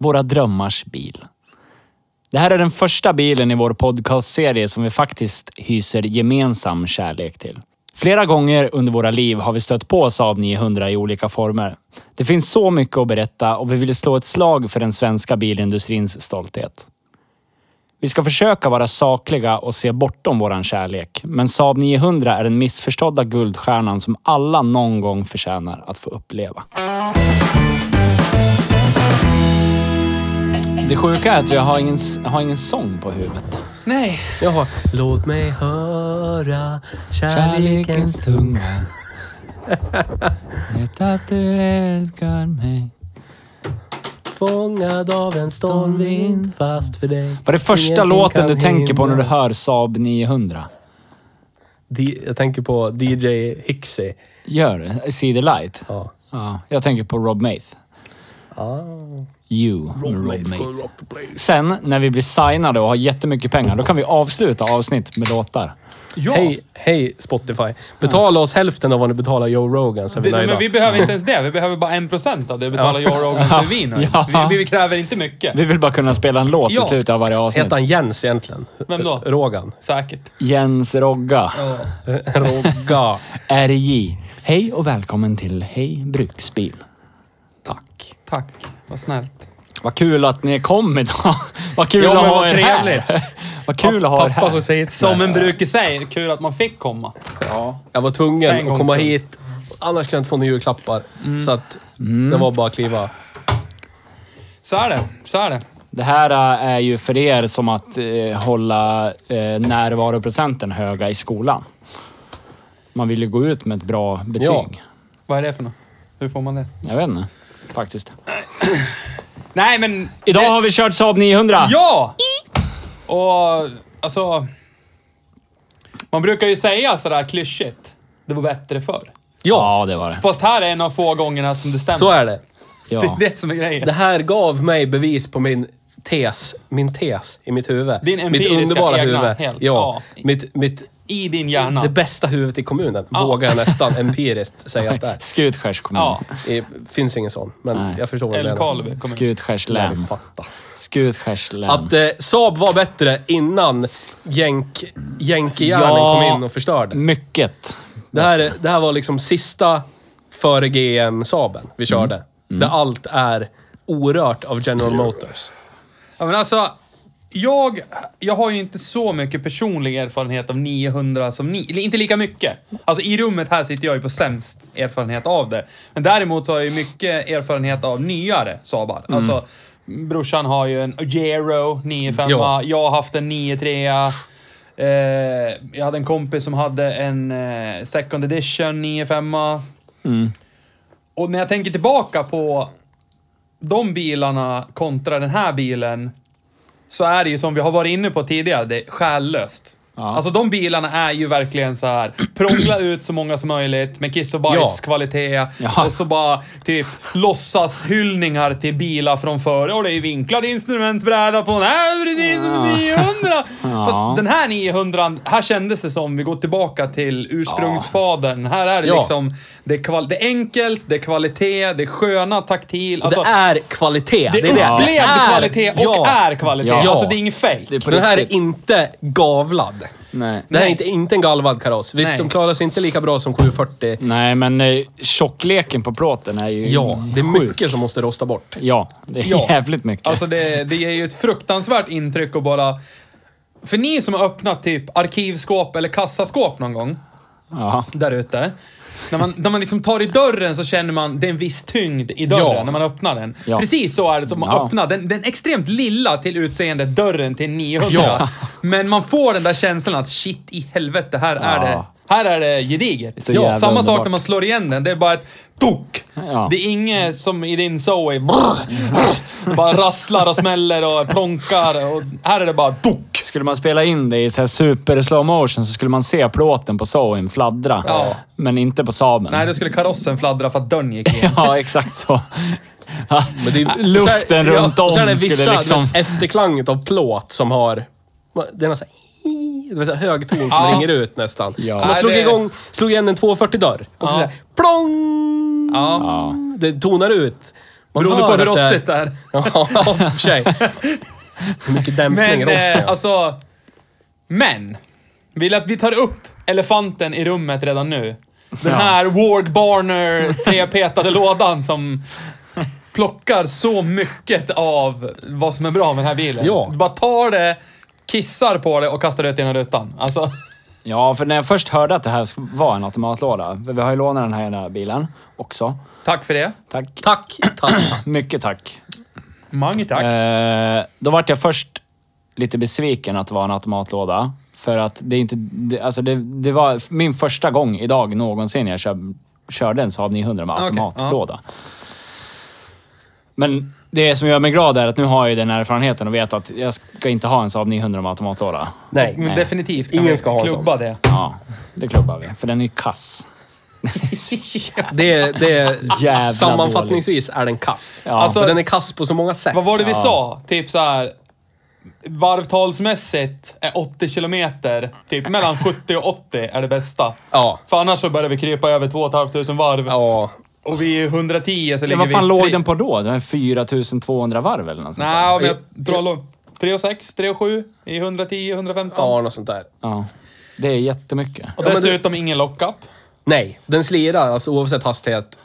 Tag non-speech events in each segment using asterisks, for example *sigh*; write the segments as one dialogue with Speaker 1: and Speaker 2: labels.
Speaker 1: Våra drömmars bil. Det här är den första bilen i vår podcastserie som vi faktiskt hyser gemensam kärlek till. Flera gånger under våra liv har vi stött på Saab 900 i olika former. Det finns så mycket att berätta och vi vill slå ett slag för den svenska bilindustrins stolthet. Vi ska försöka vara sakliga och se bortom våran kärlek, men Saab 900 är den missförstådda guldstjärnan som alla någon gång förtjänar att få uppleva. Det sjuka är att jag har ingen, har ingen sång på huvudet.
Speaker 2: Nej,
Speaker 1: Jag har
Speaker 3: Låt mig höra
Speaker 1: kärlekens tunga. *laughs* Vet att du älskar mig.
Speaker 3: fångad av en stormvind fast för dig.
Speaker 1: Vad är det första
Speaker 3: Ingenting
Speaker 1: låten
Speaker 3: kan
Speaker 1: du tänker på när du
Speaker 3: hindra.
Speaker 1: hör Saab 900?
Speaker 3: D- jag tänker på DJ Hixie.
Speaker 1: Gör det? See the light?
Speaker 3: Ja.
Speaker 1: Ja, Ah. jag tänker på Rob Maith. You med Rob Maith. Sen när vi blir signade och har jättemycket pengar, då kan vi avsluta avsnitt med låtar.
Speaker 2: ja.
Speaker 3: Hej, hej Spotify. Betala oss hälften av vad ni betalar Joe Rogan så är vi
Speaker 2: Det,
Speaker 3: nöjda.
Speaker 2: men vi behöver inte ens det. Vi behöver bara en procent av det betalar Joe Rogan för vin.
Speaker 1: Ja.
Speaker 2: Vi, vi kräver inte mycket.
Speaker 1: Vi vill bara kunna spela en låt
Speaker 2: Ja.
Speaker 1: i slutet av varje avsnitt.
Speaker 3: Hette han Jens egentligen?
Speaker 2: Vem då?
Speaker 3: Rogan. *laughs*
Speaker 2: Säkert.
Speaker 1: Jens Rogga.
Speaker 3: Rogga.
Speaker 1: RJ. Hej och välkommen till Hej Bruksbil.
Speaker 3: Tack.
Speaker 2: Tack. Vad snällt.
Speaker 1: Vad kul att ni kom idag. *laughs* Vad kul
Speaker 3: Ja,
Speaker 1: att
Speaker 3: men
Speaker 1: ha
Speaker 3: vad
Speaker 1: er här.
Speaker 3: trevligt.
Speaker 1: *laughs* Vad kul att ha er
Speaker 3: Pappa
Speaker 1: här.
Speaker 3: Jose Itzner.
Speaker 2: Som en bruk i sig. Kul att man fick komma.
Speaker 3: Jag var
Speaker 2: För en
Speaker 3: tvungen att
Speaker 2: gångs
Speaker 3: komma
Speaker 2: skull.
Speaker 3: hit. Annars kunde jag inte få några julklappar. Så att det var bara att kliva.
Speaker 2: Så är det. Så är det.
Speaker 1: Det här eh, är ju för er som att eh, hålla eh, närvaroprocenten höga i skolan. Man vill ju gå ut med ett bra betyg.
Speaker 3: Ja.
Speaker 2: Vad är det för något? Hur får man det?
Speaker 1: Jag vet inte, faktiskt.
Speaker 2: Nej, men...
Speaker 1: Idag
Speaker 2: det-
Speaker 1: har vi kört Saab 900.
Speaker 2: Ja! Och alltså... Man brukar ju säga sådär klyschigt. Det var bättre förr.
Speaker 1: ja, det var det.
Speaker 2: Fast här är en av få gångerna som det stämmer.
Speaker 3: Så är det.
Speaker 2: *laughs* Det
Speaker 1: Ja.
Speaker 2: är det som är grejen.
Speaker 3: Det här gav mig bevis på min tes, min tes i mitt huvud.
Speaker 2: Din
Speaker 3: mitt
Speaker 2: empiriska
Speaker 3: underbara
Speaker 2: egna,
Speaker 3: huvud.
Speaker 2: helt,
Speaker 3: ja.
Speaker 2: ja.
Speaker 3: Mitt, mitt,
Speaker 2: I din hjärna.
Speaker 3: det bästa huvudet i kommunen, vågar
Speaker 2: *laughs*
Speaker 3: jag nästan empiriskt säga att det är.
Speaker 1: Skutskärs kommun.
Speaker 2: Ja.
Speaker 3: Det finns ingen sån, men
Speaker 1: Nej.
Speaker 3: jag förstår vad du menar.
Speaker 2: Älvkarleby kommun.
Speaker 1: Skutskärs län.
Speaker 3: Fatta.
Speaker 1: Skutskärs län.
Speaker 3: Att eh, Saab var bättre innan jänk, jänkehjärnan
Speaker 1: Ja.
Speaker 3: kom in och förstörde.
Speaker 1: Mycket.
Speaker 3: Det här, det här var liksom sista före GM Saaben vi körde.
Speaker 1: Mm.
Speaker 3: Där allt är orört av General Motors.
Speaker 2: Ja, men alltså, jag, jag har ju inte så mycket personlig erfarenhet av 900 som ni. eller Inte lika mycket. Alltså i rummet här sitter jag ju på sämst erfarenhet av det. Men däremot så har jag ju mycket erfarenhet av nyare Saabar. Alltså, brorsan har ju en Gero 95.
Speaker 3: Ja.
Speaker 2: Jag har haft en 93. Eh, jag hade en kompis som hade en eh, second edition 95. Och när jag tänker tillbaka på de bilarna kontra den här bilen så är det ju som vi har varit inne på tidigare, det är skällöst. Alltså de bilarna är ju verkligen så här. prångla ut så många som möjligt med kiss och bajs
Speaker 3: Ja.
Speaker 2: kvalitet.
Speaker 1: Ja.
Speaker 2: Och så bara typ låtsas hyllningar till bilar från förr. Och det är vinklad instrumentbräda på en här precis som en 900.
Speaker 1: Ja.
Speaker 2: Fast den här 900, här kändes det som vi går tillbaka till ursprungsfadern. Här är det
Speaker 3: Ja.
Speaker 2: liksom, det är, kval- det är enkelt, det är kvalitet, det är sköna taktil. Alltså,
Speaker 3: det är kvalitet.
Speaker 2: det är upplevd
Speaker 3: Det är-
Speaker 2: kvalitet och
Speaker 3: ja.
Speaker 2: är kvalitet.
Speaker 1: Ja.
Speaker 2: Alltså det är inget fejk.
Speaker 1: Det är på
Speaker 3: Den här är
Speaker 1: riktigt.
Speaker 3: inte gavlad.
Speaker 1: Nej.
Speaker 3: Det här är
Speaker 2: Nej.
Speaker 3: inte, inte en galvad kaross. Visst,
Speaker 2: Nej.
Speaker 3: de klarar sig inte lika bra som 740.
Speaker 1: Nej, men eh, tjockleken på plåten är ju
Speaker 3: Ja, det är
Speaker 1: sjuk.
Speaker 3: mycket som måste rosta bort.
Speaker 1: Ja, det är
Speaker 2: Ja.
Speaker 3: Alltså-
Speaker 1: jävligt mycket.
Speaker 2: Alltså det, det ger ju ett fruktansvärt intryck och bara... för ni som har öppnat typ arkivskåp eller kassaskåp någon gång
Speaker 1: Ja.
Speaker 2: där ute. När man, när man liksom tar i dörren så känner man det är en viss tyngd i dörren
Speaker 3: Ja.
Speaker 2: när man öppnar den.
Speaker 1: Ja.
Speaker 2: Precis så är det som man
Speaker 1: Ja.
Speaker 2: öppnar den. Den extremt lilla till utseendet dörren till 900. Men man får den där känslan att shit i helvete, här är
Speaker 1: Ja.
Speaker 2: det här är det gediget.
Speaker 1: så jävla
Speaker 2: Samma sak
Speaker 1: underbart.
Speaker 2: när man slår igen den. Det är bara ett tok.
Speaker 1: Ja.
Speaker 2: Det är inget som i din Zoe. Brr, brr, bara rasslar och smäller och plonkar. Och här är det bara tok.
Speaker 1: Skulle man spela in det i så här super slow motion så skulle man se plåten på Zoen fladdra.
Speaker 2: Ja.
Speaker 1: Men inte på Saaben.
Speaker 2: Nej, då skulle karossen fladdra för att dörren gick igen.
Speaker 1: *laughs* Ja, exakt så.
Speaker 3: Men det är- så
Speaker 1: Luften
Speaker 3: här-
Speaker 1: runt
Speaker 3: ja, och så är
Speaker 1: om
Speaker 3: det vissa,
Speaker 1: skulle liksom...
Speaker 3: du vet, efterklanget av plåt som har... Det är någon så här, du vet, så här hög ton som
Speaker 2: Ja.
Speaker 3: ringer ut nästan.
Speaker 1: Ja.
Speaker 3: Så man
Speaker 2: Nej,
Speaker 3: slog,
Speaker 2: det-
Speaker 3: igång, slog igen en 240-dörr och så
Speaker 2: Ja.
Speaker 3: här, plong!
Speaker 2: Ja.
Speaker 1: Ja.
Speaker 3: Det tonar ut. Man
Speaker 2: Beroende
Speaker 3: hör
Speaker 2: på hur
Speaker 3: att
Speaker 2: rostigt det är.
Speaker 3: Ja, *laughs* i och för sig. Hur mycket dämpning,
Speaker 2: Men,
Speaker 3: rost. det
Speaker 2: eh,
Speaker 3: är.
Speaker 2: alltså... Men! Vill att vi tar upp elefanten i rummet redan nu? Den
Speaker 1: Ja.
Speaker 2: här Ward Barner trepetade lådan som plockar så mycket av vad som är bra med den här bilen.
Speaker 3: Ja.
Speaker 2: Du bara tar det, kissar på det och kastar det ut genom rutan. Alltså,
Speaker 1: Ja, för när jag först hörde att det här sk- var en automatlåda. för Vi har ju lånat den här ena bilen också.
Speaker 2: tack för det.
Speaker 1: Tack.
Speaker 3: Tack, tack, tack.
Speaker 1: Mycket tack.
Speaker 2: Mange tack.
Speaker 1: Eh, då vart jag först lite besviken att det var en automatlåda. För att det är inte... Det, alltså det, det var min första gång idag någonsin jag kör, körde en Saab 900 med
Speaker 2: Ah, Okej, ja.
Speaker 1: automatlåda. Men det som gör mig glad är att nu har jag ju den erfarenheten och vet att jag ska inte ha en Saab 900 med automatlåda.
Speaker 3: Nej.
Speaker 2: Men
Speaker 1: nej.
Speaker 2: definitivt kan
Speaker 3: Ingen
Speaker 2: vi
Speaker 3: ska ha en
Speaker 2: klubba det.
Speaker 1: Ja, det klubbar vi. För den är ju kass.
Speaker 3: Det är, det är
Speaker 1: Jävla
Speaker 3: sammanfattningsvis är den kass.
Speaker 1: Ja.
Speaker 3: Alltså, den är kass på så många sätt.
Speaker 2: Vad var det vi sa? Typ så här. Varvtalsmässigt är 80 kilometer, typ mellan 70 och 80 är det bästa.
Speaker 3: Ja.
Speaker 2: För annars så börjar vi krypa över 2 500 varv.
Speaker 3: Ja.
Speaker 2: Och vi är 110 så
Speaker 1: Men
Speaker 2: ligger
Speaker 1: vad
Speaker 2: vi...
Speaker 1: fan låg
Speaker 2: tre-
Speaker 1: den på då? Den var 4200 varv eller något sånt där.
Speaker 2: Nej, men jag tror låg... 3 och 6, 3 och 7 i 110, 115.
Speaker 3: Ja, något sånt där.
Speaker 1: Ja. Det är jättemycket.
Speaker 2: Och
Speaker 3: Ja, men du-
Speaker 2: dessutom ingen lockup.
Speaker 3: Nej, den slirar alltså oavsett hastighet.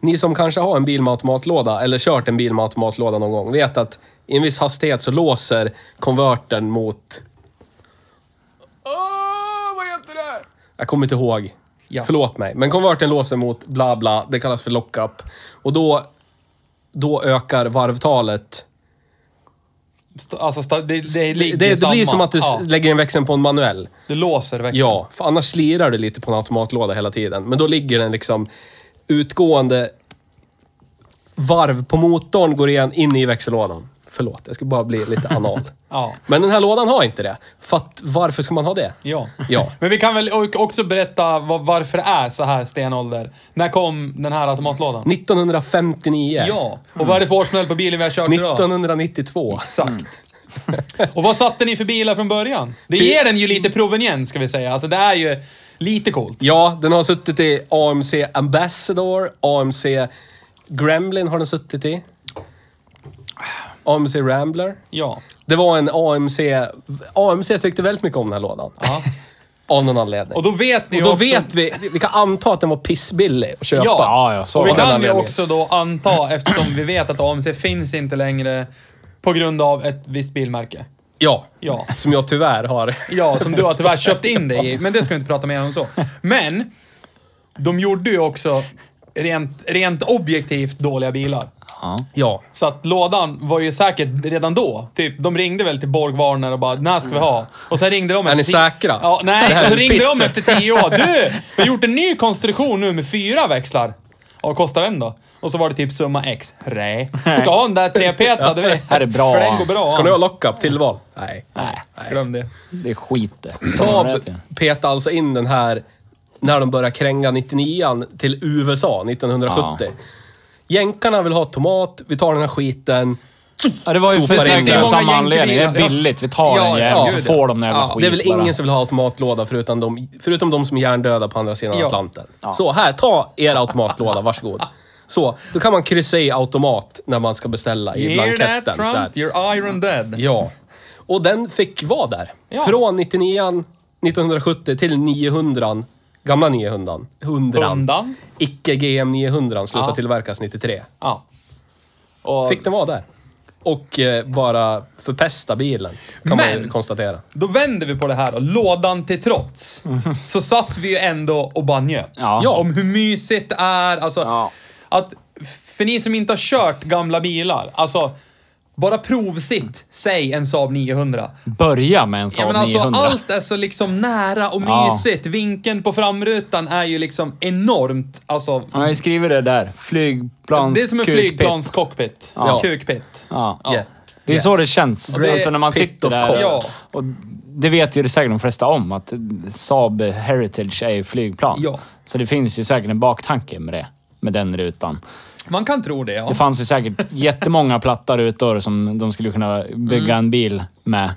Speaker 3: Ni som kanske har en bil med automatlåda eller kört en bil med automatlåda någon gång vet att i en viss hastighet så låser konvertern mot... Åh, vad heter det? Jag kommer inte ihåg.
Speaker 2: Ja.
Speaker 3: Förlåt mig. Men konvertern låser mot bla bla. Det kallas för lockup. Och då, då ökar varvtalet.
Speaker 2: St- Alltså, sta- det, det
Speaker 3: Det,
Speaker 2: ligger
Speaker 3: det, det
Speaker 2: samma.
Speaker 3: blir som att du s-
Speaker 2: ja,
Speaker 3: lägger en växel på en manuell.
Speaker 2: Det låser verkligen.
Speaker 3: Ja, för annars slirar det lite på en automatlåda hela tiden. Men då ligger den liksom utgående varv på motorn, går igen in i växellådan. Förlåt, jag skulle bara bli lite anal.
Speaker 2: *laughs* Ja.
Speaker 3: Men den här lådan har inte det. För att, varför ska man ha det?
Speaker 2: Ja.
Speaker 3: Ja.
Speaker 2: *laughs* Men vi kan väl o- också berätta vad- varför det är så här stenålder. När kom den här automatlådan?
Speaker 3: 1959.
Speaker 2: Ja, och vad är det för årsmodell på bilen vi har kört idag?
Speaker 3: 1992.
Speaker 2: Exakt. Och vad satte ni för bilar från början? Det
Speaker 3: Ty-
Speaker 2: ger den ju lite proveniens, ska vi säga. Alltså det är ju lite coolt.
Speaker 3: Ja, den har suttit i AMC Ambassador, AMC Gremlin har den suttit i. AMC Rambler.
Speaker 2: Ja.
Speaker 3: Det var en AMC... AMC tyckte väldigt mycket om den här lådan.
Speaker 2: ja.
Speaker 3: Av någon anledning.
Speaker 2: Och då vet ni
Speaker 3: Och då
Speaker 2: också...
Speaker 3: vet vi, vi kan anta att den var pissbillig att köpa.
Speaker 1: Ja, ja, så
Speaker 2: och vi
Speaker 1: var det.
Speaker 2: kan ju
Speaker 3: anledningen.
Speaker 2: också då anta, eftersom vi vet att AMC finns inte längre på grund av ett visst bilmärke.
Speaker 3: ja.
Speaker 2: Ja.
Speaker 3: Som jag tyvärr har.
Speaker 2: Ja, som du har tyvärr köpt in dig i. Men det ska vi inte prata mer om så. Men, de gjorde ju också rent, rent objektivt dåliga bilar.
Speaker 1: Ja.
Speaker 3: Ja.
Speaker 2: Så att lådan var ju säkert redan då. Typ, de ringde väl till Borgvarner och bara “När ska vi ha?” Och sen ringde de efter...
Speaker 3: ni
Speaker 2: ti-
Speaker 3: säkra?
Speaker 2: Ja,
Speaker 3: Det
Speaker 2: nej.
Speaker 3: här
Speaker 2: Så
Speaker 3: är
Speaker 2: ringde de
Speaker 3: pisset.
Speaker 2: efter tio år. “Du! Vi har gjort en ny konstruktion nu med fyra växlar. Ja, vad kostar den då?” Och så var det typ summa X. Nej. Ska ha den där trepetade. du vet.
Speaker 1: Här är bra.
Speaker 2: För den går bra.
Speaker 3: Ska ni ha lockup tillval? Nej.
Speaker 2: Nej, glöm det.
Speaker 1: Det skiter.
Speaker 3: Saab petade alltså in den här när de började kränga 99an till USA 1970. Jänkarna vill ha tomat, vi tar den här skiten.
Speaker 1: Ja, det var ju för
Speaker 3: Sopar in
Speaker 1: säkert
Speaker 3: det. Det är
Speaker 1: samma
Speaker 2: många
Speaker 1: anledning. Det är
Speaker 2: jänkebilar.
Speaker 1: billigt. Vi tar
Speaker 2: Ja,
Speaker 1: den
Speaker 2: ja,
Speaker 1: jäveln och
Speaker 3: ja.
Speaker 1: så får de den jävla
Speaker 3: det
Speaker 1: skiten.
Speaker 3: är väl ingen som vill ha automatlåda förutom de, förutom de som är hjärndöda på andra sidan
Speaker 2: Ja.
Speaker 3: Atlanten.
Speaker 1: Ja.
Speaker 3: Så här, ta er
Speaker 1: *laughs*
Speaker 3: automatlåda, varsågod. Så, då kan man kryssa i automat när man ska beställa i
Speaker 2: Hear
Speaker 3: blanketten.
Speaker 2: that Trump?
Speaker 3: Där.
Speaker 2: You're iron dead.
Speaker 3: Ja. Och den fick vara där.
Speaker 2: Ja.
Speaker 3: Från 99 1970 till 900 gamla 900 100
Speaker 2: Undan.
Speaker 3: Icke GM 900 slutade
Speaker 2: Ja.
Speaker 3: tillverkas 93.
Speaker 2: Ja. Och
Speaker 3: Fick den vara där. och eh, bara förpesta bilen. Kan man
Speaker 2: Men-
Speaker 3: ju konstatera.
Speaker 2: Då vänder vi på det här då. Lådan till trots. Så satt vi ju ändå och bara njöt.
Speaker 1: Ja.
Speaker 2: Om hur mysigt det är. Alltså,
Speaker 1: Ja.
Speaker 2: att, för ni som inte har kört gamla bilar. Alltså, bara provsitt. Säg en Saab 900.
Speaker 1: Börja med en
Speaker 2: Ja,
Speaker 1: Saab
Speaker 2: men alltså,
Speaker 1: 900.
Speaker 2: allt är så liksom nära och
Speaker 1: Ja.
Speaker 2: mysigt. Vinkeln på framrutan är ju liksom enormt. Alltså,
Speaker 1: Ja, jag skriver det där. Flygplans...
Speaker 2: det är som en
Speaker 1: kukpit.
Speaker 2: flygplanscockpit.
Speaker 3: Ja.
Speaker 2: Kukpit.
Speaker 1: Ja.
Speaker 2: Ja.
Speaker 1: Det är så det känns.
Speaker 2: Och det är
Speaker 1: alltså när man
Speaker 3: pit
Speaker 1: sitter
Speaker 3: of
Speaker 1: där.
Speaker 3: cold.
Speaker 2: Ja.
Speaker 1: Och det vet ju säkert de flesta om, att Saab Heritage är ju flygplan.
Speaker 2: Ja.
Speaker 1: Så det finns ju säkert en baktanke med det, med den rutan.
Speaker 2: Man kan tro det, ja.
Speaker 1: Det fanns ju säkert jättemånga platta rutor som de skulle kunna
Speaker 2: Mm.
Speaker 1: bygga en bil med.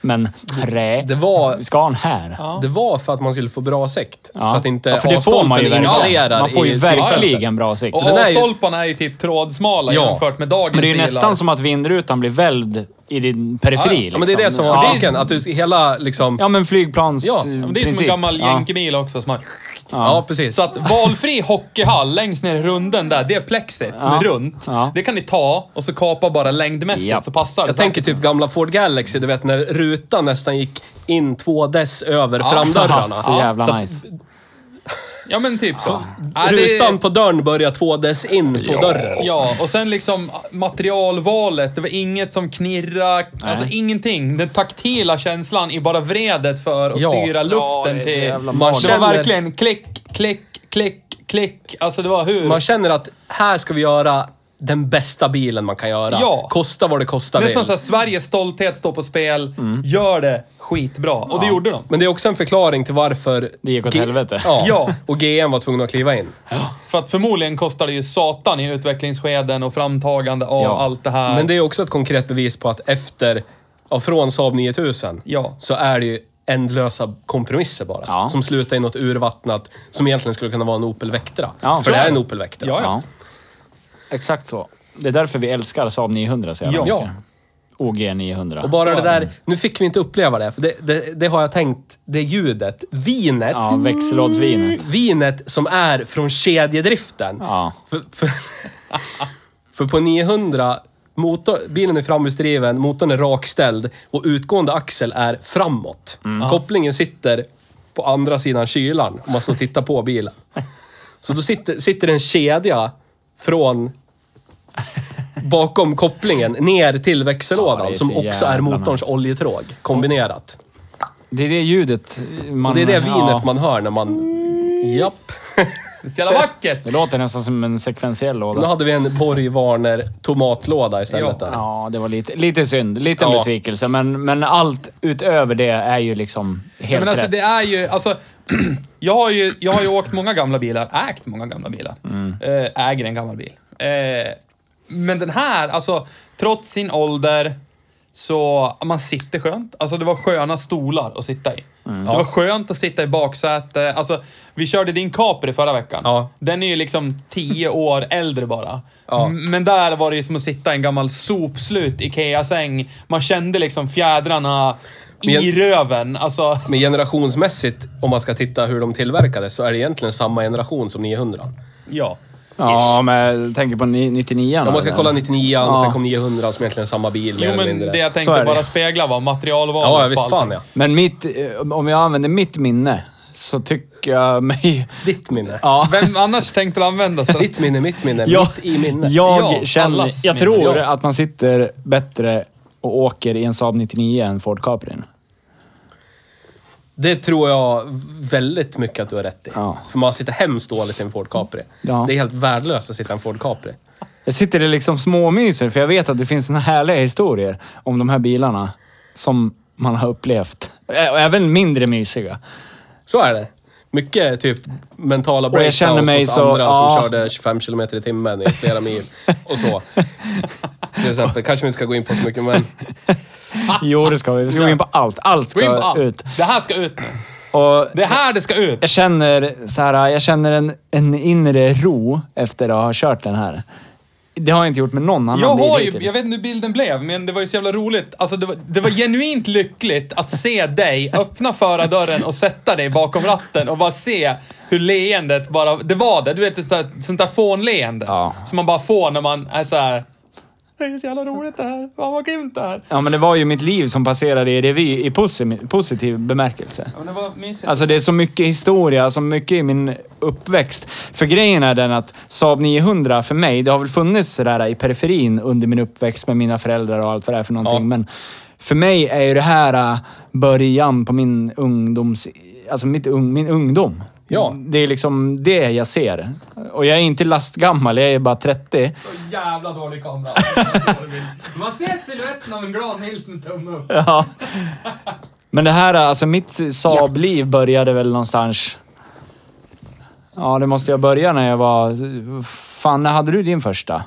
Speaker 1: Men nej,
Speaker 3: det var-
Speaker 1: vi ska ha en här.
Speaker 3: Det var för att man skulle få bra sikt.
Speaker 1: Ja.
Speaker 3: Så att inte
Speaker 1: Ja, för det får man ju
Speaker 3: A-stolpen
Speaker 1: verkligen.
Speaker 3: ignorerar
Speaker 1: Man får ju
Speaker 3: i synfältet.
Speaker 1: verkligen bra sikt.
Speaker 2: Och
Speaker 3: Så den är ju-
Speaker 2: A-stolparna är ju typ trådsmala
Speaker 3: Ja.
Speaker 2: jämfört med dagens
Speaker 1: Men det är ju
Speaker 2: bilar.
Speaker 1: nästan som att vindrutan blir välvd i din periferi.
Speaker 3: Ja, men det är det
Speaker 1: liksom.
Speaker 3: som var
Speaker 1: Ja.
Speaker 3: tanken. Att du hela liksom... Ja,
Speaker 1: Ja, men flygplans...
Speaker 3: Ja,
Speaker 2: Ja, men det är som en
Speaker 1: princip.
Speaker 2: gammal
Speaker 1: Ja.
Speaker 2: jänkebil också. Som har...
Speaker 3: precis.
Speaker 2: Så att valfri hockeyhall längst ner i runden där, det är plexit som
Speaker 1: Ja.
Speaker 2: är runt.
Speaker 1: Ja.
Speaker 2: Det kan ni ta och så kapa bara längdmässigt
Speaker 1: Japp.
Speaker 2: så passar det.
Speaker 1: Alltså,
Speaker 3: jag tänker typ gamla Ford Galaxy, du vet när rutan nästan gick in två dess över
Speaker 1: *laughs*
Speaker 3: framdörrarna.
Speaker 1: Så jävla
Speaker 3: Så att
Speaker 1: nice.
Speaker 2: Ja men typ så. Ja, det-
Speaker 3: Rutan på dörren börjar två dess in på dörren.
Speaker 2: Ja, och sen liksom materialvalet. Det var inget som knirra, alltså ingenting. Den taktila känslan i bara vredet för att
Speaker 3: Ja.
Speaker 2: styra luften
Speaker 1: det är så
Speaker 2: till...
Speaker 1: jävla
Speaker 2: det var
Speaker 3: magiskt. Man känner-
Speaker 2: verkligen klick, klick, klick, klick. Alltså det var hur...
Speaker 3: Man känner att här ska vi göra den bästa bilen man kan göra.
Speaker 2: Ja.
Speaker 3: Kosta vad det Mm. kostar
Speaker 2: Nästan
Speaker 3: vill.
Speaker 2: såhär, Sveriges stolthet står på spel. Gör det skitbra. Och det gjorde de.
Speaker 3: Men det är också en förklaring till varför...
Speaker 1: Det gick åt
Speaker 3: G-
Speaker 1: helvete.
Speaker 3: Ja.
Speaker 2: Ja.
Speaker 3: Och GM var tvungna att kliva in.
Speaker 2: För att förmodligen kostar det ju satan i utvecklingsskeden och framtagande av
Speaker 1: Ja.
Speaker 2: allt det här.
Speaker 3: Men det är också ett konkret bevis på att efter, ja, från Saab 9000,
Speaker 2: Ja.
Speaker 3: så är det ju ändlösa kompromisser bara.
Speaker 1: Ja.
Speaker 3: Som slutar i något urvattnat, som egentligen skulle kunna vara en Opel Vectra.
Speaker 1: Ja,
Speaker 3: För
Speaker 1: så
Speaker 3: det
Speaker 1: är
Speaker 3: är en
Speaker 2: det.
Speaker 3: Opel Vectra.
Speaker 2: Ja,
Speaker 1: Ja. Exakt så. Det är därför vi älskar Saab 900 så jävla
Speaker 2: Ja.
Speaker 1: mycket. OG 900.
Speaker 3: Och bara
Speaker 2: Så
Speaker 3: det
Speaker 2: är det.
Speaker 3: där, nu fick vi inte uppleva det, för det, det, det har jag tänkt, det ljudet, vinet.
Speaker 1: Ja, växellådsvinet.
Speaker 3: Vinet som är från kedjedriften.
Speaker 1: Ja.
Speaker 3: För, för, *laughs* för på 900, motor, bilen är framhjulsdriven, motorn är rakställd och utgående axel är framåt.
Speaker 1: Mm.
Speaker 3: Kopplingen sitter på andra sidan kylan om man står och tittar
Speaker 1: *laughs*
Speaker 3: på bilen. Så då sitter, sitter en kedja från bakom kopplingen ner till
Speaker 1: Ja,
Speaker 3: växellådan
Speaker 1: det är
Speaker 3: som
Speaker 1: så
Speaker 3: också är
Speaker 1: jävla
Speaker 3: motorns
Speaker 1: nice.
Speaker 3: oljetråg kombinerat.
Speaker 1: Det är det ljudet man...
Speaker 3: Och det är det vinet
Speaker 1: Mm. ja. Mm.
Speaker 3: man hör när man...
Speaker 1: *laughs*
Speaker 3: Japp.
Speaker 2: det är så jävla vackert!
Speaker 1: Det låter nästan som en sekventiell
Speaker 3: Nu
Speaker 1: låda.
Speaker 3: hade vi en Borg Warner tomatlåda istället.
Speaker 2: Ja.
Speaker 3: där.
Speaker 1: Ja, det var lite, lite synd. Lite
Speaker 3: Ja.
Speaker 1: besvikelse, men, men allt utöver det är ju liksom helt
Speaker 2: men alltså
Speaker 1: rätt.
Speaker 2: det är ju, alltså, *clears throat* jag, har ju, jag har ju åkt många gamla bilar, ägt många gamla bilar.
Speaker 3: Mm.
Speaker 2: Eh, äger en gammal bil. Eh, men den här, alltså, trots sin ålder, så man sitter skönt. Alltså det var sköna stolar att sitta i.
Speaker 3: Mm.
Speaker 2: Det var skönt att sitta i baksäte. Alltså, vi körde din Capri förra veckan.
Speaker 3: Ja.
Speaker 2: Den är ju liksom tio år äldre bara.
Speaker 3: Ja.
Speaker 2: M- Men där var det ju som att sitta i en gammal sopslut Ikea-säng. Man kände liksom fjädrarna
Speaker 3: Men jag-
Speaker 2: i röven. Alltså...
Speaker 3: Men generationsmässigt, om man ska titta hur de tillverkades, så är det egentligen samma generation som 900.
Speaker 2: Ja.
Speaker 1: Ja, men jag tänker på ni- 99
Speaker 3: Om man ska kolla 99 och sen
Speaker 1: Ja.
Speaker 3: kom 900 som egentligen är samma bil, mer
Speaker 2: Jo,
Speaker 3: eller
Speaker 2: men
Speaker 3: mindre.
Speaker 2: det jag
Speaker 1: Så är
Speaker 2: tänkte
Speaker 1: det.
Speaker 2: bara spegla var materialvalet.
Speaker 3: Ja, ja,
Speaker 2: på
Speaker 3: visst
Speaker 2: allt.
Speaker 3: fan ja.
Speaker 1: Men mitt, eh, om jag använder mitt minne så tycker jag mig...
Speaker 3: Ditt minne.
Speaker 1: Ja.
Speaker 2: Vem annars tänkte du använda
Speaker 3: *laughs*
Speaker 2: sig?
Speaker 3: Ditt minne, mitt minne,
Speaker 1: Jag,
Speaker 3: mitt i minnet.
Speaker 1: jag
Speaker 2: Ja,
Speaker 1: känner,
Speaker 2: allas
Speaker 1: jag
Speaker 2: minne.
Speaker 1: tror
Speaker 3: Ja.
Speaker 1: att man sitter bättre och åker i en Saab 99 än Ford Caprin.
Speaker 3: Det tror jag väldigt mycket att du har rätt i.
Speaker 1: Ja.
Speaker 3: För man sitter hemskt dåligt i en Ford Capri.
Speaker 1: Ja.
Speaker 3: Det är helt värdelöst att sitta i en Ford Capri.
Speaker 1: Jag sitter i liksom småmyser för jag vet att det finns såna härliga historier om de här bilarna som man har upplevt. Ä- och Även mindre mysiga.
Speaker 3: Så är det. Mycket typ mentala
Speaker 1: jag känner
Speaker 3: breakdowns
Speaker 1: mig
Speaker 3: hos
Speaker 1: så-
Speaker 3: andra
Speaker 1: ja.
Speaker 3: som körde 25 kilometer i timmen i flera mil
Speaker 1: *laughs*
Speaker 3: och så. Till exempel. Kanske vi inte ska gå in på så mycket, men...
Speaker 1: *laughs* Jo, det ska vi. Vi ska gå in på allt. Allt
Speaker 2: Gå in på
Speaker 1: ska ut.
Speaker 2: allt. Det här ska ut nu.
Speaker 1: Och
Speaker 2: Det här det ska ut.
Speaker 1: jag känner, så här, jag känner en, en inre ro efter att ha kört den här. Det har jag inte gjort med någon annan
Speaker 2: Jag
Speaker 1: bil
Speaker 2: har ju,
Speaker 1: hittills.
Speaker 2: jag vet inte hur bilden blev, men det var ju så jävla roligt. Alltså det var, det var genuint lyckligt att se dig öppna förardörren och sätta dig bakom ratten och bara se hur leendet bara, det var det. Du vet, det sånt där, sånt där fånleende
Speaker 1: Ja.
Speaker 2: som man bara får när man är så här. Det är ju så jävla roligt det här. Fan vad grymt det här.
Speaker 1: Ja, men det var ju mitt liv som passerade i revy i posi- positiv bemärkelse.
Speaker 2: Ja, men det var mysigt.
Speaker 1: Alltså det är så mycket historia, så mycket i min uppväxt. För grejen är den att Saab 900 för mig, det har väl funnits sådär i periferin under min uppväxt med mina föräldrar och allt vad det är för någonting.
Speaker 3: Ja.
Speaker 1: Men för mig är ju det här äh, början på min ungdoms... Alltså mitt ung, min ungdom.
Speaker 3: Ja.
Speaker 1: Det är liksom det jag ser. Och jag är inte lastgammal, jag är bara 30.
Speaker 2: Så jävla dålig kamera. Man ser siluetten av en glad Nils med tumme upp.
Speaker 1: Ja. Men det här, alltså mitt Saab-liv började väl någonstans... Ja, det måste jag börja när jag var... Fan, när hade du din första?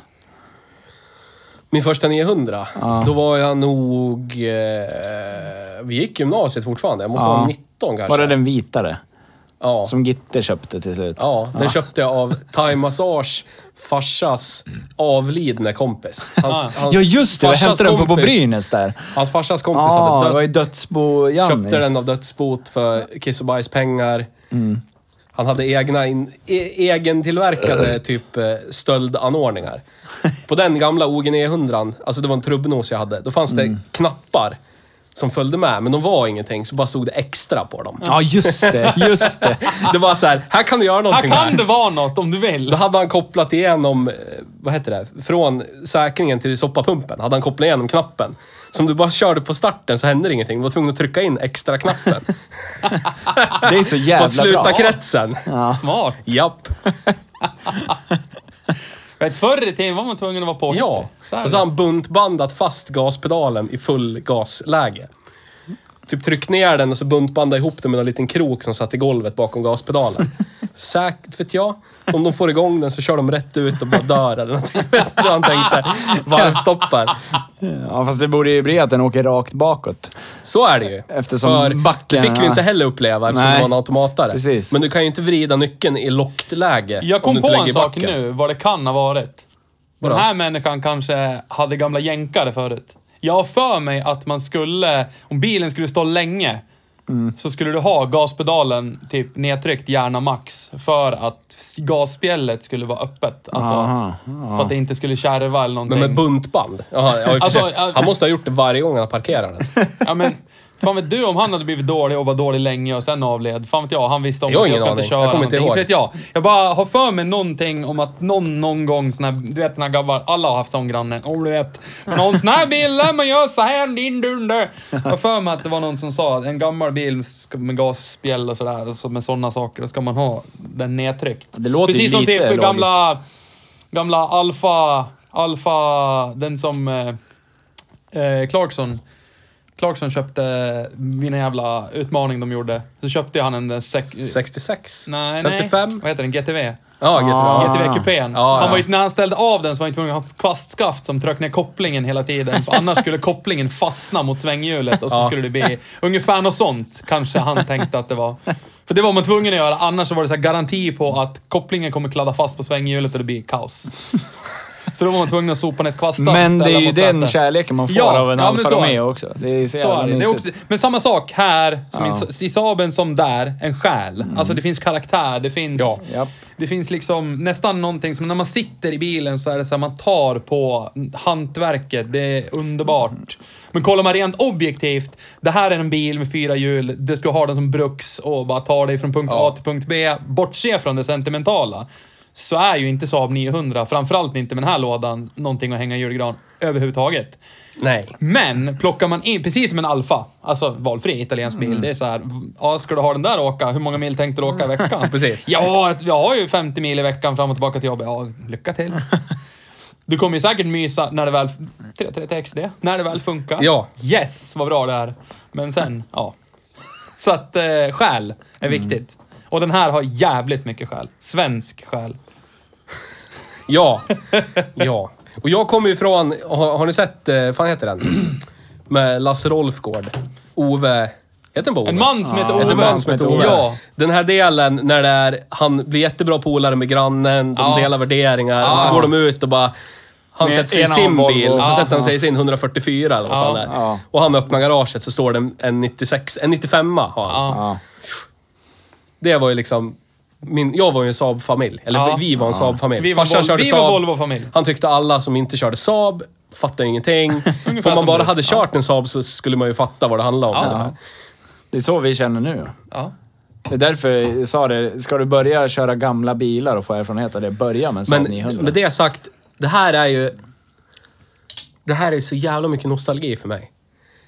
Speaker 3: Min första 900,
Speaker 1: Ja.
Speaker 3: då var jag nog... Eh, vi gick gymnasiet fortfarande. Jag måste
Speaker 1: Ja.
Speaker 3: vara 19 kanske.
Speaker 1: Var det den vitare?
Speaker 3: Ja.
Speaker 1: Som Gitte köpte till slut.
Speaker 3: ja, den köpte jag av Thai Massage farsas avlidne kompis. Hans, hans
Speaker 1: Ja, just det! Jag
Speaker 3: farsas
Speaker 1: hämtade den på, på
Speaker 3: kompis-
Speaker 1: Brynäs där.
Speaker 3: Hans farsas kompis
Speaker 1: Ja, det
Speaker 3: hade
Speaker 1: var ju
Speaker 3: dött.
Speaker 1: dödsbo-Janni.
Speaker 3: Köpte den av dödsbot för kiss och bajspengar. Han hade egna in, e, egentillverkade typ eh, stöldanordningar. På den gamla OG 900, alltså det var en trubbnos jag hade, då fanns det knappar som följde med, men de var ingenting, så bara stod det extra på dem.
Speaker 1: Ja, just det. Just det.
Speaker 3: Det var så här, här kan du göra
Speaker 2: Här
Speaker 3: någonting
Speaker 2: kan
Speaker 3: med.
Speaker 2: det vara något om du vill.
Speaker 3: Då hade han kopplat igenom, eh, vad heter det, från säkringen till soppapumpen. Hade han kopplat igenom knappen. Som du bara körde på starten så hände det ingenting. Du var tvungen att trycka in extra knappen
Speaker 1: Det är så
Speaker 3: för att
Speaker 1: jävla
Speaker 3: sluta
Speaker 1: bra.
Speaker 3: kretsen.
Speaker 2: Smart.
Speaker 3: Japp.
Speaker 2: Vet, förr i tiden var man tvungen att vara på.
Speaker 3: Ja.
Speaker 2: Så här.
Speaker 3: Och så har han buntbandat fast gaspedalen i full gasläge. Typ tryckt ner den och så buntbanda ihop den med en liten krok som satt i golvet
Speaker 1: *laughs*
Speaker 3: bakom gaspedalen. Säkert vet jag. Om de får igång den så kör de rätt ut och bara dör eller någonting. *laughs* Vet du vad han tänkte? Varvstoppar.
Speaker 1: Ja, fast det borde ju bli att den åker rakt bakåt.
Speaker 3: Så är det ju.
Speaker 1: Eftersom
Speaker 3: För
Speaker 1: backen-
Speaker 3: det fick vi inte heller uppleva eftersom
Speaker 1: Nej.
Speaker 3: det var en automatare.
Speaker 1: Precis.
Speaker 3: Men du kan ju inte vrida nyckeln i lockt läge.
Speaker 2: Jag
Speaker 3: om du
Speaker 2: kom på
Speaker 3: inte lägger
Speaker 2: en
Speaker 3: i
Speaker 2: sak
Speaker 3: backen.
Speaker 2: nu, vad det kan ha varit.
Speaker 3: Vadå?
Speaker 2: Den här människan kanske hade gamla jänkare förut. Jag har för mig att man skulle, om bilen skulle stå länge,
Speaker 3: Mm.
Speaker 2: så skulle du ha gaspedalen typ nedtryckt, gärna max, för att gasspjället skulle vara öppet. Alltså,
Speaker 1: Aha,
Speaker 2: För att det inte skulle kärva eller
Speaker 3: Men
Speaker 2: någonting.
Speaker 3: med buntband? Jaha, ja, i och för sig.
Speaker 2: Alltså, ja.
Speaker 3: han måste ha gjort det varje gång han parkerar *laughs* den.
Speaker 2: *laughs* ja, men, fan vet du om han hade blivit dålig och var dålig länge och sen avled? Fan vet jag, han visste om
Speaker 3: Jag har
Speaker 2: att jag
Speaker 3: ingen
Speaker 2: ska inte
Speaker 3: aning.
Speaker 2: köra
Speaker 3: Jag kommer inte
Speaker 2: någonting.
Speaker 3: ihåg.
Speaker 2: Inte vet jag. Jag bara har för mig någonting om att någon, någon gång sån här, du vet när grabbar, alla har haft sån granne, om du vet. Någon sån här bil, där man gör så här, din dunder. Jag har för mig att det var någon som sa att en gammal bil ska- med gasspjäll och sådär, och så med sådana saker, då ska man ha den nedtryckt.
Speaker 1: Det låter ju
Speaker 2: Precis som
Speaker 1: lite
Speaker 2: typ
Speaker 1: logiskt.
Speaker 2: gamla, gamla Alfa, Alfa, den som eh, eh, Clarkson Clarkson köpte mina jävla utmaning de gjorde. Så köpte han en... Sek-
Speaker 3: 66?
Speaker 2: nej,
Speaker 3: 55?
Speaker 2: nej. Vad heter den? GTV?
Speaker 3: Ja, GTV.
Speaker 1: Ah.
Speaker 2: GTV-kupén.
Speaker 3: Ja, ja.
Speaker 2: Han var ju, när han ställde av den så var han ju tvungen att ha ett kvastskaft som tryckte ner kopplingen hela tiden. För annars skulle kopplingen fastna mot svänghjulet och så
Speaker 3: Ja.
Speaker 2: skulle det bli ungefär något sånt. Kanske han tänkte att det var. För det var man tvungen att göra, annars så var det så här garanti på att kopplingen kommer kladda fast på svänghjulet och det blir kaos. Så då var man tvungen att sopa ner ett kvastskaft
Speaker 1: Men det är
Speaker 2: ställa
Speaker 1: ju
Speaker 2: mot
Speaker 1: den
Speaker 2: sätet.
Speaker 1: kärleken man får
Speaker 2: Ja,
Speaker 1: av en
Speaker 2: ja, men
Speaker 1: Alfa
Speaker 2: så är det.
Speaker 1: Romeo också. Det är så,
Speaker 2: Så
Speaker 1: jävla
Speaker 2: är det. det är
Speaker 1: mysigt.
Speaker 2: också, men samma sak här, som
Speaker 1: Ja. Mm.
Speaker 2: i, i Saaben som där, en själ. Alltså det finns karaktär, det finns...
Speaker 3: Ja.
Speaker 1: Japp.
Speaker 2: Det finns liksom nästan någonting som när man sitter i bilen så är det så här, man tar på hantverket. Det är underbart. Men kollar man rent objektivt, det här är en bil med fyra hjul, du ska ha den som bruks och bara ta dig från punkt A till punkt B. Bortse från det sentimentala, så är ju inte Saab 900, framförallt inte med den här lådan, någonting att hänga i julgran överhuvudtaget.
Speaker 3: Nej.
Speaker 2: Men plockar man in, precis som en Alfa, alltså valfri italiensk
Speaker 3: Mm.
Speaker 2: bil, det är så här, ja, ska du ha den där och åka? Hur många mil tänkte du åka i veckan?
Speaker 3: *laughs* Precis.
Speaker 2: Ja, jag har ju 50 mil i veckan fram och tillbaka till jobbet. Ja, lycka till. Du kommer ju säkert mysa när det väl... 330 XD, när det väl funkar.
Speaker 3: Ja.
Speaker 2: Yes, vad bra det är. Men sen, ja. Så att eh, själ är
Speaker 3: Mm.
Speaker 2: viktigt. Och den här har jävligt mycket själ. Svensk själ.
Speaker 3: Ja. Ja. Och jag kommer ju från... Har, har ni sett... eh, fan heter den? *clears throat* Med Lasse Rolfgård. Ove... Heter den bara Ove?
Speaker 2: En man som heter Ove.
Speaker 3: En man som heter Ove.
Speaker 2: Ja.
Speaker 3: Den här delen när det är, han blir jättebra polare med grannen, de
Speaker 2: Ja.
Speaker 3: delar värderingar och så
Speaker 2: Ja.
Speaker 3: går de ut och bara... Han
Speaker 1: Med
Speaker 3: sätter sig i
Speaker 1: ena
Speaker 3: sin
Speaker 1: Volvo.
Speaker 3: bil, så
Speaker 1: Ja.
Speaker 3: sätter han sig i sin 144 eller vad
Speaker 2: Ja.
Speaker 3: fan det är.
Speaker 1: Ja.
Speaker 3: Och han öppnar garaget så står det en- en 96, en 95 har han.
Speaker 1: Ja.
Speaker 3: Det var ju liksom... Min, jag var ju en Saab-familj. Eller
Speaker 2: Ja.
Speaker 3: vi var en Saab-familj.
Speaker 2: Vi var,
Speaker 3: Farsan
Speaker 2: Vol-
Speaker 3: körde
Speaker 2: vi
Speaker 3: Saab.
Speaker 2: var Volvo-familj.
Speaker 3: Han tyckte alla som inte körde Saab Fattar ingenting.
Speaker 2: *laughs* Ungefär
Speaker 3: Om
Speaker 2: som
Speaker 3: man bara
Speaker 2: du.
Speaker 3: hade kört en Saab så skulle man ju fatta vad det handlade om. ungefär.
Speaker 1: Det är så vi känner nu.
Speaker 2: Ja.
Speaker 1: Det är därför jag sa det, ska du börja köra gamla bilar och få erfarenhet av det, börja med en Saab
Speaker 3: Men
Speaker 1: 900.
Speaker 3: med det sagt, det här är ju... Det här är ju så jävla mycket nostalgi för mig.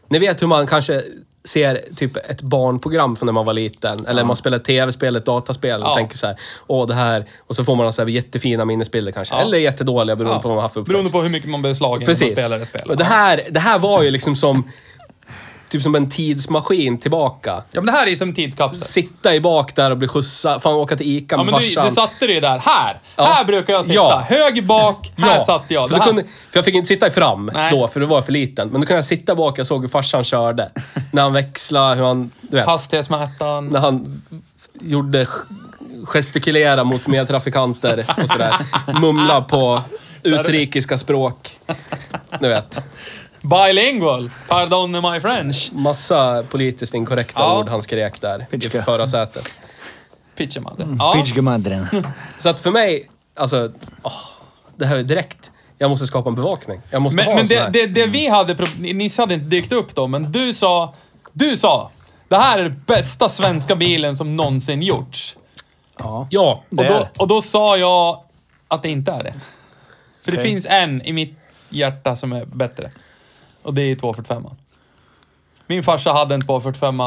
Speaker 3: Ni vet hur man kanske ser typ ett barnprogram från när man var liten. Eller man spelar ett tv-spel, ett dataspel och
Speaker 2: Ja.
Speaker 3: tänker så här, åh det här. Och så får man så här jättefina minnesbilder kanske. Eller jättedåliga beroende på vad man har för uppväxt.
Speaker 2: Beroende på hur mycket man blir slagen när man
Speaker 3: Precis.
Speaker 2: spelar ett spel.
Speaker 3: Och det, här, det här var ju liksom som... typ som en tidsmaskin tillbaka.
Speaker 2: Ja, men det här är som en tidskapsel.
Speaker 3: Sitta i bak där och bli skjutsad. Fan åka till Ica
Speaker 2: Ja,
Speaker 3: med
Speaker 2: men du,
Speaker 3: farsan.
Speaker 2: du satte dig där. Här!
Speaker 3: Ja.
Speaker 2: Här brukar jag sitta.
Speaker 3: Ja.
Speaker 2: Höger bak, här satt jag.
Speaker 3: För,
Speaker 2: Det
Speaker 3: då
Speaker 2: här.
Speaker 3: kunde, för jag fick inte sitta i fram
Speaker 2: Nej.
Speaker 3: då, för då var jag för liten. Men då kunde jag sitta bak, jag såg hur farsan körde. när han växlade, hur han... Du vet,
Speaker 2: Hastighetsmätaren.
Speaker 3: när han gjorde gestikulera mot medtrafikanter och sådär. Mumla på utrikiska språk. Du vet.
Speaker 2: Bilingual. Pardon my French.
Speaker 3: Massa politiskt inkorrekta
Speaker 2: Ja.
Speaker 3: ord han skrek där i
Speaker 1: Pitchka.
Speaker 3: förarsätet.
Speaker 2: Pitchermadden.
Speaker 3: Mm.
Speaker 2: Ja.
Speaker 1: Pitchgemadren.
Speaker 3: Så att för mig, alltså... Åh, det här är direkt. Jag måste skapa en bevakning. Jag måste ha
Speaker 2: Men,
Speaker 3: en
Speaker 2: men
Speaker 3: sån
Speaker 2: det,
Speaker 3: här. Mm.
Speaker 2: det, det vi hade... pro- ni- Nisse hade inte dykt upp då, men du sa... Du sa... Det här är den bästa svenska bilen som någonsin gjorts.
Speaker 1: Ja.
Speaker 3: Ja,
Speaker 2: Och
Speaker 1: Det är
Speaker 2: då,
Speaker 1: det.
Speaker 2: och då sa jag att det inte är det. För det
Speaker 1: Okej.
Speaker 2: finns en i mitt hjärta som är bättre. Och det är 245. Min farsa hade en 245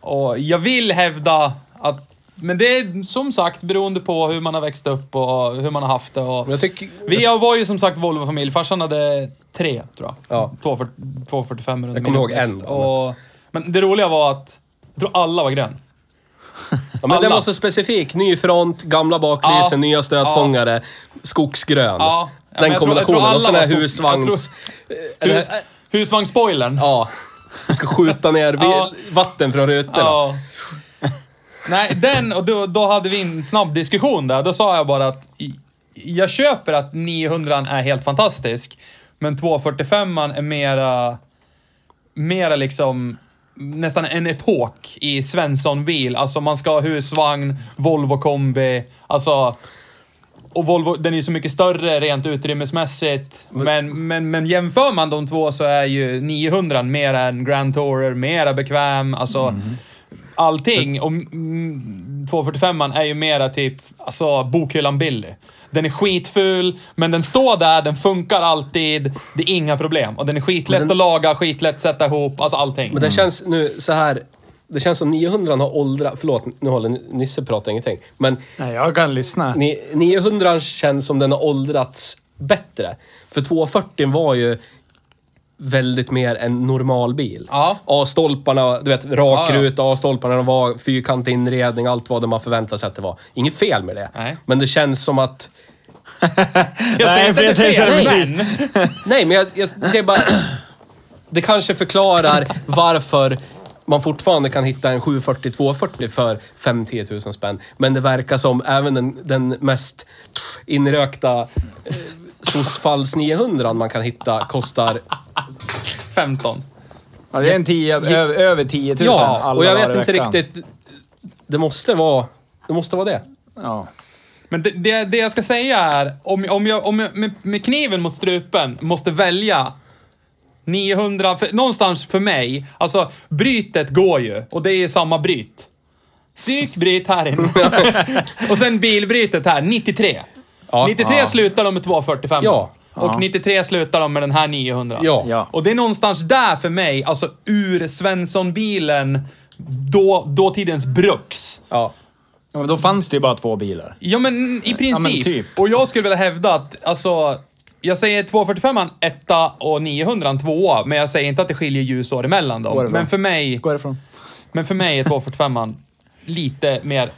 Speaker 2: och jag vill hävda att... Men det är som sagt beroende på hur man har växt upp och hur man har haft det. Och
Speaker 3: Men jag tycker...
Speaker 2: vi var ju som sagt Volvo-familj. Farsan hade tre, tror jag.
Speaker 3: Ja.
Speaker 2: 240- 245 runt
Speaker 3: Jag kommer ihåg
Speaker 2: min uppväxt.
Speaker 3: en.
Speaker 2: Och, men det roliga var att... Jag tror alla var grön.
Speaker 3: Ja, men den
Speaker 2: Alla.
Speaker 3: var så specifik. Ny front, gamla baklysen,
Speaker 2: Ja.
Speaker 3: nya stötfångare, skogsgrön.
Speaker 2: Ja. Ja, men
Speaker 3: Den
Speaker 2: jag
Speaker 3: kombinationen.
Speaker 2: tror- jag tror
Speaker 3: och sån här
Speaker 2: alla var skog-
Speaker 3: husvagns... Eller-
Speaker 2: Hus, husvagnsspoilern.
Speaker 3: Ja. Du ska skjuta ner vi-
Speaker 2: Ja.
Speaker 3: vatten från rutorna.
Speaker 2: Ja. Nej, den och då, då hade vi en snabb diskussion där. Då sa jag bara att i- jag köper att 900 är helt fantastisk, men 245 är mera, mera liksom nästan en epok i Svenssonbil. Alltså man ska ha husvagn, Volvo kombi, alltså och Volvo, den är ju så mycket större rent utrymmesmässigt. Men, men, men jämför man de två så är ju 900 mer än Grand Tourer, mera bekväm, alltså
Speaker 1: Mm.
Speaker 2: allting. Och mm, 245 är ju mera typ, alltså bokhyllan Billy. Den är skitful, men den står där, den funkar alltid. Det är inga problem. Och den är skitlätt att laga, skitlätt sätta ihop, alltså allting.
Speaker 3: Men det känns nu så här... Det känns som 900 har åldrats... Förlåt, nu håller Nisse pratar ingenting. Men
Speaker 1: Nej, jag kan lyssna.
Speaker 3: Ni- 900 känns som den har åldrats bättre. För 240 var ju väldigt mer en normal bil.
Speaker 2: Ja.
Speaker 3: A-stolparna, du vet,
Speaker 2: Ja,
Speaker 3: rak
Speaker 2: ja.
Speaker 3: ruta, A-stolparna de var fyrkantig inredning, allt vad det man förväntade sig att det var. Inget fel med det.
Speaker 2: Nej.
Speaker 3: Men det känns som att...
Speaker 2: jag
Speaker 1: Nej,
Speaker 2: säger inte
Speaker 1: för
Speaker 2: att det är
Speaker 1: jag
Speaker 2: fel,
Speaker 1: känner
Speaker 2: men-
Speaker 1: precis-
Speaker 3: Nej, men jag, jag
Speaker 1: *clears throat*
Speaker 3: säger bara... Det kanske förklarar varför man fortfarande kan hitta en 740-240 för 5-10 000 spänn. Men det verkar som även den, den mest inrökta eh, sossfalls 900 man kan hitta kostar...
Speaker 2: 15.
Speaker 1: Ja, det är en tio, ö- över 10 000
Speaker 3: Ja,
Speaker 1: alla
Speaker 3: och jag
Speaker 1: dagar
Speaker 3: vet
Speaker 1: i
Speaker 3: inte
Speaker 1: veckan.
Speaker 3: riktigt... Det måste vara... Det måste vara det.
Speaker 1: Ja.
Speaker 2: Men det, det, det jag ska säga är, om, om jag, om jag med, med kniven mot strupen måste välja 900, för, någonstans för mig, alltså brytet går ju och det är samma bryt. Psykbryt här inne.
Speaker 3: *laughs*
Speaker 2: och sen bilbrytet här, 93.
Speaker 3: Ja.
Speaker 2: 93
Speaker 1: Ja.
Speaker 2: slutar de med 245.
Speaker 3: Ja.
Speaker 2: Och
Speaker 1: Ja.
Speaker 2: 93 slutar de med den här 900.
Speaker 3: Ja.
Speaker 1: Ja.
Speaker 2: Och det är någonstans där för mig, alltså ur Svenssonbilen, då, dåtidens bruks.
Speaker 3: Ja.
Speaker 1: ja, men då fanns det ju bara två bilar.
Speaker 2: Ja, men i princip.
Speaker 1: Ja, men typ.
Speaker 2: Och jag skulle vilja hävda att, alltså, jag säger 245 etta och 900 tvåa, men jag säger inte att det skiljer ljusår emellan
Speaker 1: Går
Speaker 2: dem.
Speaker 1: det bra?
Speaker 2: Men för mig,
Speaker 1: Gå ifrån.
Speaker 2: men för mig är 245 lite mer,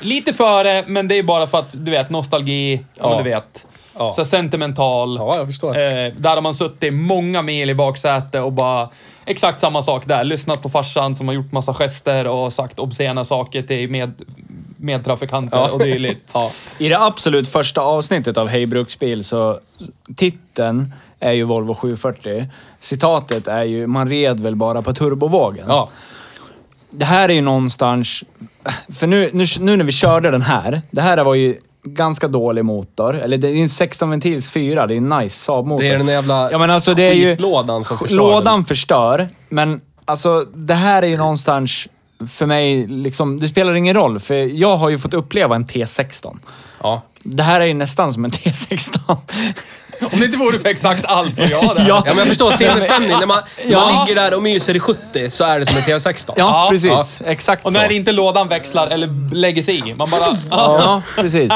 Speaker 2: lite före, men det är bara för att, du vet, nostalgi, ja. men
Speaker 3: Ja.
Speaker 2: du vet.
Speaker 3: Ja.
Speaker 2: Så sentimental.
Speaker 3: Ja, jag förstår.
Speaker 2: Eh, där har man suttit många mil i baksäte och bara exakt samma sak där. Lyssnat på farsan som har gjort massa gester och sagt obscena saker till med, medtrafikanter
Speaker 3: Ja.
Speaker 2: och dylikt.
Speaker 3: Ja.
Speaker 1: I det absolut första avsnittet av Hej Bruksbil så titeln är ju Volvo 740. Citatet är ju “Man red väl bara på turbovågen”.
Speaker 3: Ja.
Speaker 1: Det här är ju någonstans... För nu, nu, nu när vi körde den här, det här var ju ganska dålig motor. Eller det är ju en 16-ventils 4, det är en nice Saab-motor.
Speaker 3: Det är den där jävla
Speaker 1: ja, men alltså, det är ju,
Speaker 3: skitlådan som förstör
Speaker 1: Lådan
Speaker 3: den.
Speaker 1: förstör, men alltså det här är ju någonstans för mig, liksom, det spelar ingen roll. För jag har ju fått uppleva en T16.
Speaker 3: Ja.
Speaker 1: Det här är ju nästan som en *laughs* T16.
Speaker 2: Om det inte vore för exakt allt så ja
Speaker 1: *laughs*
Speaker 2: det.
Speaker 3: Ja, men jag förstår sinnesstämning. När man, när
Speaker 1: Ja.
Speaker 3: man ligger där och myser i 70 så är det som en TV16.
Speaker 1: Ja,
Speaker 2: Ja,
Speaker 1: precis. Exakt
Speaker 2: Och
Speaker 1: så.
Speaker 2: när inte lådan växlar eller lägger sig i. Man
Speaker 1: *laughs*
Speaker 2: bara...
Speaker 1: Ja, precis.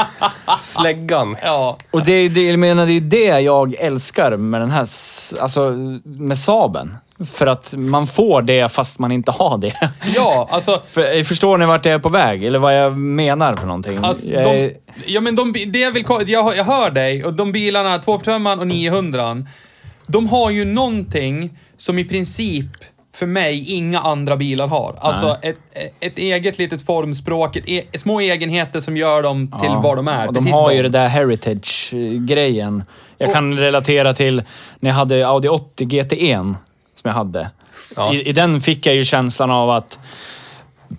Speaker 3: Släggan.
Speaker 2: Ja.
Speaker 1: Och det, det, jag menar, det är det jag älskar med den här, s- alltså med Saben. För att man får det fast man inte har det. *laughs*
Speaker 2: Ja, alltså...
Speaker 1: För, eh, förstår ni vart jag är på väg? Eller vad jag menar för någonting?
Speaker 2: Alltså,
Speaker 1: jag,
Speaker 2: de, ja, men de, bi- det jag, vill, ko- jag, jag hör dig och de bilarna, 245 och 900 de har ju någonting som i princip för mig inga andra bilar har. Alltså ett, ett eget litet formspråk, ett e, små egenheter som gör dem till
Speaker 1: Ja.
Speaker 2: vad de är.
Speaker 1: Och de
Speaker 2: Precis
Speaker 1: har
Speaker 2: dem.
Speaker 1: ju det där heritage-grejen. Jag kan relatera till när jag hade Audi 80 GT1 som jag hade. I, I den fick jag ju känslan av att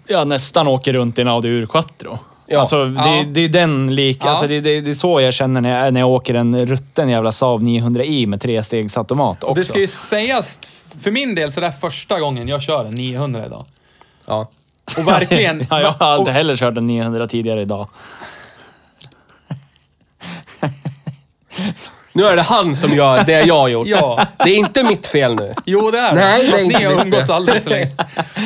Speaker 1: jag nästan åker runt i en Audi Urquattro.
Speaker 3: Ja.
Speaker 1: Alltså, det,
Speaker 2: Ja.
Speaker 1: det är den lik...
Speaker 2: Ja.
Speaker 1: Alltså, det, det, det är så jag känner när jag, när jag åker en rutten jävla Saab 900i med trestegsautomat också.
Speaker 2: Det ska ju sägas, för min del så det är första gången jag kör en 900 idag.
Speaker 3: Ja.
Speaker 2: Och verkligen...
Speaker 1: *laughs* ja, jag har
Speaker 2: och,
Speaker 1: inte heller kört en 900 tidigare idag.
Speaker 3: Nu är det han som gör det jag
Speaker 1: *laughs*
Speaker 3: har gjort.
Speaker 2: Ja.
Speaker 3: Det är inte mitt fel nu.
Speaker 2: Jo, det är
Speaker 3: Nej, det är inte
Speaker 2: Ni har
Speaker 3: mycket.
Speaker 2: umgåtts alldeles för
Speaker 3: *laughs*
Speaker 2: länge.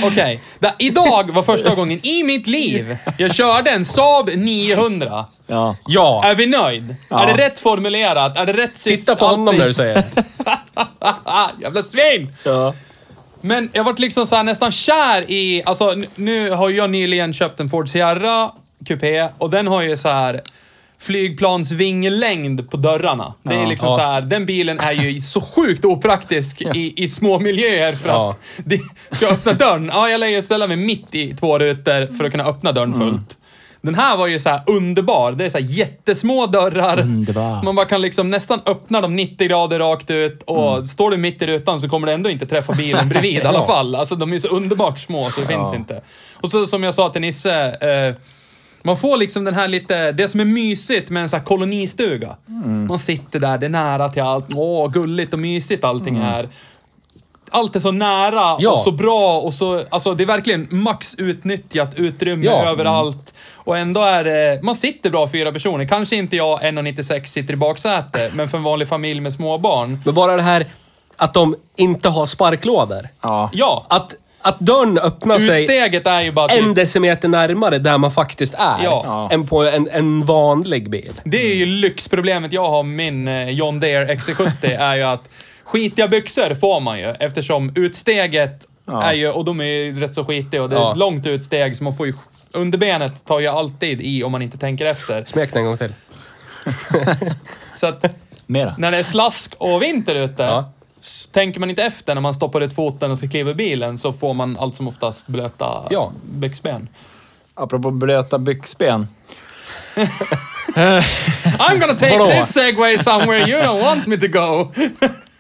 Speaker 2: Okej. Da- Idag var första gången i mitt liv jag körde en Saab 900.
Speaker 1: Ja.
Speaker 3: Ja.
Speaker 2: Är vi nöjd?
Speaker 1: Ja.
Speaker 2: Är det rätt formulerat? Är det rätt syfte?
Speaker 3: Titta på honom när du säger det.
Speaker 2: *laughs* Jävla svin!
Speaker 1: Ja.
Speaker 2: Men jag vart liksom så här nästan kär i... Alltså, n- nu har jag nyligen köpt en Ford Sierra Coupé och den har ju så här flygplansvinglängd på dörrarna. Det är liksom
Speaker 3: Ja.
Speaker 2: så här, den bilen är ju så sjukt opraktisk i, i små miljöer för
Speaker 3: Ja.
Speaker 2: att... Det, ska jag öppna dörren? Ja, jag lägger ställa mig mitt i två rutor för att kunna öppna dörren fullt.
Speaker 3: Mm.
Speaker 2: Den här var ju så här underbar. Det är så här jättesmå dörrar.
Speaker 1: Underbar.
Speaker 2: Man bara kan liksom nästan öppna dem 90 grader rakt ut och står du mitt i rutan så kommer du ändå inte träffa bilen
Speaker 3: *laughs*
Speaker 2: bredvid i alla
Speaker 3: Mm. Ja.
Speaker 2: fall. Alltså de är så underbart små så det finns inte. Och så som jag sa till Nisse, eh, man får liksom den här lite, det som är mysigt med en sån här kolonistuga.
Speaker 3: Mm.
Speaker 2: Man sitter där, det är nära till allt. Åh, gulligt och mysigt allting är. Allt är så nära
Speaker 3: Mm. Ja.
Speaker 2: och så bra och så, alltså det är verkligen max utnyttjat utrymme
Speaker 3: Ja.
Speaker 2: *laughs* överallt. Och ändå är det, man sitter bra fyra personer. Kanske inte jag, 1,96, sitter i baksäte, men för en vanlig familj med småbarn.
Speaker 3: Men bara det här att de inte har sparklådor.
Speaker 1: Ja.
Speaker 2: Ja,
Speaker 3: Att, att dörren öppnar sig
Speaker 2: utsteget är ju bara
Speaker 3: en
Speaker 2: typ,
Speaker 3: decimeter närmare där man faktiskt är.
Speaker 2: Ja.
Speaker 1: Ja.
Speaker 3: Än på en, en vanlig bil.
Speaker 2: Det är ju lyxproblemet jag har med min eh, John Deere
Speaker 3: *laughs*
Speaker 2: XC70, är ju att skitiga byxor får man ju eftersom utsteget
Speaker 1: Ja.
Speaker 2: är ju, och de är ju rätt så skitiga och det är
Speaker 3: Ja.
Speaker 2: ett långt utsteg så man får ju, underbenet tar ju alltid i om man inte tänker efter.
Speaker 3: Smek den en gång till.
Speaker 2: Så att
Speaker 1: Mera.
Speaker 2: när det är slask och vinter ute,
Speaker 3: Ja.
Speaker 2: s- tänker man inte efter när man stoppar ut foten och ska kliva i bilen så får man allt som oftast blöta
Speaker 3: Ja.
Speaker 2: byxben.
Speaker 1: Apropå blöta byxben.
Speaker 2: I'm gonna take
Speaker 1: Vadå?
Speaker 2: this segway somewhere you don't want me to go!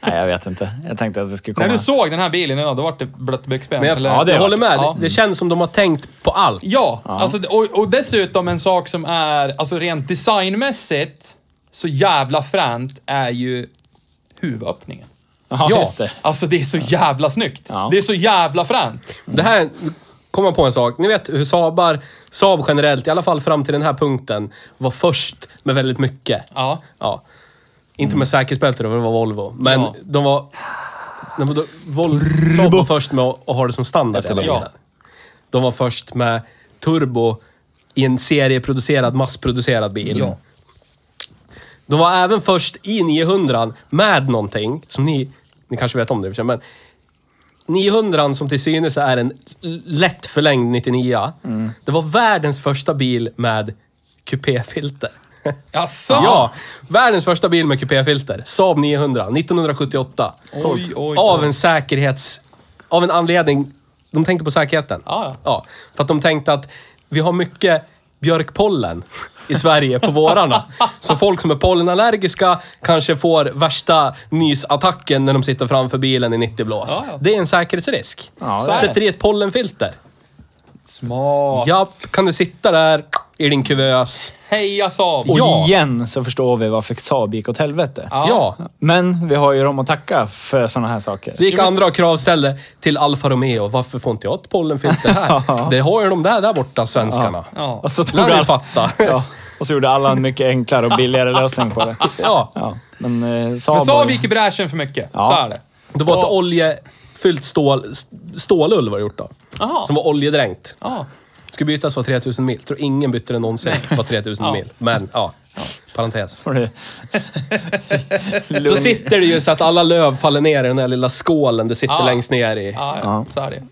Speaker 1: Nej, jag vet inte. Jag tänkte att det skulle komma.
Speaker 2: När du såg den här bilen idag, då vart det blött byxben.
Speaker 3: Men jag,
Speaker 2: eller?
Speaker 1: Ja, det
Speaker 3: jag
Speaker 1: var-
Speaker 3: håller med.
Speaker 2: ja.
Speaker 3: Det, det känns som de har tänkt på allt.
Speaker 2: Ja, Alltså, och, och dessutom en sak som är, alltså rent designmässigt, så jävla fränt är ju huvudöppningen.
Speaker 1: Ja,
Speaker 3: Eh. Ja.
Speaker 1: just det.
Speaker 2: Alltså det är så jävla snyggt.
Speaker 1: Ja.
Speaker 2: Det är så jävla fränt.
Speaker 3: Det här kom jag på en sak. Ni vet hur Saabar, Saab generellt, i alla fall fram till den här punkten, var först med väldigt mycket.
Speaker 2: Ja.
Speaker 3: Ja. Inte med säkerhetsbälte då, för det var Volvo. Men
Speaker 2: Ja.
Speaker 3: de var... De var då, Volvo, Saab var först med att att ha det som standard. i alla
Speaker 2: bilen.
Speaker 3: bilar. De var först med turbo i en serieproducerad, massproducerad bil.
Speaker 2: Ja.
Speaker 3: De var även först i 900 med någonting som ni, ni kanske vet om det i och för sig, men 900 som till synes är en l- lätt förlängd 99
Speaker 2: Mm.
Speaker 3: Det var världens första bil med kupéfilter. *laughs*
Speaker 2: Jaså?
Speaker 3: Ja, världens första bil med kupéfilter. Saab 900, 1978.
Speaker 2: Oj, oj, oj.
Speaker 3: Av en säkerhets... Av en anledning. De tänkte på säkerheten.
Speaker 2: Ja, ja.
Speaker 3: För att de tänkte att vi har mycket björkpollen i Sverige på vårarna. Så folk som är pollenallergiska kanske får värsta nysattacken när de sitter framför bilen i 90 blås.
Speaker 2: Ja, ja.
Speaker 3: Det är en säkerhetsrisk.
Speaker 1: Ja,
Speaker 3: Så
Speaker 1: det
Speaker 2: det.
Speaker 1: är
Speaker 3: Sätter i ett pollenfilter.
Speaker 2: Smart.
Speaker 3: Ja, kan du sitta där i din kuvös.
Speaker 2: Heja Saab!
Speaker 1: Och
Speaker 3: Ja.
Speaker 1: igen så förstår vi varför Saab gick åt helvete.
Speaker 3: Ja.
Speaker 1: Men vi har ju dem att tacka för sådana här saker.
Speaker 3: Så gick andra och kravställde till Alfa Romeo. Varför får inte jag ett pollenfilter
Speaker 2: *laughs*
Speaker 3: här? Det har ju de där, där borta, svenskarna.
Speaker 2: Ja.
Speaker 1: Och så tog
Speaker 3: Lär dig
Speaker 1: alla-
Speaker 3: fatta.
Speaker 1: *laughs* Ja. Och så gjorde alla en mycket enklare och billigare lösning på det.
Speaker 3: *laughs* Ja.
Speaker 1: Ja. Men eh, Saab...
Speaker 2: Men Saab
Speaker 1: var-
Speaker 2: gick i bräschen för mycket.
Speaker 1: Ja.
Speaker 2: Så är det.
Speaker 3: Det var ett oljefyllt stål, stålull var det gjort då.
Speaker 2: Aha.
Speaker 3: Som var oljedränkt.
Speaker 2: Ja.
Speaker 3: Skulle bytas var 3000 mil. Tror ingen bytte den någonsin var 3000
Speaker 2: Ja.
Speaker 3: mil. Men ja, parentes.
Speaker 1: Var det-
Speaker 3: *laughs* Så sitter det ju så att alla löv faller ner i den där lilla skålen det sitter
Speaker 2: Ja.
Speaker 3: längst ner i.
Speaker 2: Ja, ja. så är det.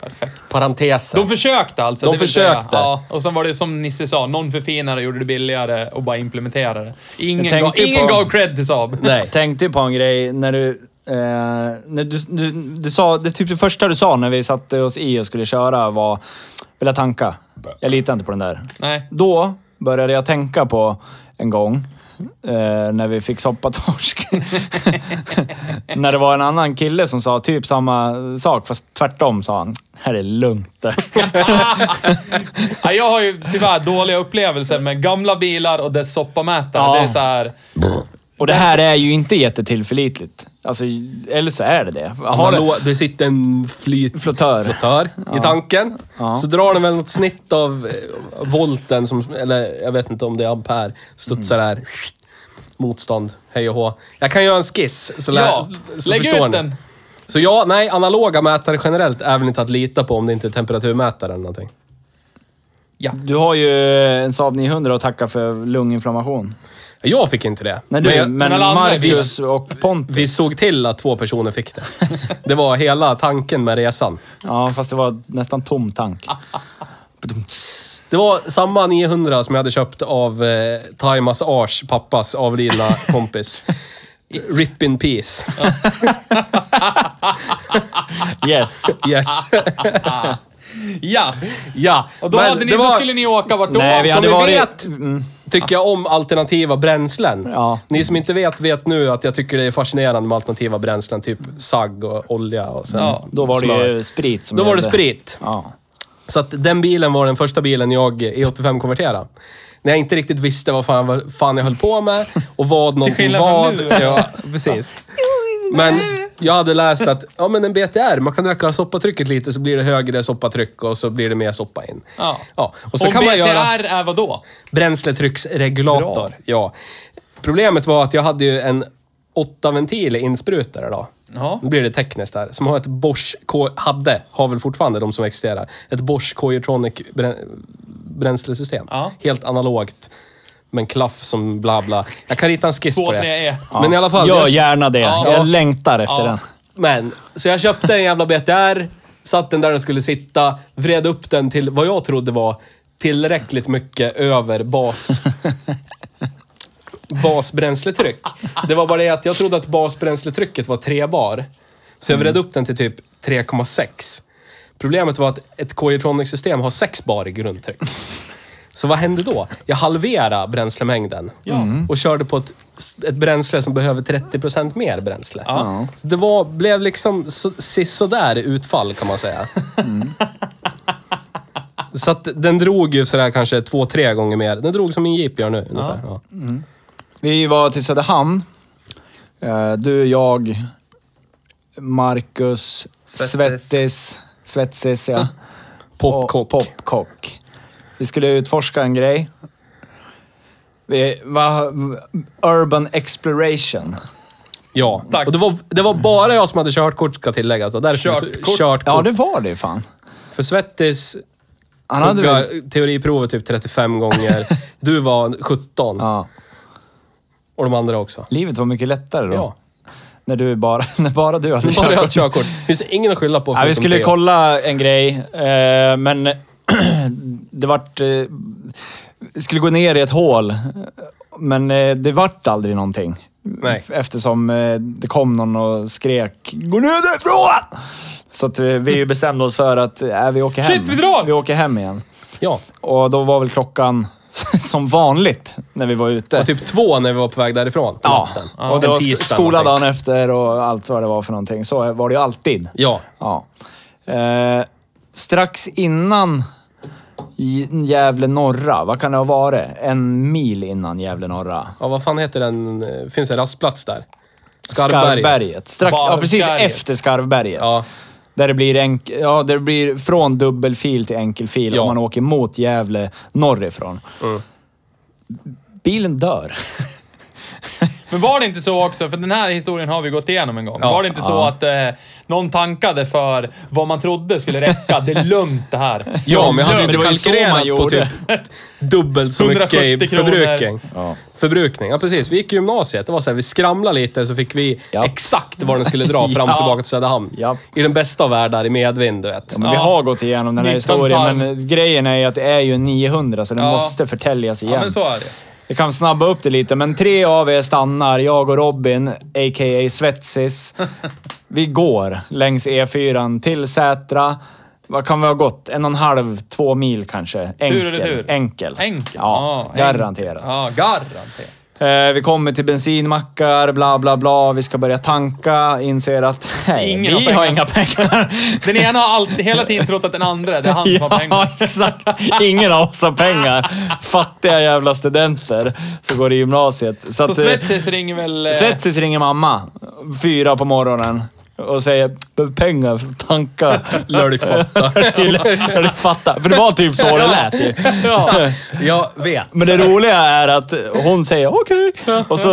Speaker 2: Perfekt.
Speaker 3: Parentesen.
Speaker 2: De försökte alltså?
Speaker 3: De
Speaker 2: det vill säga.
Speaker 3: försökte.
Speaker 2: Ja, och sen var det som Nisse sa, någon förfinade, gjorde det billigare och bara implementerade.
Speaker 1: Jag
Speaker 2: Ingen, gav,
Speaker 1: tänkte ju
Speaker 2: ingen
Speaker 1: på-
Speaker 2: gav cred till Saab.
Speaker 3: Nej.
Speaker 1: tänkte ju på en grej när du... Eh, när du, du, du sa, det, typ det första du sa när vi satte oss i och skulle köra var... Vill jag tanka? Jag litar inte på den där.
Speaker 2: Nej.
Speaker 1: Då började jag tänka på en gång eh, när vi fick soppatorsk. *laughs* när det var en annan kille som sa typ samma sak, fast tvärtom sa han. Här är lugnt. *laughs* där."
Speaker 2: Ja, jag har ju tyvärr dåliga upplevelser med gamla bilar och dess soppamätare.
Speaker 1: Ja.
Speaker 2: Det är så här...
Speaker 1: Och det här är ju inte jättetillförlitligt. Alltså, eller så är det det. Har
Speaker 3: Man
Speaker 1: det
Speaker 3: lå- det sitter en flyt...
Speaker 1: flottör.
Speaker 3: flottör i tanken. Så drar den väl något snitt av eh, volten, som, eller jag vet inte om det är ampere, studsar där. Motstånd, hej och hå. Jag kan göra en skiss, så, lä-
Speaker 2: Ja,
Speaker 3: så
Speaker 2: lägg
Speaker 3: förstår
Speaker 2: ut
Speaker 3: ni.
Speaker 2: den.
Speaker 3: Så ja, nej, analoga mätare generellt är väl inte att lita på om det inte är temperaturmätare eller någonting.
Speaker 1: Du har ju en Saab 900 att tacka för lunginflammation.
Speaker 3: Jag fick inte det.
Speaker 1: Nej, du,
Speaker 3: men
Speaker 1: men,
Speaker 3: jag,
Speaker 2: alla andra
Speaker 1: Marcus och Pontus.
Speaker 3: vi såg till att två personer fick det. Det var hela tanken med resan.
Speaker 1: Ja, fast det var nästan tom tank.
Speaker 3: Det var samma 900 som jag hade köpt av eh, Taimas Ars pappas avlidna
Speaker 1: *laughs*
Speaker 3: kompis. Rip in peace.
Speaker 1: Yes. *laughs*
Speaker 3: Yes.
Speaker 2: Ja.
Speaker 3: ja.
Speaker 2: Och då,
Speaker 3: Men
Speaker 2: hade ni,
Speaker 3: det
Speaker 2: då
Speaker 3: var-
Speaker 2: skulle ni åka vart då?
Speaker 1: Nej, vi
Speaker 2: Som
Speaker 1: hade
Speaker 2: vi
Speaker 1: varit- Mm.
Speaker 2: vet.
Speaker 3: tycker jag om alternativa bränslen.
Speaker 1: Ja.
Speaker 3: Ni som inte vet, vet nu att jag tycker det är fascinerande med alternativa bränslen. Typ sagg och olja och sen
Speaker 2: Ja,
Speaker 1: Då var det
Speaker 3: smör.
Speaker 1: ju sprit som
Speaker 3: Då var det
Speaker 1: gällde.
Speaker 3: sprit.
Speaker 1: Ja.
Speaker 3: Så att den bilen var den första bilen jag E85-konverterade. När jag inte riktigt visste vad fan, vad fan jag höll på med och vad någonting
Speaker 2: skillnad
Speaker 3: var.
Speaker 2: från nu.
Speaker 3: Ja, precis. Men jag hade läst att ja, men en BTR, man kan öka soppatrycket lite så blir det högre soppatryck och så blir det mer soppa in.
Speaker 2: Ja.
Speaker 3: ja. Och
Speaker 2: Och,
Speaker 3: så kan
Speaker 2: BTR
Speaker 3: man göra...
Speaker 2: är vad då?
Speaker 3: Bränsletrycksregulator.
Speaker 2: Bra.
Speaker 3: Ja. Problemet var att jag hade ju en åtta ventil insprutare då.
Speaker 2: Ja.
Speaker 3: Nu blir det tekniskt där. Som har ett Bosch, K- hade, har väl fortfarande de som existerar, ett Bosch Coyotronic brä- bränslesystem.
Speaker 2: Ja.
Speaker 3: Helt analogt. Med en klaff som bla bla. Jag kan rita en skiss på det.
Speaker 2: 2-3-E.
Speaker 3: Men i alla fall.
Speaker 1: Gör
Speaker 3: jag-
Speaker 1: gärna det.
Speaker 2: Ja.
Speaker 1: Jag längtar efter
Speaker 2: Ja.
Speaker 1: den.
Speaker 3: men, så jag köpte en jävla BTR, satt den där den skulle sitta, vred upp den till vad jag trodde var tillräckligt mycket över bas... basbränsletryck. Det var bara det att jag trodde att basbränsletrycket var 3 bar. Så jag vred upp den till typ 3,6. Problemet var att ett Coyotronic-system har 6 bar i grundtryck. Så vad hände då? Jag halverade bränslemängden
Speaker 1: Mm.
Speaker 3: och körde på ett, ett bränsle som behöver 30% mer bränsle.
Speaker 2: Ja.
Speaker 3: Så det var, blev liksom så- sisådär utfall kan man säga.
Speaker 1: Mm.
Speaker 3: Så att den drog ju sådär kanske två, tre gånger mer. Den drog som min jeep gör nu ungefär. Ja.
Speaker 1: Vi var till Söderhamn. Eh, Du, jag, Marcus,
Speaker 2: Svetsis.
Speaker 1: Svettis, Svetsis ja.
Speaker 3: *laughs* Popcock.
Speaker 1: Och Popcock. Vi skulle utforska en grej. Vi, va, urban exploration.
Speaker 3: Ja.
Speaker 2: Tack.
Speaker 3: Och det var, det var bara jag som hade körkort ska tilläggas. Det var därför jag-
Speaker 2: Körtkort.
Speaker 1: Ja,
Speaker 3: körtkort.
Speaker 1: det var det fan.
Speaker 3: För Svettis
Speaker 1: Han hade
Speaker 3: tog
Speaker 1: väl...
Speaker 3: jag teoriprovet typ
Speaker 1: *laughs*
Speaker 3: 35 gånger. Du var 17
Speaker 1: Ja.
Speaker 3: och de andra också.
Speaker 1: Livet var mycket lättare då.
Speaker 3: Ja.
Speaker 1: När, du bara, *laughs* när bara du hade
Speaker 3: Bara jag
Speaker 1: körkort.
Speaker 3: har ett körkort. Finns ingen att skylla på. liksom
Speaker 1: Ja, vi
Speaker 3: förutom
Speaker 1: skulle
Speaker 3: Theo.
Speaker 1: kolla en grej, eh, men *clears throat* det vart... eh, Vi skulle gå ner i ett hål, men eh, det vart aldrig någonting.
Speaker 3: Nej.
Speaker 1: F- Eftersom eh, det kom någon och skrek “Gå ner därifrån!” Så att eh, vi, vi bestämde oss för att äh, vi åker hem.
Speaker 2: Shit, vi drar!
Speaker 1: Vi åker hem igen.
Speaker 3: Ja.
Speaker 1: Och då var väl klockan *laughs* som vanligt när vi var ute.
Speaker 3: Och typ två när vi var på väg därifrån på
Speaker 1: ja.
Speaker 3: natten.
Speaker 1: Och det
Speaker 3: En
Speaker 1: var sk-
Speaker 3: tisdag
Speaker 1: skola
Speaker 3: någonting.
Speaker 1: dagen efter och allt vad det var för någonting. Så var det ju alltid.
Speaker 3: Ja.
Speaker 1: Ja. Eh, strax innan J- Gävle norra, vad kan det ha varit? En mil innan Gävle norra.
Speaker 3: Ja, vad fan heter den? eh, Finns en rastplats där?
Speaker 1: Strax, ja, precis efter Skarvberget.
Speaker 3: Ja.
Speaker 1: Där det blir, enk- ja, där det blir från dubbelfil till enkelfil
Speaker 3: Ja.
Speaker 1: om man åker mot Gävle norrifrån.
Speaker 2: Mm.
Speaker 1: Bilen dör. *laughs*
Speaker 2: Men var det inte så också, för den här historien har vi gått igenom en gång.
Speaker 3: Ja.
Speaker 2: var det inte så att eh, någon tankade för vad man trodde skulle räcka? Det är lugnt det här.
Speaker 3: Ja, men jag hade inte
Speaker 1: Det var ju så man
Speaker 3: kalkylerat på
Speaker 1: gjorde.
Speaker 3: typ dubbelt
Speaker 1: *laughs*
Speaker 3: så mycket i
Speaker 2: 170 kronor.
Speaker 3: förbrukning.
Speaker 1: Ja.
Speaker 3: Förbrukning, ja precis. Vi gick i gymnasiet. Det var så här, vi skramlade lite så fick vi
Speaker 1: Ja.
Speaker 3: exakt var den
Speaker 1: *laughs*
Speaker 3: skulle dra fram och
Speaker 1: Ja.
Speaker 3: tillbaka till Söderhamn.
Speaker 1: Ja.
Speaker 3: I den bästa av världar, i medvind, du vet.
Speaker 1: Men Vi
Speaker 2: Ja.
Speaker 1: har gått igenom den här
Speaker 2: 19
Speaker 1: historien,
Speaker 2: tarm.
Speaker 1: men grejen är ju att det är ju en 900 så den
Speaker 2: Ja.
Speaker 1: måste förtäljas igen.
Speaker 2: Ja, men så är det.
Speaker 1: Vi kan snabba upp det lite, men tre av er stannar. Jag och Robin,
Speaker 2: *laughs*
Speaker 1: a.k.a. Svetsis. Vi går längs E4 till Sätra. Vad kan vi ha gått? En och en halv, två mil kanske. Enkel.
Speaker 2: Tur eller tur?
Speaker 1: Enkel.
Speaker 2: Enkel?
Speaker 1: Ja,
Speaker 2: Ja, enkel.
Speaker 1: garanterat.
Speaker 2: Ja, garanterat.
Speaker 1: Eh, vi kommer till bensinmackar, bla bla bla. Vi ska börja tanka, inser att nej,
Speaker 2: Ingen har
Speaker 1: vi
Speaker 2: pengar.
Speaker 1: har inga pengar.
Speaker 2: Den ena har alltid, hela tiden trott att den andra, det är han som har pengar.
Speaker 1: *laughs* Ja, exakt. Ingen av oss har pengar. Fattiga jävla studenter som går i gymnasiet. Så
Speaker 2: Så
Speaker 1: att, eh,
Speaker 2: Svetsis ringer väl... eh,
Speaker 1: Svetsis ringer mamma fyra på morgonen och säger "Behöver pengar för att tanka. *laughs*
Speaker 3: Lär dig fatta.
Speaker 1: Eller du fattar. För det var typ så det lät ju.
Speaker 2: Ja.
Speaker 3: Jag vet.
Speaker 1: Men det roliga är att hon säger okej och så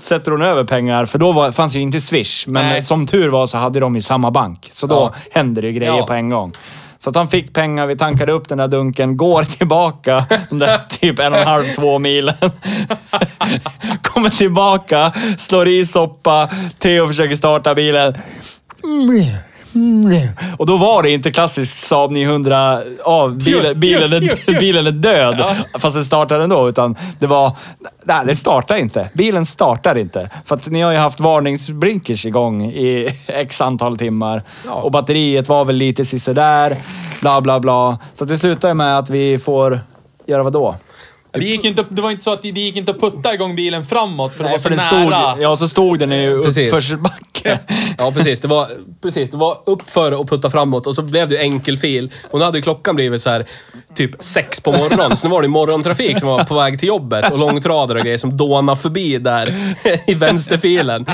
Speaker 1: sätter hon över pengar för då var, fanns ju inte Swish. Men
Speaker 2: Nej.
Speaker 1: som tur var så hade de ju samma bank så då händer det ju grejer
Speaker 2: Ja.
Speaker 1: på en gång. Så att han fick pengar, vi tankade upp den där dunken, går *laughs* tillbaka de där typ en och en halv, två milen. *laughs* Kommer tillbaka, slår i soppa, Theo försöker starta bilen. Och då var det inte klassisk Saab 900 av bilen, bilen, är, bilen är död, fast den startar ändå. Utan det var, nej det startar inte. Bilen startar inte. För att ni har ju haft varningsblinkers igång i *laughs* x antal timmar. Och batteriet var väl lite sisådär, bla bla bla. Så att det slutar ju med att vi får göra vad då?
Speaker 2: Det, gick inte, det var inte så att det gick inte att putta igång bilen framåt för det var så
Speaker 1: den
Speaker 2: nära.
Speaker 1: stod, ja, så stod den i
Speaker 3: Precis.
Speaker 1: uppförsbacke.
Speaker 3: Ja, precis. Det var, precis. Det var upp för och putta framåt och så blev det ju enkel fil. Och nu hade ju klockan blivit så här typ sex på morgonen. Så nu var det ju morgontrafik som var på väg till jobbet och långtradare och grejer som dånade förbi där i vänsterfilen.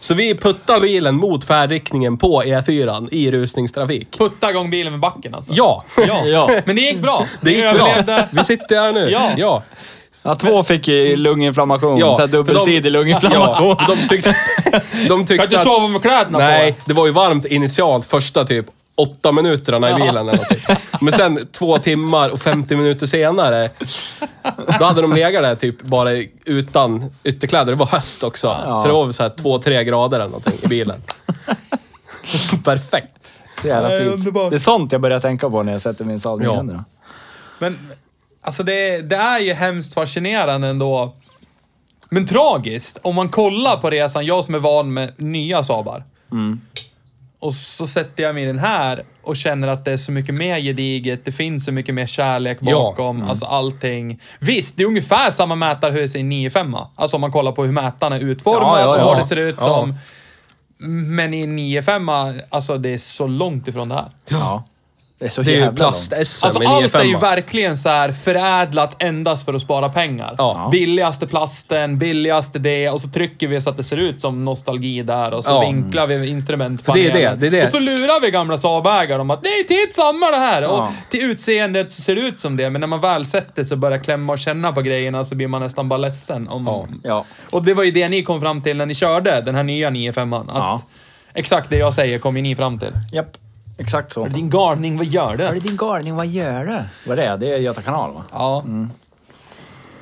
Speaker 3: Så vi puttar bilen mot färdriktningen på E4 i rusningstrafik.
Speaker 2: Putta igång bilen med backen alltså.
Speaker 3: Ja!
Speaker 2: ja.
Speaker 1: Ja.
Speaker 2: Men det gick bra.
Speaker 3: Det
Speaker 2: Ni
Speaker 3: gick bra.
Speaker 2: överlevde.
Speaker 3: Vi sitter här nu.
Speaker 2: Ja.
Speaker 3: ja.
Speaker 1: Ja, två fick ju lunginflammation,
Speaker 3: Ja,
Speaker 1: så här
Speaker 3: för de-
Speaker 1: dubbelsidig lunginflammation.
Speaker 3: Ja, de tyckte, de
Speaker 2: Kan
Speaker 3: tyckte
Speaker 2: inte
Speaker 3: att...
Speaker 2: sova med kläderna
Speaker 3: Nej,
Speaker 2: på.
Speaker 3: det var ju varmt initialt första typ åtta minuterna i bilen eller någonting. Men sen två timmar och 50 minuter senare, då hade de legat där typ bara utan ytterkläder. Det var höst också. Så det var väl så här två, tre grader eller någonting i bilen.
Speaker 2: *laughs*
Speaker 3: Perfekt.
Speaker 1: Så jävla
Speaker 2: Nej,
Speaker 1: fint.
Speaker 2: underbart.
Speaker 1: Det är sånt jag börjar tänka på när jag sätter min Saab
Speaker 3: Ja.
Speaker 1: 900.
Speaker 2: Men alltså det, det är ju hemskt fascinerande ändå. Men tragiskt, om man kollar på resan, jag som är van med nya Saabar.
Speaker 1: Mm.
Speaker 2: Och så sätter jag mig i den här och känner att det är så mycket mer gediget, det finns så mycket mer kärlek
Speaker 3: Ja.
Speaker 2: bakom,
Speaker 1: Mm.
Speaker 2: alltså allting. Visst, det är ungefär samma mätarhus i 9-5. Alltså om man kollar på hur mätaren är utformad
Speaker 1: Ja, ja, ja.
Speaker 2: och vad det ser ut
Speaker 3: Ja.
Speaker 2: som. Men i 9-5, alltså det är så långt ifrån det här.
Speaker 1: Ja. Det är så
Speaker 3: Det är ju
Speaker 1: jävla långt.
Speaker 3: plast-SM
Speaker 2: Alltså
Speaker 3: med
Speaker 2: allt är ju
Speaker 3: 9,5.
Speaker 2: verkligen så här förädlat endast för att spara pengar.
Speaker 3: Ja.
Speaker 2: Billigaste plasten, billigaste det och så trycker vi så att det ser ut som nostalgi där och så
Speaker 3: Ja.
Speaker 2: vinklar vi
Speaker 3: För
Speaker 2: instrumentpanelen.
Speaker 3: det är det, det är det.
Speaker 2: Och så lurar vi gamla Saab-ägare om att det är typ samma det här. Och till utseendet så ser det ut som det, men när man väl sätter sig och börjar klämma och känna på grejerna så blir man nästan bara ledsen. Om...
Speaker 1: Ja.
Speaker 2: Och det var ju det ni kom fram till när ni körde den här nya 9-5an. Att
Speaker 1: Ja.
Speaker 2: Exakt det jag säger kom ju ni fram till.
Speaker 1: Japp. Exakt så.
Speaker 2: Din galning, vad gör
Speaker 1: Är
Speaker 2: du?
Speaker 1: det din galning? Vad gör du? Vad är det? Det är Göta kanal va?
Speaker 2: Ja.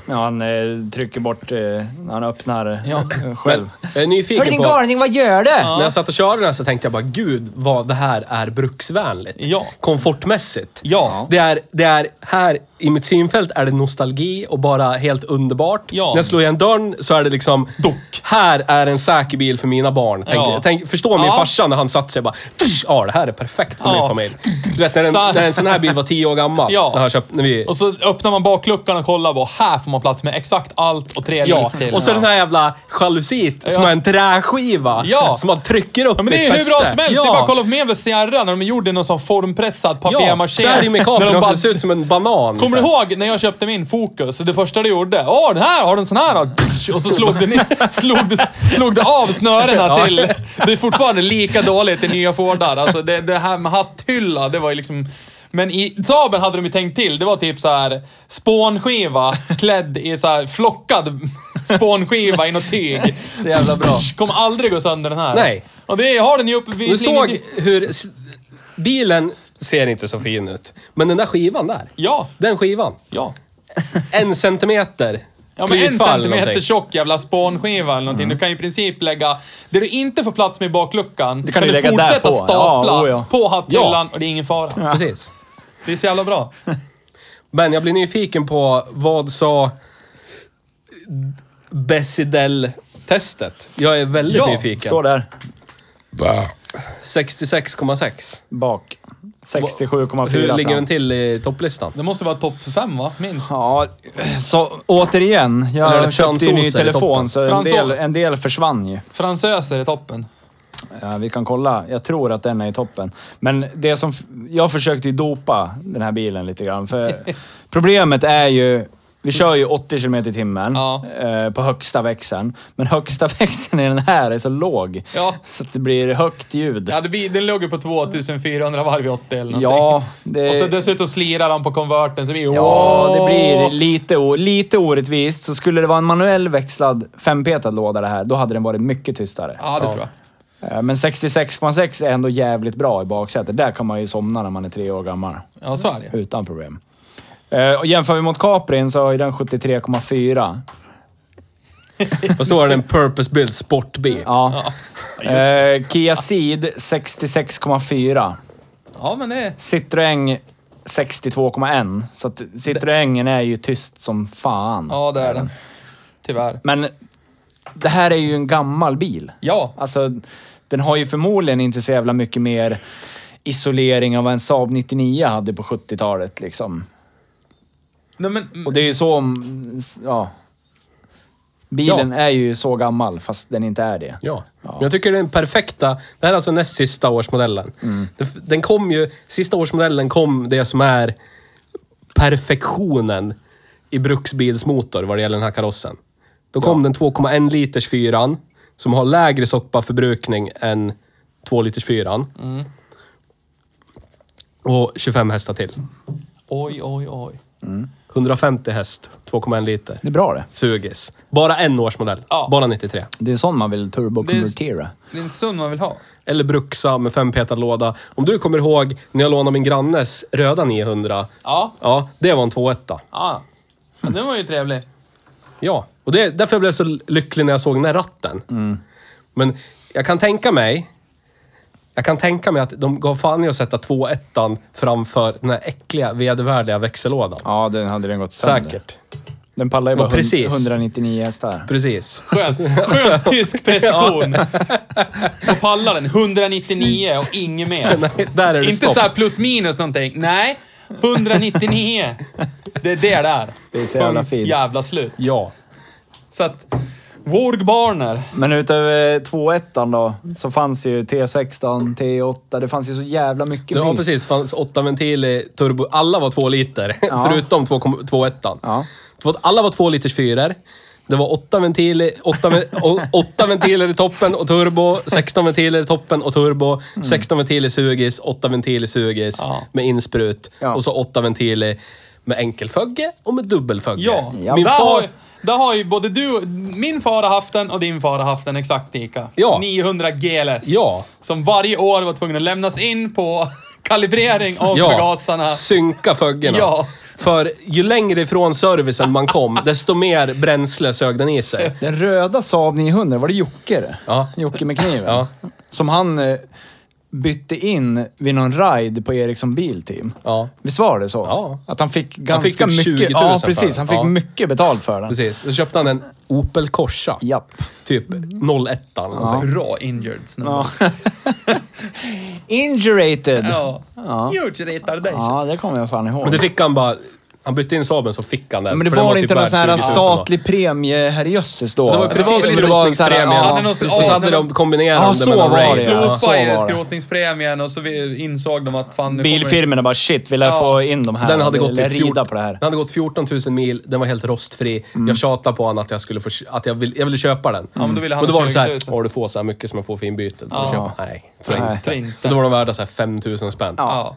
Speaker 1: Ja, han eh, trycker bort... Eh, när han öppnar
Speaker 2: Ja.
Speaker 1: eh,
Speaker 3: Men
Speaker 1: själv.
Speaker 3: jag är
Speaker 1: Hör du
Speaker 3: nyfiken
Speaker 1: din
Speaker 3: på...
Speaker 1: galning? Vad gör du?
Speaker 3: När jag satt och körde den här så tänkte jag bara, gud vad det här är bruksvänligt.
Speaker 2: Ja.
Speaker 3: Komfortmässigt.
Speaker 2: Ja.
Speaker 3: Det är, det är här i mitt synfält är det nostalgi och bara helt underbart.
Speaker 2: Ja.
Speaker 3: När jag slår igen dörren så är det liksom... Dock. Här är en säker bil för mina barn. Tänk,
Speaker 2: Ja.
Speaker 3: tänk, förstå min
Speaker 2: Ja.
Speaker 3: farsa när han satt sig och bara... "Tsch, Ja, det här är perfekt för
Speaker 2: Ja.
Speaker 3: min familj. Du vet, när en,
Speaker 2: Så han-
Speaker 3: när en sån här bil var tio år gammal.
Speaker 2: Ja.
Speaker 3: När han köpt, när vi,
Speaker 2: Och så öppnar man bakluckan och kollar vad här får man plats med exakt allt och tre
Speaker 3: Ja,
Speaker 2: lik till.
Speaker 3: och så den här jävla jalusit som
Speaker 2: Ja.
Speaker 3: är en träskiva.
Speaker 2: Ja.
Speaker 3: Som man trycker upp
Speaker 2: Ja, men
Speaker 3: i
Speaker 2: det
Speaker 3: ett
Speaker 2: är hur
Speaker 3: fäste.
Speaker 2: bra som helst.
Speaker 3: Ja.
Speaker 2: Det är bara att kolla på min jävla Sierra när de gjorde någon sån formpressad
Speaker 3: Ja,
Speaker 2: papier-maché.
Speaker 3: så är det ju med
Speaker 2: När
Speaker 3: kameran
Speaker 2: de
Speaker 3: också.
Speaker 2: bara-
Speaker 3: Det ser ut som en banan.
Speaker 2: Kommer
Speaker 3: så
Speaker 2: du
Speaker 3: här.
Speaker 2: ihåg när jag köpte min Focus? Det första du gjorde? Åh, den här! Har du en sån här då? Och så slog den, i- *laughs* slog, det- slog det av snörena
Speaker 3: Ja.
Speaker 2: till... Det är fortfarande lika dåligt i nya Fordar. Alltså det, det här med hatthylla, det var ju liksom... Men i Saaben hade de ju tänkt till. Det var typ så här spånskiva klädd i så här flockad spånskiva i något tyg.
Speaker 3: Så jävla bra.
Speaker 2: Kommer aldrig gå sönder den här.
Speaker 3: Nej.
Speaker 2: Och det har den ju
Speaker 3: Du
Speaker 2: uppvisning.
Speaker 3: såg hur... s- Bilen ser inte så fin ut. Men den där skivan där.
Speaker 2: Ja.
Speaker 3: Den skivan.
Speaker 2: Ja.
Speaker 3: En centimeter.
Speaker 2: Ja, men en
Speaker 3: klyvfall
Speaker 2: centimeter
Speaker 3: någonting.
Speaker 2: tjock jävla spånskiva eller någonting. Du kan i princip lägga... Det du inte får plats med i bakluckan,
Speaker 1: kan du lägga
Speaker 2: fortsätta
Speaker 1: där på.
Speaker 2: stapla
Speaker 1: Ja, oh ja.
Speaker 2: på hatthyllan
Speaker 3: Ja.
Speaker 2: och det är ingen fara.
Speaker 3: Precis.
Speaker 2: Det är så jävla bra.
Speaker 3: Men jag blir nyfiken på vad sa Bessidel-testet? Jag är väldigt
Speaker 2: Ja,
Speaker 3: nyfiken.
Speaker 1: Står där.
Speaker 3: 66,6.
Speaker 1: Bak. 67,4
Speaker 3: Hur ligger
Speaker 1: fram.
Speaker 3: den till i topplistan?
Speaker 2: Det måste vara topp fem va? Minst.
Speaker 1: Ja, så återigen.
Speaker 3: Eller är
Speaker 1: Jag
Speaker 3: det
Speaker 1: köpte ju ny
Speaker 3: fransoser i
Speaker 1: telefon
Speaker 3: toppen?
Speaker 1: så en
Speaker 2: Fransoser.
Speaker 1: del, en del försvann ju.
Speaker 2: Fransöser i toppen.
Speaker 1: Ja, vi kan kolla. Jag tror att den är i toppen. Men det som... f- Jag försökte ju dopa den här bilen lite
Speaker 2: *laughs*
Speaker 1: grann. För problemet är ju... Vi kör ju 80 km i timmen
Speaker 2: Ja.
Speaker 1: eh, på högsta växeln. Men högsta *laughs* växeln i den här är så låg.
Speaker 2: Ja.
Speaker 1: Så att det blir högt ljud.
Speaker 2: Ja, det blir, den låg ju på 2400 varv i 80 eller någonting.
Speaker 1: Ja, det-
Speaker 2: Och så dessutom slirar han på konverten så blir
Speaker 1: Ja, det blir lite, o- lite orättvist. Så skulle det vara en manuell växlad fempetad låda det här, då hade den varit mycket tystare.
Speaker 2: Ja, det tror jag.
Speaker 1: Eh, Men 66,6 är ändå jävligt bra i baksätet. Där kan man ju somna när man är tre år gammal.
Speaker 2: Ja, så är det ju.
Speaker 1: Utan problem. Eh, Och jämför vi mot Caprin så har ju den 73,4.
Speaker 3: Och så är det en purpose built sportbil.
Speaker 1: Ja. Eh, Kia Ceed 66,4.
Speaker 2: Ja, men det...
Speaker 1: Citroën 62,1. Så att Citroën är ju tyst som fan.
Speaker 2: Ja, det är den. Tyvärr.
Speaker 1: Men det här är ju en gammal bil.
Speaker 2: Ja.
Speaker 1: Alltså, den har ju förmodligen inte så jävla mycket mer isolering av vad en Saab 99 hade på 70-talet liksom.
Speaker 2: Nej, men...
Speaker 1: Och det är ju så... om- Ja. Bilen är ju så gammal, fast den inte är det.
Speaker 3: Ja. Men jag tycker den perfekta... Det här är alltså näst sista årsmodellen. Den, den kom ju... Sista årsmodellen kom det som är perfektionen i bruksbilsmotor vad det gäller den här karossen. Då kom den 2,1 liters fyran som har lägre sopparförbrukning än 2 liters fyran. Och 25 hästar till.
Speaker 2: Oj, oj, oj.
Speaker 3: 150 häst, 2,1 liter.
Speaker 1: Det är bra det.
Speaker 3: Sugis. Bara en årsmodell.
Speaker 2: Ja.
Speaker 3: Bara 93.
Speaker 1: Det är sån man vill turbokonvertera.
Speaker 2: Det är en sund man vill ha.
Speaker 3: Eller Bruxa med fempetad låda. Om du kommer ihåg när jag lånade min grannes röda 900.
Speaker 2: Ja.
Speaker 3: Ja, det var en 2.1.
Speaker 2: Ja. Men den var ju trevlig.
Speaker 3: Ja, och det, därför jag blev så lycklig när jag såg den här ratten.
Speaker 2: Mm.
Speaker 3: Men jag kan tänka mig... Jag kan tänka mig att de gav fan i att sätta 2.1 framför den här äckliga, vedervärdiga växellådan.
Speaker 1: Ja, den hade den gått sönder.
Speaker 3: Säkert.
Speaker 1: Den pallar ju
Speaker 3: Ja,
Speaker 1: bara hund-
Speaker 3: precis.
Speaker 1: 199 hästar.
Speaker 2: *laughs*
Speaker 3: Precis.
Speaker 2: Skönt, skönt tysk precision. Och pallar den 199 och inget mer.
Speaker 3: Nej, där är det
Speaker 2: Inte
Speaker 3: stopp.
Speaker 2: så här plus minus någonting. Nej, 199. Det är det där.
Speaker 1: Det är så jävla fint.
Speaker 2: jävla slut.
Speaker 3: Ja.
Speaker 2: Så att... Worg Barner.
Speaker 1: Men utöver 2.1 då, så fanns ju T16, T8. Det fanns ju så jävla mycket
Speaker 3: Ja,
Speaker 1: bil.
Speaker 3: precis. fanns åtta ventiler, turbo. Alla var två liter, *laughs*
Speaker 1: Ja.
Speaker 3: förutom 2,1.
Speaker 1: Ja.
Speaker 3: Det var- Alla var två liters fyror. Det var åtta ventiler, åtta, ve- *laughs* å- åtta ventiler i toppen och turbo, 16 ventiler i toppen och turbo, 16 ventiler sugis, åtta ventiler sugis
Speaker 2: Ja.
Speaker 3: med insprut
Speaker 1: Ja.
Speaker 3: och så åtta ventiler med enkelfögge och med dubbelfögge.
Speaker 2: Ja.
Speaker 1: Ja.
Speaker 3: Min
Speaker 2: där, har,
Speaker 3: far...
Speaker 2: ju- där har ju både du... Min far har haft den och din far har haft den exakt lika.
Speaker 3: Ja.
Speaker 2: 900 GLS.
Speaker 3: Ja.
Speaker 2: Som varje år var tvungen att lämnas in på *laughs* kalibrering av
Speaker 3: Ja,
Speaker 2: förgasarna.
Speaker 3: synka föggorna.
Speaker 2: Ja.
Speaker 3: För ju längre ifrån servicen man kom, desto mer bränsle sög den i sig.
Speaker 1: Den röda Saab 900, var det Jocke det?
Speaker 3: Ja.
Speaker 1: Jocke med kniven?
Speaker 3: Ja.
Speaker 1: Som han... eh,
Speaker 4: bytte in vid någon ride på Ericsson Bilteam.
Speaker 3: Ja.
Speaker 4: Visst var det så?
Speaker 3: Ja.
Speaker 4: Att han fick
Speaker 3: Han
Speaker 4: ganska
Speaker 3: fick typ 20 000
Speaker 4: mycket... Ja,
Speaker 3: för
Speaker 4: precis.
Speaker 3: den.
Speaker 4: Han fick
Speaker 3: Ja.
Speaker 4: mycket betalt för den.
Speaker 3: Precis. Då köpte han en Opel Corsa.
Speaker 4: Japp.
Speaker 3: Typ
Speaker 4: Mm.
Speaker 3: 01 eller någonting.
Speaker 2: Bra injured snubbe.
Speaker 4: Ja. *laughs* Injurated!
Speaker 2: Ja. Huge retardation.
Speaker 4: Ja, det kommer jag fan ihåg.
Speaker 3: Men det fick han bara... Han bytte in Saben så fick han den.
Speaker 4: Men det
Speaker 3: för
Speaker 4: var,
Speaker 3: den typ
Speaker 4: inte någon
Speaker 3: värd
Speaker 4: sån här
Speaker 3: 20 000 va?
Speaker 4: statlig premie, herrejösses då.
Speaker 3: Det var precis
Speaker 4: väl
Speaker 3: som
Speaker 4: det var liksom typ så här,
Speaker 3: skrotningspremien.
Speaker 4: ja,
Speaker 3: Hade
Speaker 2: någon-
Speaker 4: precis.
Speaker 3: Och så hade de kombinerat
Speaker 4: Ja,
Speaker 3: dem
Speaker 4: så
Speaker 3: med någon
Speaker 4: var
Speaker 3: race.
Speaker 4: det, ja.
Speaker 3: Ja.
Speaker 4: så
Speaker 2: Slopa er
Speaker 4: var det.
Speaker 2: skrotningspremien och så vi- insåg de att fan... nu kommer-
Speaker 4: Bilfirmorna bara shit, vill jag
Speaker 2: Ja.
Speaker 4: få in de här?
Speaker 3: Den hade, gått
Speaker 4: Eller
Speaker 3: typ
Speaker 4: rida
Speaker 3: 14,
Speaker 4: på det här. Mm.
Speaker 3: den hade gått 14 000 mil, den var helt rostfri. Jag tjatade på honom att jag skulle få, att jag ville, jag ville köpa den.
Speaker 2: men då ville han
Speaker 3: och då
Speaker 2: ha
Speaker 3: var det
Speaker 2: 20
Speaker 3: så
Speaker 2: 000.
Speaker 3: här, "Åh, du får så här mycket som jag får för inbytet. Får du
Speaker 4: Ja.
Speaker 3: köpa? Nej, tror
Speaker 4: Nej.
Speaker 3: jag
Speaker 2: Tror
Speaker 3: inte.
Speaker 2: inte.
Speaker 3: Och då var de värda så här 5 000 spänn.
Speaker 2: Ja.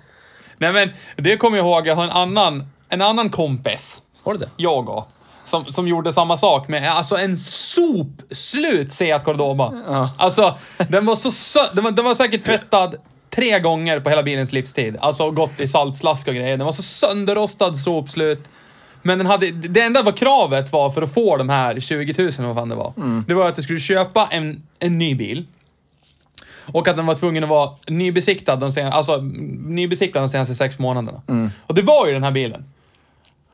Speaker 2: Nej men, det kommer jag ihåg. Jag har en annan, en annan kompis.
Speaker 3: Var det det?
Speaker 2: Jag och. Som, som gjorde samma sak med, alltså en sopslut Seat Cordoba. Alltså, den var så sö- den var, den var säkert tvättad tre gånger på hela bilens livstid. Alltså gått i saltslask och grejer. Den var så sönderrostad sopslut. Men den hade, det enda var kravet var för att få de här 20 000, vad fan det var. Det var att du skulle köpa en, en ny bil. Och att den var tvungen att vara nybesiktad de senaste, alltså, nybesiktad de senaste sex månaderna. Och det var ju den här bilen.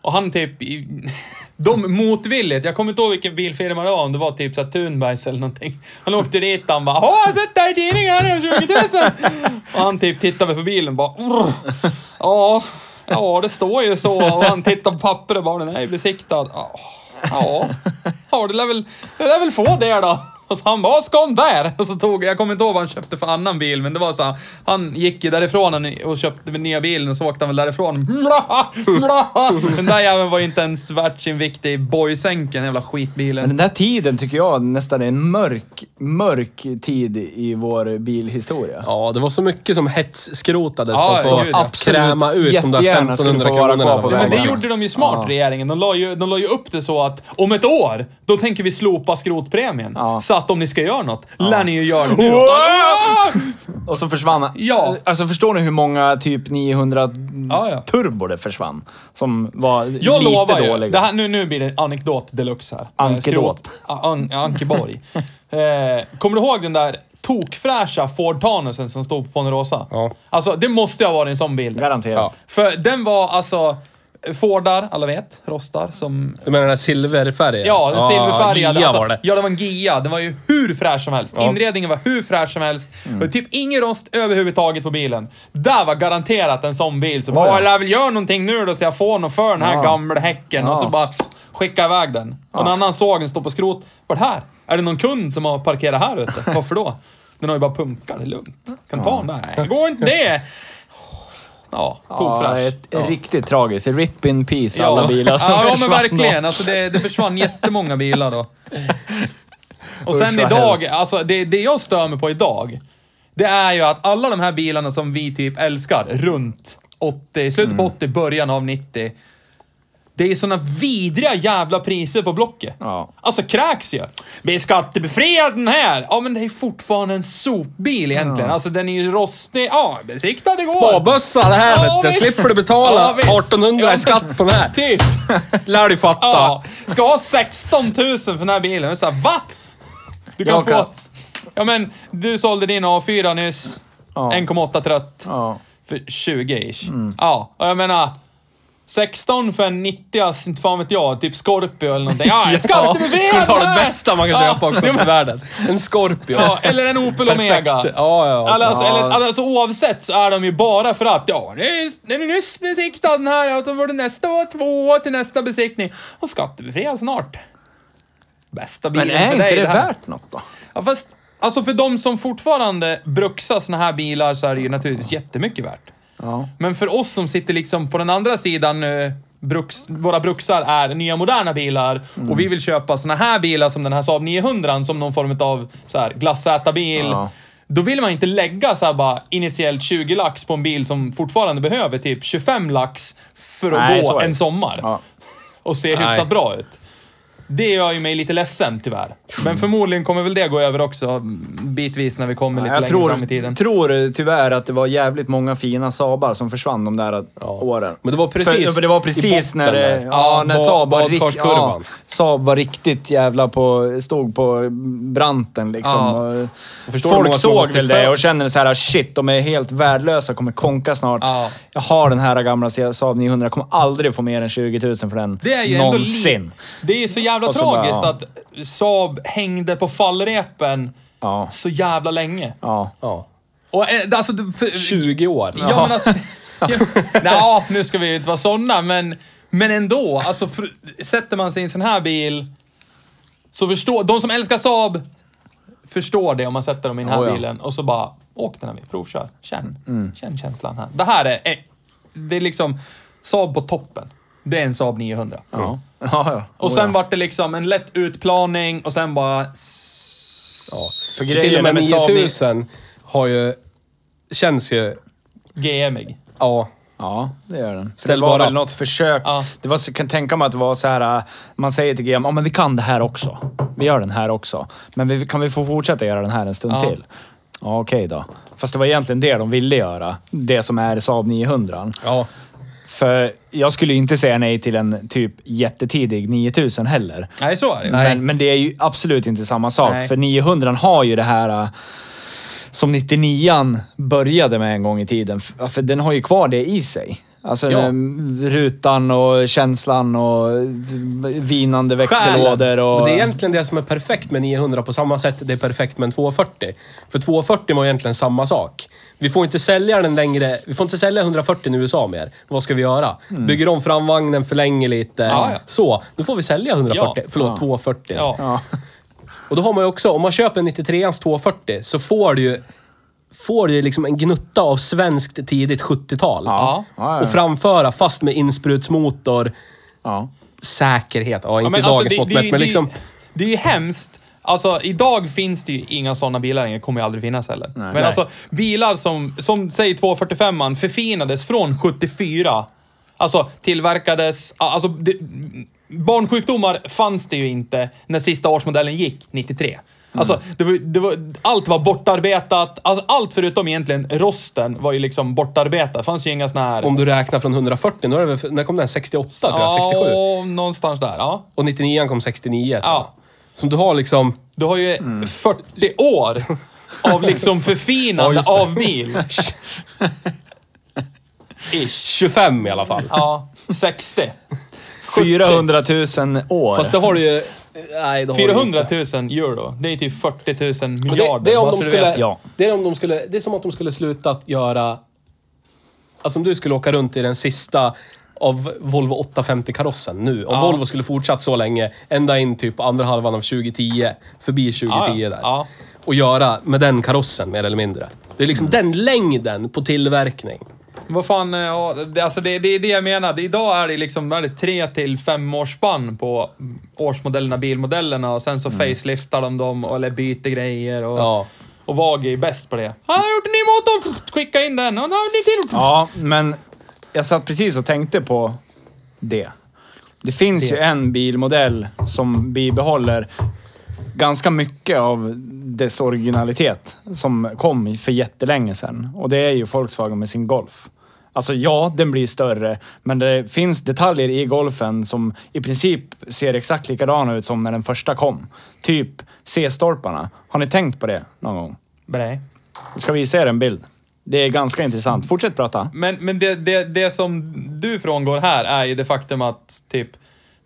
Speaker 2: Och han typ... i- *laughs* De motvilligt, jag kommer inte ihåg vilken bilfirma det var, om det var typ så här Thunbergs eller någonting. Han åkte dit och han bara Åh, jag har sett det här i tidningen, här är 20 000! Och han typ tittade på bilen och bara "Urr." Ja, ja det står ju så. Och han tittade på pappret och bara den här är besiktad. Ja, ja, ja det, lär väl, det lär väl få det då. Och så han bara, "Vad ska hon där? Och så tog, jag kommer inte ihåg vad han köpte för annan bil, men det var så här, han gick ju därifrån han- och köpte den nya bilen och så åkte han väl därifrån. Bla, bla. Den där jäveln var ju inte ens värt sin vikt i bojsänken, jävla
Speaker 4: Men den
Speaker 2: skitbilen.
Speaker 4: där tiden tycker jag nästan är en mörk, mörk tid i vår bilhistoria.
Speaker 3: Ja, det var så mycket som hetsskrotades
Speaker 2: Ja,
Speaker 3: på
Speaker 2: gud, ja.
Speaker 3: att få kräma ut de där
Speaker 4: Jättegärna skulle
Speaker 3: 1500
Speaker 4: få vara
Speaker 3: kronorna.
Speaker 4: kvar på
Speaker 3: de
Speaker 2: Men
Speaker 4: vägen.
Speaker 3: vägarna.
Speaker 2: det gjorde de ju smart, regeringen. De la, ju, de la ju upp det så att om ett år, då tänker vi slopa skrotpremien.
Speaker 4: Ja.
Speaker 2: Så att om ni ska göra något, lär ni ju göra det nu.
Speaker 4: Och så försvann han.
Speaker 2: Ja.
Speaker 4: Alltså förstår ni hur många typ 900
Speaker 2: Ja, ja.
Speaker 4: turbo det försvann? Som var
Speaker 2: Jag
Speaker 4: lite
Speaker 2: lovar
Speaker 4: dåliga.
Speaker 2: ju. Det här, nu, nu blir det anekdot deluxe här. Eh,
Speaker 4: Ankedot.
Speaker 2: skrot- A- an,
Speaker 4: *laughs*
Speaker 2: Ankeborg. eh, kommer du ihåg den där tokfräscha Ford Tanusen som stod på Ponderosa?
Speaker 3: Ja.
Speaker 2: Alltså, det måste ju ha varit en sån bil.
Speaker 4: Garanterat.
Speaker 2: För den var alltså... Fordar, alla vet. Rostar som...
Speaker 3: Du menar den här silverfärgen?
Speaker 2: Ja, den silverfärgade.
Speaker 3: Gia
Speaker 2: alltså,
Speaker 3: var det.
Speaker 2: Ja, det var en Gia. Den var ju hur fräsch som helst. Inredningen var hur fräsch som helst. Det var typ ingen rost överhuvudtaget på bilen. Där var garanterat en sån bil. Så bara,
Speaker 4: ja.
Speaker 2: "Åh, jag lär väl göra någonting nu då så jag får någon för den här
Speaker 4: Ja.
Speaker 2: gamla häcken. Och så
Speaker 4: Ja.
Speaker 2: bara skicka iväg den. Och när annan såg den stå på skrot. Vad är det här? Är det någon kund som har parkerat här ute? Varför då? Den har ju bara punkar, det är lugnt. Kan du ta den? Nej, det går inte det! Ja,
Speaker 4: Ja,
Speaker 2: tokfräsch.
Speaker 4: ett riktigt tragiskt. Rip in peace alla
Speaker 2: Ja.
Speaker 4: bilar som
Speaker 2: ja, ja, men
Speaker 4: försvann.
Speaker 2: verkligen. Alltså det, det försvann jättemånga bilar då. Och sen
Speaker 4: Usch, vad
Speaker 2: idag,
Speaker 4: hemskt.
Speaker 2: alltså det, det jag stör mig på idag, det är ju att alla de här bilarna som vi typ älskar runt 80, slutet
Speaker 4: Mm.
Speaker 2: på 80, början av 90. Det är ju såna vidriga jävla priser på Blocket.
Speaker 4: Ja.
Speaker 2: Alltså kräks ju. Vi skattebefriar den här! Ja, men det är ju fortfarande en sopbil egentligen. Alltså den är ju rostig. Ja, besiktad igår.
Speaker 3: Sparbössa det här
Speaker 2: Ja,
Speaker 3: vet du.
Speaker 2: visst.
Speaker 3: Slipper du betala
Speaker 2: Ja, visst.
Speaker 3: 1800
Speaker 2: Ja,
Speaker 3: i skatt på den här.
Speaker 2: *laughs* Typ.
Speaker 3: Lär du fatta.
Speaker 2: Ja, ska ha 16 000 för den här bilen. Jag är så här, va? Du kan
Speaker 4: Jag
Speaker 2: få...
Speaker 4: kan-
Speaker 2: Ja men, du sålde din A4 nyss.
Speaker 4: Ja.
Speaker 2: 1,8 trött.
Speaker 4: Ja.
Speaker 2: För 20-ish.
Speaker 3: Mm.
Speaker 2: Ja, och jag menar... 16 för en 90 inte fan vet jag, typ Scorpio eller någonting. Ja,
Speaker 3: *laughs*
Speaker 2: jag ska inte befria
Speaker 3: Skulle ta
Speaker 2: den
Speaker 3: det
Speaker 2: här!
Speaker 3: bästa man kan
Speaker 2: Ja.
Speaker 3: köpa också i världen. En Scorpio.
Speaker 2: Ja, eller en Opel
Speaker 3: *laughs* Perfekt.
Speaker 2: Omega.
Speaker 3: Ja, ja.
Speaker 2: Eller, alltså, eller, alltså oavsett så är de ju bara för att ja, nu är- den är nyss besiktad den här och så får du nästa år två år till nästa besiktning. Och skattebefriad snart. Bästa bilen
Speaker 4: Men är
Speaker 2: för
Speaker 4: inte
Speaker 2: dig.
Speaker 4: det
Speaker 2: här.
Speaker 4: värt något då?
Speaker 2: Ja, fast alltså för de som fortfarande bruxar såna här bilar så är det ju naturligtvis jättemycket värt.
Speaker 4: Ja.
Speaker 2: Men för oss som sitter liksom på den andra sidan eh, Bruks, våra bruksar är nya moderna bilar och vi vill köpa såna här bilar som den här Saab 900 som någon form av så här glassätarbil.
Speaker 4: Ja.
Speaker 2: Då vill man inte lägga så här bara initiellt 20 lax på en bil som fortfarande behöver typ 25 lax för att
Speaker 4: Nej, så
Speaker 2: gå
Speaker 4: är det.
Speaker 2: en sommar
Speaker 4: Ja.
Speaker 2: och se
Speaker 3: Nej.
Speaker 2: hyfsat bra ut. Det gör ju mig lite ledsen tyvärr. Men förmodligen kommer väl det gå över också bitvis när vi kommer lite
Speaker 1: Jag
Speaker 2: längre fram i tiden.
Speaker 1: tror, tror tyvärr att det var jävligt många fina Sabar som försvann de där åren.
Speaker 3: Men det var precis
Speaker 1: för, för det var
Speaker 3: i
Speaker 1: precis
Speaker 3: botten
Speaker 1: när, det,
Speaker 3: där.
Speaker 1: ja,
Speaker 3: Ja,
Speaker 1: när
Speaker 3: ba-
Speaker 1: Saab, var rikt, ja,
Speaker 3: badkarskurvan.
Speaker 1: Saab var riktigt jävla på, stod på branten liksom.
Speaker 2: Ja.
Speaker 1: Och,
Speaker 3: förstår hur
Speaker 1: folk
Speaker 3: många som
Speaker 1: såg
Speaker 3: gått till
Speaker 1: väl det
Speaker 3: fem.
Speaker 1: och kände så här shit, de är helt värdelösa, kommer konka snart.
Speaker 2: Ja.
Speaker 1: Jag har den här gamla Saab 900, kommer aldrig få mer än 20 000 för den.
Speaker 2: Det är ju
Speaker 1: Någonsin.
Speaker 2: ändå... li- Det är så jävla
Speaker 1: Och så bara,
Speaker 2: tragiskt
Speaker 1: ja.
Speaker 2: att Saab hängde på fallrepen
Speaker 1: Ja.
Speaker 2: så jävla länge.
Speaker 1: Ja.
Speaker 3: Ja.
Speaker 2: Och eh, alltså... du- För,
Speaker 3: 20 år.
Speaker 2: Ja, men
Speaker 1: *laughs*
Speaker 2: alltså... *laughs* ja, Nå, nu ska vi ju inte vara sådana, men, men ändå. Alltså, för, sätter man sig i en sån här bil så förstår... De som älskar Saab förstår det om man sätter dem i den här
Speaker 1: Oh, ja. Mm.
Speaker 2: bilen och så bara, åk den här bilen, provkör. Känn, känn känslan här. Det här är... eh, Det är liksom Saab på toppen. Det är en Saab 900.
Speaker 1: Ja. Ja, ja.
Speaker 2: Och sen vart det liksom en lätt utplaning och sen bara...
Speaker 3: Ja.
Speaker 1: För
Speaker 3: Till och
Speaker 1: grejen
Speaker 3: med
Speaker 1: med Saab
Speaker 3: 9000 har ju... Känns ju...
Speaker 2: GMig.
Speaker 3: Ja.
Speaker 1: Ja, det gör den. För
Speaker 3: Ställ
Speaker 1: det var
Speaker 3: bara
Speaker 1: väl
Speaker 3: upp.
Speaker 1: något försök.
Speaker 2: Ja.
Speaker 1: Det var, så- kan tänka mig att det var så här, äh, man säger till GM, ja men vi kan det här också. Vi gör den här också. Men vi, kan vi få fortsätta göra den här en stund
Speaker 2: Ja.
Speaker 1: till? Ja, okej då. Fast det var egentligen det de ville göra. Det som är Saab 900.
Speaker 3: Ja.
Speaker 1: För jag skulle ju inte säga nej till en typ jättetidig 9000 heller.
Speaker 2: Nej, så är det ju.
Speaker 1: Men, men det är ju absolut inte samma sak.
Speaker 2: Nej.
Speaker 1: För 900 har ju det här äh, som 99an började med en gång i tiden. F- För den har ju kvar det i sig. Alltså
Speaker 3: Ja.
Speaker 1: mm, rutan och känslan och d- vinande växellådor och...
Speaker 3: Men det är egentligen det som är perfekt med 900 på samma sätt det är perfekt med en 240. För 240 var egentligen samma sak. Vi får inte sälja den längre. Vi får inte sälja 140 i USA mer. Vad ska vi göra? Bygger om framvagnen, förlänger lite.
Speaker 2: Mm. Ja, ja.
Speaker 3: Så, nu får vi sälja 140.
Speaker 2: Ja.
Speaker 3: Förlåt, 240.
Speaker 2: Ja.
Speaker 1: Ja.
Speaker 3: Och då har man ju också, om man köper en 93ans 240 så får du ju Får du ju liksom en gnutta av svenskt tidigt 70-tal.
Speaker 1: Ja. Ja, ja.
Speaker 3: Och framföra fast med insprutsmotor,
Speaker 1: Ja.
Speaker 3: säkerhet. Ja, inte
Speaker 2: men alltså,
Speaker 3: dagens
Speaker 2: det-
Speaker 3: mått
Speaker 2: det-
Speaker 3: mätt, men
Speaker 2: det-
Speaker 3: liksom...
Speaker 2: Det är ju hemskt. Alltså, idag finns det ju inga sådana bilar längre. kommer ju aldrig finnas heller. men
Speaker 1: Nej.
Speaker 2: alltså, bilar som, som säg 245an, förfinades från 74. Alltså, tillverkades... a- Alltså, det, barnsjukdomar fanns det ju inte när sista årsmodellen gick, 93. Alltså, det var, det var, allt var bortarbetat. Alltså, allt förutom egentligen rosten var ju liksom bortarbetat. Det fanns ju inga såna här...
Speaker 3: Om du räknar från 140, då är det väl, när kom den? 68 tror jag, 67.
Speaker 2: Ja, någonstans där. Ja.
Speaker 3: Och 99 kom 69 tror jag.
Speaker 2: Ja.
Speaker 3: Som du har liksom
Speaker 2: Du har ju 40 år av liksom förfinande av *laughs* bil.
Speaker 3: 25 i alla fall.
Speaker 2: Ja, 60.
Speaker 1: 400 000 år.
Speaker 3: Fast det har du ju... Nej, det har du inte.
Speaker 2: 400 000 euro. Det är typ 40 000
Speaker 3: Men det,
Speaker 2: miljarder.
Speaker 3: det, är om
Speaker 2: bara
Speaker 3: de
Speaker 2: så du
Speaker 3: skulle,
Speaker 2: vet.
Speaker 1: Ja.
Speaker 3: det är om de skulle... Det är som att de skulle sluta att göra... Alltså om du skulle åka runt i den sista av Volvo 850-karossen nu. Om Volvo skulle fortsatt så länge, ända in typ på andra halvan av 2010, förbi 2010
Speaker 2: Ja,
Speaker 3: där.
Speaker 2: ja.
Speaker 3: Och göra med den karossen, mer eller mindre. Det är liksom
Speaker 2: Mm.
Speaker 3: den längden på tillverkning.
Speaker 2: Vad fan, eh, ja, det- alltså det, det är det jag menar. Det- Idag är det liksom vad är det, tre till fem års spann på årsmodellerna, bilmodellerna och sen så faceliftar de dem och, eller byter grejer och...
Speaker 3: Ja.
Speaker 2: Och VAG är ju bäst på det. Han har gjort en ny motor! Skicka in den! Han har en ny till!
Speaker 1: Ja, men jag satt precis och tänkte på det. Det finns ju en bilmodell som bibehåller ganska mycket av dess originalitet som kom för jättelänge sedan. Och det är ju Volkswagen med sin Golf. Alltså ja, den blir större, men det finns detaljer i Golfen som i princip ser exakt likadana ut som när den första kom. Typ C-stolparna. Har ni tänkt på det någon gång?
Speaker 2: Nej.
Speaker 1: Ska vi se er en bild? Det är ganska intressant. Fortsätt prata.
Speaker 2: Men, men det, det, det som du frångår här är ju det faktum att typ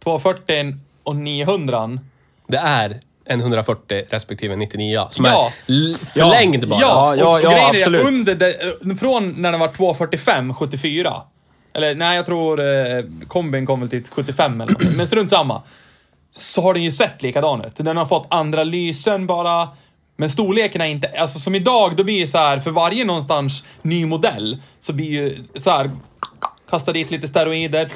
Speaker 2: 240 och 900
Speaker 3: Det är en 140 respektive 99 som
Speaker 2: Ja.
Speaker 3: är l- förlängd bara.
Speaker 1: Ja, ja,
Speaker 2: och, och
Speaker 1: ja,
Speaker 2: grejen är
Speaker 1: absolut.
Speaker 2: Under det, från när den var 245, 74. Eller nej, jag tror eh, kombin kom väl till 75 eller någonting, men strunt samma. Så har den ju sett likadan ut. Den har fått andra lysen bara. Men storleken är inte... Alltså som idag, då blir ju så här för varje någonstans ny modell så blir ju så här Kasta dit lite steroider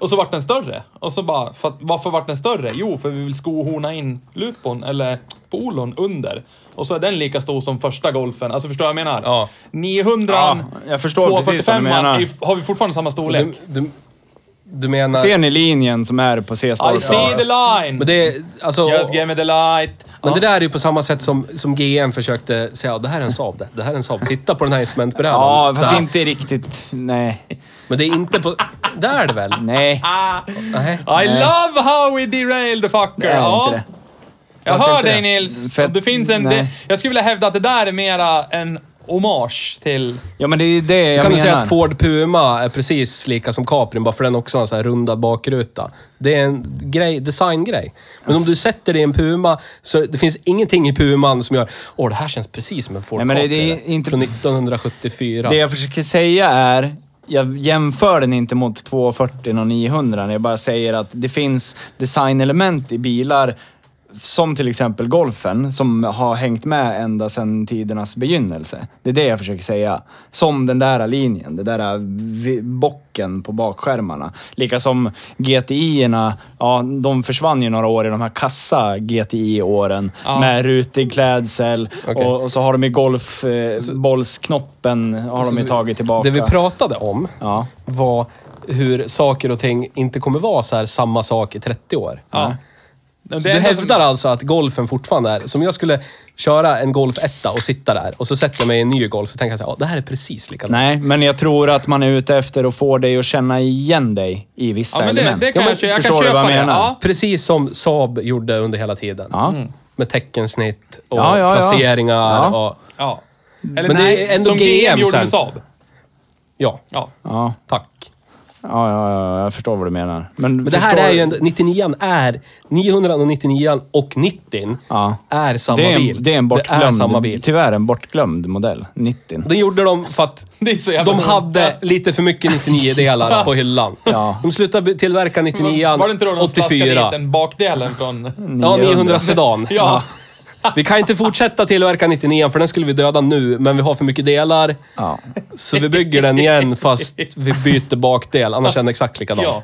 Speaker 2: och så vart den större. Och så bara, för att, varför vart den större? Jo, för vi vill skohorna in lutpon eller polon under. Och så är den lika stor som första golfen. Alltså förstår jag vad jag menar?
Speaker 3: Ja.
Speaker 2: 900
Speaker 1: Ja, jag förstår precis vad du menar.
Speaker 2: är- har vi fortfarande samma storlek.
Speaker 3: Du, du, Du menar...
Speaker 1: Ser ni linjen som är på
Speaker 2: I
Speaker 1: C-starten?
Speaker 2: see the line! Oh,
Speaker 3: Men det är, alltså,
Speaker 2: Just give me the light!
Speaker 3: men
Speaker 2: Ja.
Speaker 3: det där är ju på samma sätt som, som GM försökte säga, "Ja, det här är en Saab det. Det här är en Saab. Titta på den här instrumentbrädan.
Speaker 1: Ja,
Speaker 3: Så
Speaker 1: fast
Speaker 3: här.
Speaker 1: inte riktigt. Nej.
Speaker 3: Men det är inte på... Där är det väl?
Speaker 1: Nej.
Speaker 3: Nej.
Speaker 2: I love how we derail the fucker!
Speaker 1: Det är
Speaker 2: ja.
Speaker 1: inte
Speaker 2: Jag
Speaker 3: Varför
Speaker 2: hör
Speaker 3: inte
Speaker 2: dig
Speaker 3: det?
Speaker 2: Nils.
Speaker 1: För att-
Speaker 2: det finns en,
Speaker 1: nej.
Speaker 2: det, jag skulle vilja hävda att det där är mera en hommage till...
Speaker 1: Ja, men det är ju det jag
Speaker 3: Kan
Speaker 1: menar.
Speaker 3: du säga att Ford Puma är precis lika som Caprin, bara för den också har en sån här rundad bakruta? Det är en grej, designgrej. Men om du sätter dig i en Puma, så det finns ingenting i Puman som gör åh, det här känns precis som en Ford
Speaker 1: Nej, men det-
Speaker 3: Capri,
Speaker 1: det är
Speaker 3: eller?"
Speaker 1: inte-
Speaker 3: Från 1974.
Speaker 1: Det jag försöker säga är, jag jämför den inte mot 240 och 900. Jag bara säger att det finns designelement i bilar, som till exempel golfen, som har hängt med ända sedan tidernas begynnelse. Det är det jag försöker säga. Som den där linjen, den där äh, vi- bocken på bakskärmarna. Lika som GTI-erna, ja, de försvann ju några år i de här kassa GTI-åren. Med rutig klädsel
Speaker 3: Okej.
Speaker 1: och, och så har de ju golfbollsknoppen eh, har de ju tagit tillbaka.
Speaker 3: Det vi pratade om
Speaker 1: Ja.
Speaker 3: var hur saker och ting inte kommer vara så här samma sak i 30 år.
Speaker 2: Det
Speaker 3: Så du
Speaker 2: enda som-
Speaker 3: hävdar alltså att golfen fortfarande är... Som jag skulle köra en Golf 1 och sitta där och så sätter jag mig i en ny Golf så tänker jag så här, "Ja, det här är precis likadant.
Speaker 1: Nej, men jag tror att man är ute efter att få dig att känna igen dig i vissa
Speaker 2: Ja, men det,
Speaker 1: element.
Speaker 2: det kan
Speaker 1: Ja, men
Speaker 2: jag, kö- jag kan
Speaker 1: förstår du
Speaker 2: köpa
Speaker 1: vad jag
Speaker 2: det.
Speaker 1: menar?
Speaker 2: Ja.
Speaker 3: Precis som Saab gjorde under hela tiden.
Speaker 1: Ja.
Speaker 2: Mm.
Speaker 3: Med teckensnitt och
Speaker 1: Ja, ja, ja.
Speaker 3: placeringar
Speaker 1: Ja.
Speaker 3: och...
Speaker 2: ja. Eller
Speaker 3: Men det
Speaker 2: nej,
Speaker 3: är ändå
Speaker 2: som GM,
Speaker 3: GM
Speaker 2: gjorde
Speaker 3: sen.
Speaker 2: med Saab.
Speaker 3: Ja,
Speaker 2: Ja.
Speaker 1: Ja.
Speaker 3: tack.
Speaker 1: Ja, ja, ja, jag förstår vad du menar. Men,
Speaker 3: Men det här
Speaker 1: förstår-
Speaker 3: är ju en... 99 är... 999 och 90
Speaker 1: Ja.
Speaker 3: är samma
Speaker 1: det är en,
Speaker 3: bil.
Speaker 1: Det är en bortglömd,
Speaker 3: Det är samma bil.
Speaker 1: tyvärr en bortglömd modell, 90.
Speaker 3: Den gjorde de för att
Speaker 2: *laughs* Det är så jävla
Speaker 3: de
Speaker 2: dumt.
Speaker 3: hade lite för mycket 99-delar på hyllan.
Speaker 1: Ja.
Speaker 3: De slutade be- tillverka 99
Speaker 2: Var det inte då de slaskade
Speaker 3: 84.
Speaker 2: dit den bakdelen från...
Speaker 1: *laughs*
Speaker 3: Ja, 900 sedan.
Speaker 2: Ja.
Speaker 3: Vi kan inte fortsätta tillverka 99 för den skulle vi döda nu, men vi har för mycket delar.
Speaker 1: Ja.
Speaker 3: Så vi bygger den igen fast vi byter bakdel, annars är den exakt likadan.
Speaker 2: ja.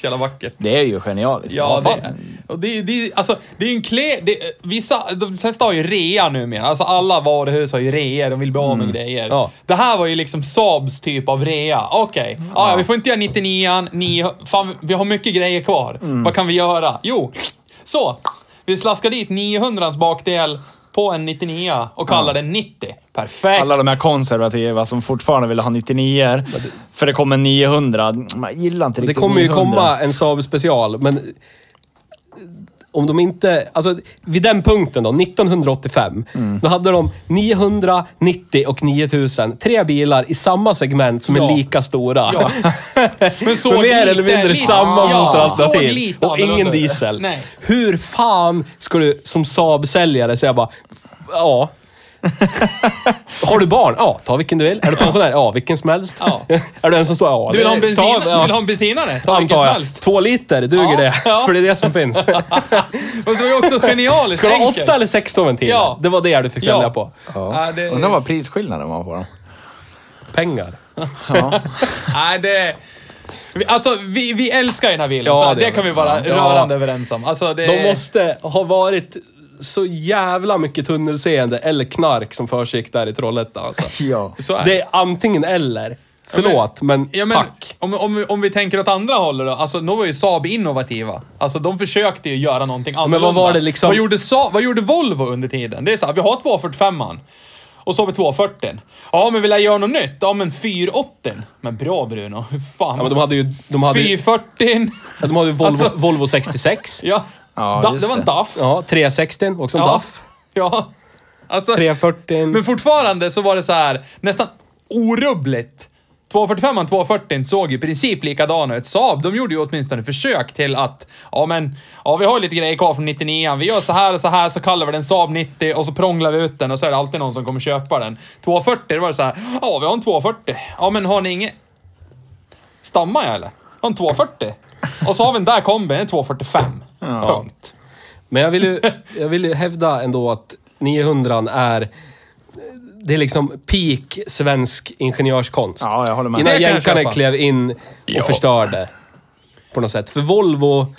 Speaker 2: Så jävla vackert.
Speaker 1: Det är ju genialiskt.
Speaker 2: Ja,
Speaker 1: Vad
Speaker 2: det, och det, det, alltså, det är ju en kle... Det, vissa, de testar ju rea numera. Alltså alla varuhus har ju rea, de vill bli av med grejer.
Speaker 3: Mm. Ja. Mm.
Speaker 2: Det här var ju liksom Saabs typ av rea. Okej, ja. ja, vi får inte göra 99an, ni, fan, vi har mycket grejer kvar.
Speaker 3: Mm.
Speaker 2: Vad kan vi göra? Jo, så. Vi slaskar dit 900ans bakdel på en 99 och kallar den 90. Perfekt!
Speaker 1: Alla de här konservativa som fortfarande vill ha 99 för det kommer 900. Man gillar inte
Speaker 3: Det
Speaker 1: riktigt
Speaker 3: kommer ju
Speaker 1: 900.
Speaker 3: komma en Saab special, men... Om de inte... Alltså, vid den punkten då, 1985,
Speaker 2: Mm.
Speaker 3: då hade de 990 och 9000. Tre bilar i samma segment som
Speaker 2: Ja.
Speaker 3: är lika stora. *laughs*
Speaker 2: Ja. Men såg
Speaker 3: Men mer
Speaker 2: lite-
Speaker 3: eller mindre
Speaker 2: lite-
Speaker 3: samma
Speaker 2: ja,
Speaker 3: motoralternativ.
Speaker 2: såg lite
Speaker 3: och ingen
Speaker 2: annorlunda ut.
Speaker 3: diesel.
Speaker 2: Nej.
Speaker 3: Hur fan ska du som Saab-säljare säga bara, ja. Har du barn? Ja, ta vilken du vill. Är du pensionär? Ja, vilken som helst.
Speaker 2: Ja.
Speaker 3: Är du en som står? Ja.
Speaker 2: Du vill ha en, bensin,
Speaker 3: Ta-
Speaker 2: du vill ha en bensinare? Ta vilken
Speaker 3: Antar
Speaker 2: som
Speaker 3: jag.
Speaker 2: helst.
Speaker 3: Två liter, duger
Speaker 2: Ja,
Speaker 3: det?
Speaker 2: ja.
Speaker 3: För det är det som finns.
Speaker 2: Och det var ju också genialiskt
Speaker 3: Ska du ha
Speaker 2: enkelt.
Speaker 3: åtta eller 16 ventiler?
Speaker 2: Ja.
Speaker 3: Det var det du fick
Speaker 2: Ja.
Speaker 3: välja på.
Speaker 1: Ja.
Speaker 2: Ja, det-
Speaker 1: Undrar vad prisskillnaden var på dem.
Speaker 3: Pengar.
Speaker 2: Nej, det... vi- Alltså, vi, vi älskar ju den här bilen,
Speaker 3: Ja,
Speaker 2: så
Speaker 3: det
Speaker 2: det,
Speaker 3: gör
Speaker 2: kan
Speaker 3: vi.
Speaker 2: vi vara
Speaker 3: Ja.
Speaker 2: rörande överens om. Alltså, det...
Speaker 3: De måste ha varit så jävla mycket tunnelseende eller knark som försiggick där i Trollhättan. Alltså.
Speaker 1: Ja.
Speaker 2: Så är det.
Speaker 3: Det är antingen eller. Förlåt, men,
Speaker 2: Ja, men,
Speaker 3: tack.
Speaker 2: om, om, vi- om vi tänker åt andra hållet då. Alltså, då var ju Saab innovativa. Alltså, de försökte ju göra någonting annorlunda.
Speaker 3: var det liksom-
Speaker 2: Vad gjorde, Saab, vad gjorde Volvo under tiden? Det är så här, vi har 245an. Och så har vi 240. Ja, men vill jag göra något nytt? Ja, men 480. Men bra Bruno. Hur fan?
Speaker 3: Ja, men de hade ju... De hade ju,
Speaker 2: 440.
Speaker 3: ja, de hade ju Volvo,
Speaker 2: Alltså-
Speaker 3: Volvo 66.
Speaker 2: *laughs* Ja.
Speaker 1: Ja,
Speaker 2: Da-
Speaker 1: just
Speaker 2: det var en
Speaker 1: det.
Speaker 2: DAF.
Speaker 3: Ja, 360 också en
Speaker 2: Ja.
Speaker 3: DAF.
Speaker 2: Ja. Alltså,
Speaker 3: 340.
Speaker 2: Men fortfarande så var det så här nästan orubbligt. 245 och 240 såg ju i princip likadana ut. Saab, de gjorde ju åtminstone försök till att, ja men, ja vi har ju lite grejer kvar från 99 Vi gör så här och så här, så kallar vi den Saab 90 och så prånglar vi ut den och så är det alltid någon som kommer köpa den. 240, det var det så här, ja vi har en 240. Ja men har ni inget... Stammar jag eller? Har en 240? Och så har vi den där kombin, en 245. Punkt.
Speaker 3: Men jag
Speaker 1: *laughs*
Speaker 3: vill, ju, jag vill ju hävda ändå att 900 är... Det är liksom peak svensk ingenjörskonst.
Speaker 1: Ja, jag håller med.
Speaker 3: Innan
Speaker 2: Det kan jag
Speaker 3: jänkarna
Speaker 2: köpa.
Speaker 3: klev in och förstörde. På något sätt. För Volvo...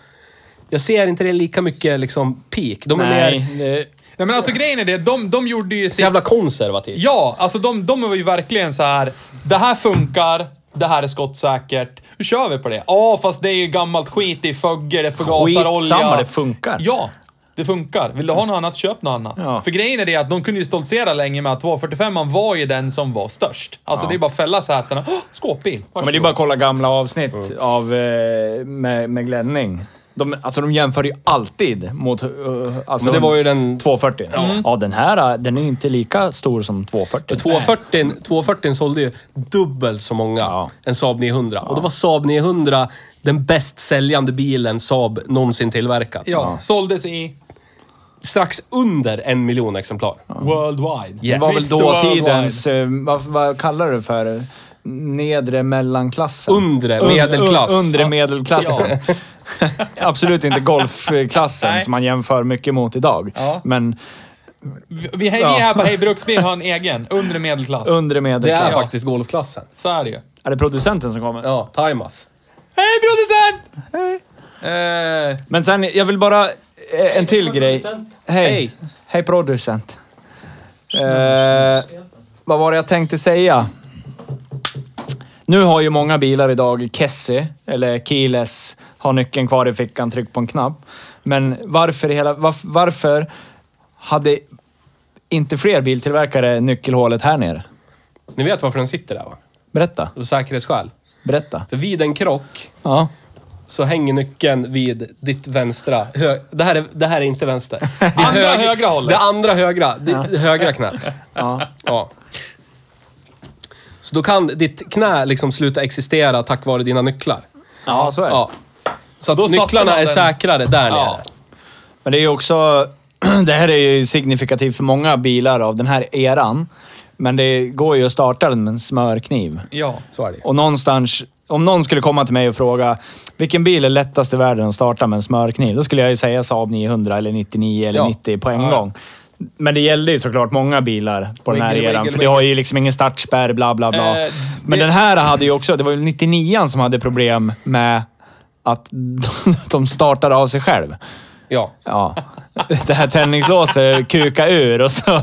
Speaker 3: Jag ser inte det lika mycket liksom peak. De är mer...
Speaker 1: det-
Speaker 2: Nej men alltså grejen är det, de, de gjorde ju
Speaker 3: Så
Speaker 2: sitt
Speaker 3: jävla konservativt.
Speaker 2: Ja, alltså de, de var ju verkligen så här. Det här funkar, det här är skottsäkert. hur kör vi på det? Ja, fast det är ju gammalt skit i fögger, det förgasar olja.
Speaker 4: Skitsamma, det funkar.
Speaker 2: Ja, det funkar. Vill du ha något annat, köp något annat.
Speaker 4: Ja.
Speaker 2: För grejen är det att de kunde ju stoltsera länge med att 245 var ju den som var störst. Alltså det är bara att fälla sätena. Oh, skåpbil!
Speaker 1: Men det är bara att kolla gamla avsnitt av, eh, med, med Glenning. De, alltså de jämför ju alltid mot... eh, alltså
Speaker 3: Men det var ju den-
Speaker 1: 240. Ja, den här eh, den är ju inte lika stor som 240.
Speaker 3: 240, 240 sålde ju dubbelt så många
Speaker 1: Ja.
Speaker 3: än Saab 900. Och då var Saab 900 den bäst säljande bilen Saab någonsin tillverkat.
Speaker 2: Ja, såldes i
Speaker 3: Strax under en miljon exemplar.
Speaker 2: worldwide.
Speaker 1: Det var väl
Speaker 2: Mr. Worldwide.
Speaker 1: dåtidens... Eh, vad, vad kallar du det för? Nedre mellanklassen?
Speaker 3: Undre
Speaker 1: Un-
Speaker 3: medelklass.
Speaker 1: un- undre medelklassen. *laughs* Absolut inte golfklassen
Speaker 2: Nej.
Speaker 1: som man jämför mycket mot idag.
Speaker 2: Ja.
Speaker 1: Men
Speaker 2: Vi, vi, hej, vi är bara, hej, bruksbil har en egen. Undre medelklass.
Speaker 1: undre
Speaker 3: Det är
Speaker 1: medelklass. Är,
Speaker 3: faktiskt golfklassen.
Speaker 2: Så är det ju.
Speaker 1: det producenten som kommer?
Speaker 3: Ja, Timas.
Speaker 2: Hej producent! Hej. Eh,
Speaker 1: Men sen, jag vill bara... eh, En till grej. Hej. Hej, producent. Eh, vad var det jag tänkte säga? Nu har ju många bilar idag Kessi, eller Keyless, har nyckeln kvar i fickan, tryck på en knapp. Men varför, i hela, varf- varför hade inte fler biltillverkare nyckelhålet här nere?
Speaker 3: Ni vet varför den sitter där va?
Speaker 1: Berätta,
Speaker 3: Av säkerhetsskäl.
Speaker 1: berätta.
Speaker 3: För vid en krock
Speaker 1: Ja.
Speaker 3: så hänger nyckeln vid ditt vänstra... Hö, det, här är, det här är
Speaker 2: *laughs*
Speaker 3: inte vänster. Ditt
Speaker 2: Andra högra hållet.
Speaker 3: Det andra högra. Ditt högra knät. Ja. Så då kan ditt knä liksom sluta existera tack vare dina nycklar.
Speaker 1: ja, så är det.
Speaker 3: Ja. Så att
Speaker 2: Då satte
Speaker 3: nycklarna
Speaker 2: man
Speaker 3: är
Speaker 2: den-
Speaker 3: säkrare där nere.
Speaker 2: Ja.
Speaker 1: Men det är ju också, *clears throat* det här är ju signifikativt för många bilar av den här eran. Men det går ju att starta den med en smörkniv.
Speaker 2: ja.
Speaker 3: Så är det ju.
Speaker 1: Och någonstans, om någon skulle komma till mig och fråga vilken bil är lättast i världen att starta med en smörkniv? Då skulle jag ju säga Saab 900 eller 99 eller
Speaker 3: Ja.
Speaker 1: 90 på en gång. Men det gällde ju såklart många bilar på den här
Speaker 2: Wiggle,
Speaker 1: eran,
Speaker 2: wiggle,
Speaker 1: för det har ju liksom ingen startspärr, bla bla bla.
Speaker 2: Eh,
Speaker 1: Men
Speaker 2: det-
Speaker 1: den här hade ju också, det var ju 99 som hade problem med att *laughs* de startade av sig själv.
Speaker 3: Ja.
Speaker 1: Ja. *laughs* Det här tändningslåset kuka ur och så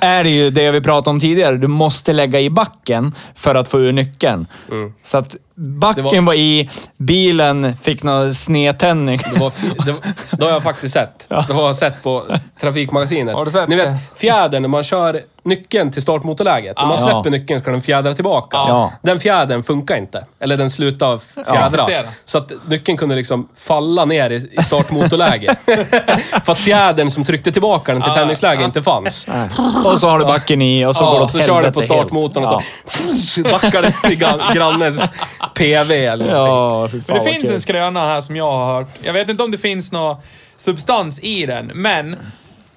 Speaker 1: är det ju det vi pratade om tidigare. Du måste lägga i backen för att få ur nyckeln. Så att backen
Speaker 3: Det
Speaker 1: var...
Speaker 3: var-
Speaker 1: i, bilen fick någon snedtändning.
Speaker 3: Det, var, fi- det, var- det har jag faktiskt sett. Det har jag sett på Trafikmagasinet.
Speaker 2: Har du sett
Speaker 3: Ni vet,
Speaker 2: det?
Speaker 3: fjädern när man kör nyckeln till startmotorläget. När man
Speaker 1: Ja.
Speaker 3: släpper nyckeln ska den fjädra tillbaka.
Speaker 1: Ja.
Speaker 3: Den fjädern funkar inte. Eller den slutar fjädra.
Speaker 2: Existera.
Speaker 3: Så att nyckeln kunde liksom falla ner i
Speaker 1: *laughs*
Speaker 3: i startmotorläge. För att fjädern som tryckte tillbaka den till tändningsläge inte fanns.
Speaker 1: *laughs* Och så har du backen i och så går det
Speaker 3: Ja,
Speaker 1: åt
Speaker 3: så kör du
Speaker 1: helvete
Speaker 3: på startmotorn och så
Speaker 1: helt.
Speaker 3: *laughs* backar den till gran- grannens PV eller någonting.
Speaker 1: Ja, fy
Speaker 2: Men
Speaker 1: fan
Speaker 2: det
Speaker 1: vad
Speaker 2: finns
Speaker 1: kul.
Speaker 2: en skröna här som jag har hört. Jag vet inte om det finns någon substans i den, men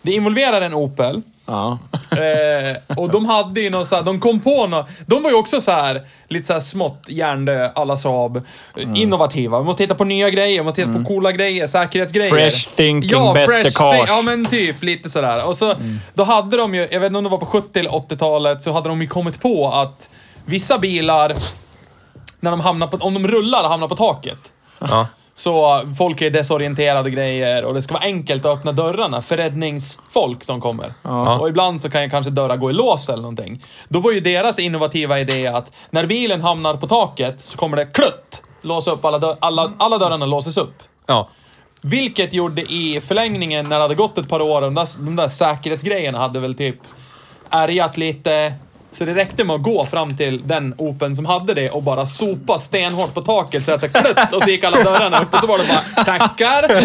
Speaker 2: det involverar en Opel.
Speaker 1: Ja.
Speaker 2: *laughs* Eh, och de hade ju någon så här, de kom på något. De var ju också så här, lite så här smått hjärndö, alla Saab. Eh,
Speaker 1: Mm.
Speaker 2: Innovativa. Vi måste hitta på nya grejer, vi måste hitta på coola grejer, säkerhetsgrejer.
Speaker 1: Fresh thinking, Mm. better cars.
Speaker 2: ja, men typ lite sådär. Och så, då hade de ju, jag vet inte om det var på 70 eller 80-talet, så hade de ju kommit på att vissa bilar, när de hamnar på, om de rullar och hamnar på taket.
Speaker 3: Ja.
Speaker 2: Så folk är desorienterade och grejer och det ska vara enkelt att öppna dörrarna för räddningsfolk som kommer. Och ibland så kan ju kanske dörrar gå i lås eller någonting. Då var ju deras innovativa idé att när bilen hamnar på taket så kommer det klutt! Låsa upp alla, dörr, alla, alla dörrarna låses upp.
Speaker 3: Ja.
Speaker 2: Vilket gjorde i förlängningen, när det hade gått ett par år, de där, de där säkerhetsgrejerna hade väl typ ärgat lite. Så det räckte med att gå fram till den open som hade det och bara sopa stenhårt på taket så att det klött och så gick alla dörrarna upp och så var det bara
Speaker 1: *laughs*
Speaker 2: tackar.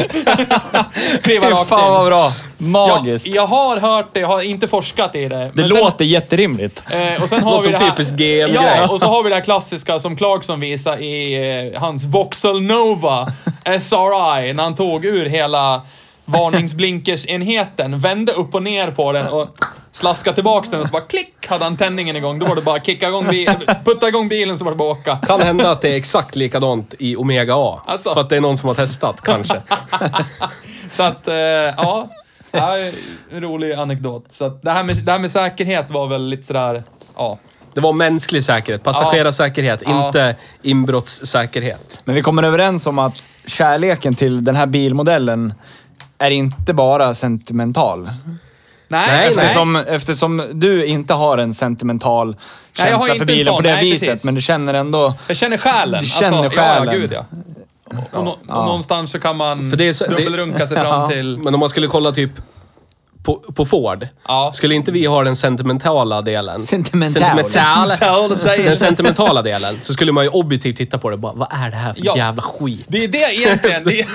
Speaker 2: Kliva
Speaker 1: Fy
Speaker 2: rakt
Speaker 1: fan vad
Speaker 2: in.
Speaker 1: bra.
Speaker 2: Jag,
Speaker 1: Magiskt.
Speaker 2: jag har hört det, jag har inte forskat i det.
Speaker 1: det
Speaker 2: men sen-
Speaker 1: låter jätterimligt.
Speaker 2: Eh, och
Speaker 3: *laughs*
Speaker 2: sen har
Speaker 3: Låter
Speaker 2: vi
Speaker 3: som
Speaker 2: det här,
Speaker 3: typisk GM-grej.
Speaker 2: Ja, och så har vi det här klassiska som Clarkson visar i eh, hans Vauxhall
Speaker 3: *laughs*
Speaker 2: Nova SRI när han tog ur hela varningsblinkersenheten, vände upp och ner på den och slaskade tillbaks den och så bara klick hade han tändningen igång. Då var det bara att kicka igång bilen, *laughs* putta igång bilen så var det bara att åka.
Speaker 3: Kan hända att det är exakt likadant i Omega A.
Speaker 2: Alltså.
Speaker 3: För att det är någon som har testat, kanske.
Speaker 2: Så att, eh, ja. Det här är en rolig anekdot. Så att det, här med, det här med säkerhet var väl lite sådär, ja.
Speaker 3: Det var mänsklig säkerhet, passagerarsäkerhet,
Speaker 2: Ja.
Speaker 3: inte inbrottssäkerhet.
Speaker 1: Men vi kommer överens om att kärleken till den här bilmodellen är inte bara sentimental.
Speaker 2: Nej,
Speaker 3: Nej,
Speaker 2: nej.
Speaker 1: Eftersom, eftersom du inte har en sentimental
Speaker 2: jag har
Speaker 1: känsla
Speaker 2: inte
Speaker 1: för
Speaker 2: en
Speaker 1: bilen
Speaker 2: sån.
Speaker 1: på det
Speaker 2: Nej,
Speaker 1: viset,
Speaker 2: precis.
Speaker 1: men du känner ändå...
Speaker 2: Jag känner själen.
Speaker 1: Du känner
Speaker 2: alltså, Ja,
Speaker 1: själen.
Speaker 2: ja, gud ja. Och, nå- och någonstans så kan man
Speaker 3: För det är så- det-
Speaker 2: dubbelrunka
Speaker 3: *laughs*
Speaker 2: sig fram till...
Speaker 3: Men om man skulle kolla typ på, på Ford.
Speaker 2: Ja.
Speaker 3: Skulle inte vi ha den sentimentala delen?
Speaker 1: Sentimental.
Speaker 3: Sentimental. Den sentimentala delen. Så skulle man ju objektivt titta på det och bara, vad är det här för
Speaker 2: Ja.
Speaker 3: jävla skit?
Speaker 2: Det är det egentligen. Det är,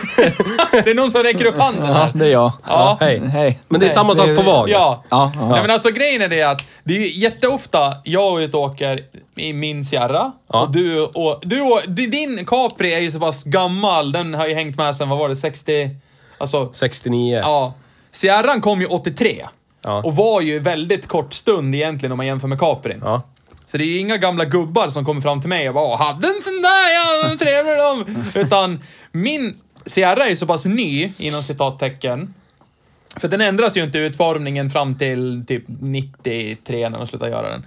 Speaker 2: det är *laughs* någon som räcker upp handen här.
Speaker 1: Ja, det är jag.
Speaker 2: Ja.
Speaker 3: Hej.
Speaker 1: Hej.
Speaker 3: Men det är samma sak på VAG.
Speaker 2: Ja.
Speaker 1: Ja, ja.
Speaker 2: Nej, men alltså grejen är det att det är ju jätteofta jag och Ut åker i min Sierra
Speaker 3: Ja.
Speaker 2: och du och, du och din Capri är ju så pass gammal. Den har ju hängt med sen, vad var det, 60... Alltså,
Speaker 3: 69.
Speaker 2: ja. Sierran kom ju 83
Speaker 3: Ja.
Speaker 2: och var ju väldigt kort stund egentligen om man jämför med Caprin.
Speaker 3: Ja.
Speaker 2: Så det är ju inga gamla gubbar som kommer fram till mig och bara "Åh, hade en sån där, ja, vad trevlig de. Utan min Sierra är ju så pass ny, inom citattecken. För den ändras ju inte i utformningen fram till typ 93 när de slutar göra den.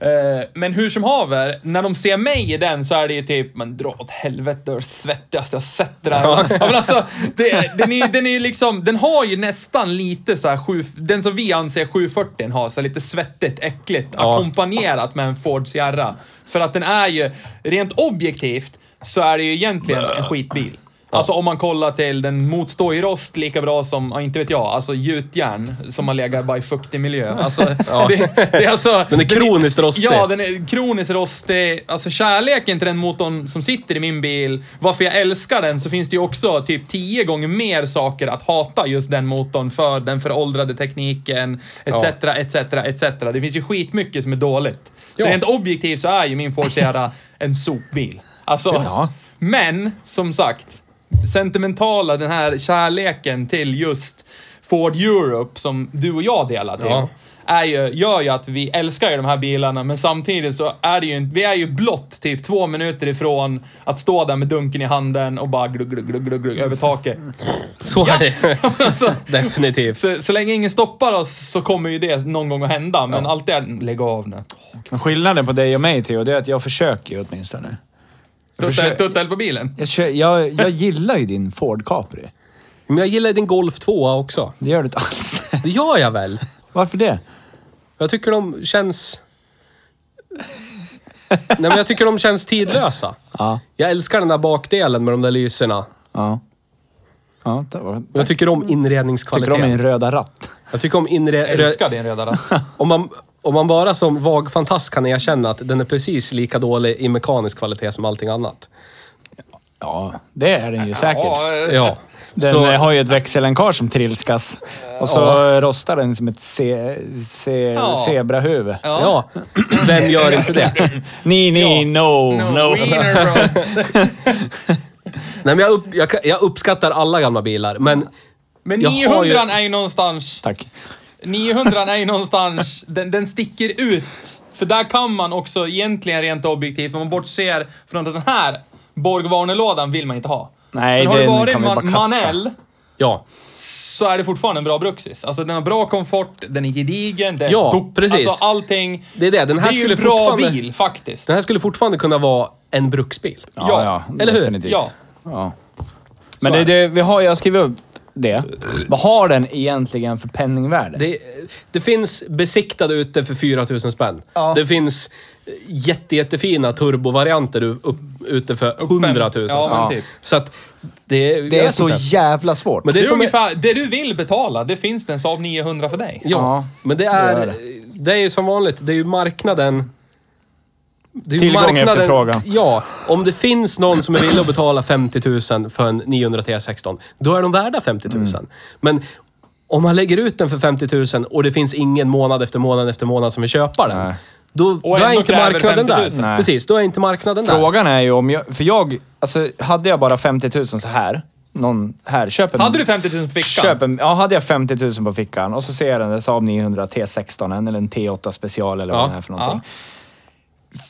Speaker 2: Eh, men hur som haver, när de ser mig i den så är det ju typ, men dra åt helvete, det är det svettigaste jag sett det där. ja, men alltså, det, den, är, ju- den är ju liksom, den har ju nästan lite så här, sju, den som vi anser 740 har, så här lite svettigt, äckligt, ackompanjerat med en Ford Sierra. För att den är ju, rent objektivt, så är det ju egentligen en skitbil. Alltså om man kollar till, den motstår ju rost lika bra som, ja, inte vet jag, alltså gjutjärn som man lägger bara i fuktig miljö.
Speaker 3: *laughs*
Speaker 2: Alltså, det, det är alltså...
Speaker 3: Den är kroniskt rostig.
Speaker 2: Ja, den är kroniskt rostig. Alltså kärleken till den motorn som sitter i min bil, varför jag älskar den, så finns det ju också typ tio gånger mer saker att hata just den motorn för. Den föråldrade tekniken, etc, etc, etc. Det finns ju skitmycket som är dåligt. Så rent objektivt så är ju min Ford Sierra en sopbil. Alltså,
Speaker 1: Ja.
Speaker 2: men som sagt, sentimentala, den här kärleken till just Ford Europe som du och jag delar till.
Speaker 3: Ja.
Speaker 2: Är ju, gör ju att vi älskar ju de här bilarna, men samtidigt så är det ju inte, vi är ju blott typ två minuter ifrån att stå där med dunken i handen och bara glugg, glugg, glugg, glugg, glugg över taket.
Speaker 3: Så är det.
Speaker 2: *laughs* alltså,
Speaker 3: Definitivt.
Speaker 2: så, så länge ingen stoppar oss så kommer ju det någon gång att hända, men alltid är lägg av nu.
Speaker 1: Men skillnaden på dig och mig, Theo, det är att jag försöker ju åtminstone. Jag,
Speaker 2: Tuttel-
Speaker 1: försöker,
Speaker 2: Tuttel på bilen.
Speaker 1: jag, kö- jag, jag gillar ju din Ford Capri.
Speaker 3: Men jag gillar din Golf 2 också.
Speaker 1: Det gör du inte alls. *laughs*
Speaker 3: Det gör jag väl?
Speaker 1: Varför det?
Speaker 3: Jag tycker de känns... Nej, men jag tycker de känns tidlösa.
Speaker 1: Ja.
Speaker 3: Jag älskar den där bakdelen med de där lyserna.
Speaker 1: Ja. Ja, det var...
Speaker 3: Jag tycker om
Speaker 1: Mm. Tycker om
Speaker 3: inredningskvaliteten.
Speaker 1: min röda ratt.
Speaker 3: Jag tycker om
Speaker 2: Jag
Speaker 1: *laughs*
Speaker 3: inredning...
Speaker 2: älskar din röda ratt.
Speaker 3: Om man, om man bara som vag fantast kan erkänna att den är precis lika dålig i mekanisk kvalitet som allting annat.
Speaker 1: Ja, det är den ju säkert.
Speaker 3: Ja.
Speaker 1: Den
Speaker 3: Så-
Speaker 1: eh, har ju ett växellänkage som trilskas. Och så rostar den som ett ce, ce,
Speaker 2: Ja.
Speaker 1: zebrahuvud.
Speaker 3: Ja. Vem gör inte det?
Speaker 1: Ni, ni, no, no.
Speaker 2: Wiener bro.
Speaker 3: Nej, men jag, upp, jag, kan- jag uppskattar alla gamla bilar, men...
Speaker 2: Men
Speaker 3: jag
Speaker 2: 900
Speaker 3: har ju-
Speaker 2: är ju någonstans...
Speaker 1: Tack.
Speaker 2: 900 är ju någonstans, den, den sticker ut. För där kan man också egentligen rent objektivt, om man bortser från att den här Borg-Warner-lådan vill man inte ha.
Speaker 1: Nej,
Speaker 2: Men har det
Speaker 1: den
Speaker 2: varit
Speaker 1: kan vi
Speaker 2: man,
Speaker 1: bara kasta.
Speaker 2: Manel
Speaker 3: Ja.
Speaker 2: så är det fortfarande en bra Bruxis. Alltså den har bra komfort, den är gedigen, den är
Speaker 3: Ja,
Speaker 2: dopp.
Speaker 3: precis.
Speaker 2: Alltså allting.
Speaker 3: Det är det. Den här
Speaker 2: det är ju
Speaker 3: skulle
Speaker 2: en bra
Speaker 3: fortfarande-
Speaker 2: bil faktiskt.
Speaker 3: Den här skulle fortfarande kunna vara en bruksbil.
Speaker 2: Ja,
Speaker 3: eller hur?
Speaker 1: Definitivt.
Speaker 2: Ja.
Speaker 1: Ja. Men det, det, vi har, jag skriver upp det. Vad har den egentligen för penningvärde?
Speaker 3: Det, det finns besiktade ute för 4000 spänn.
Speaker 1: Ja.
Speaker 3: Det finns jätte, jättefina turbovarianter u- upp, ute för 100 000 spänn.
Speaker 2: Ja, men typ.
Speaker 3: Så att det, jag
Speaker 1: Det är
Speaker 3: vet
Speaker 1: så
Speaker 3: inte.
Speaker 1: jävla svårt.
Speaker 3: Men
Speaker 2: Det,
Speaker 3: det är
Speaker 2: är
Speaker 3: som...
Speaker 2: ungefär, det du vill betala, det finns det en Saab 900 för dig.
Speaker 3: Ja,
Speaker 1: Ja,
Speaker 3: men det
Speaker 1: det
Speaker 3: är,
Speaker 1: är
Speaker 3: det.
Speaker 1: det.
Speaker 3: är ju som vanligt, det är ju marknaden... Det är ju
Speaker 1: Tillgång och efterfrågan.
Speaker 3: Ja, om det finns någon som är villig att betala 50 000 för en 900 T16, då är de värda 50 000.
Speaker 1: Mm.
Speaker 3: Men om man lägger ut den för 50 000 och det finns ingen månad efter månad efter månad som vill köpa den,
Speaker 1: Nej.
Speaker 3: då, då är
Speaker 2: ändå
Speaker 3: inte
Speaker 2: kräver
Speaker 3: marknaden
Speaker 2: 50
Speaker 3: där.
Speaker 2: 000.
Speaker 1: Nej.
Speaker 3: Precis, då är inte marknaden där.
Speaker 1: Frågan är ju om jag... För jag... Alltså, hade jag bara 50 000 så här. Någon här. Köper
Speaker 2: Hade du 50 000 på fickan?
Speaker 1: Köp en, ja, hade jag 50 000 på fickan och så ser jag den där Saab 900 T16 en, eller en T8 special eller vad
Speaker 3: Ja,
Speaker 1: den är för någonting.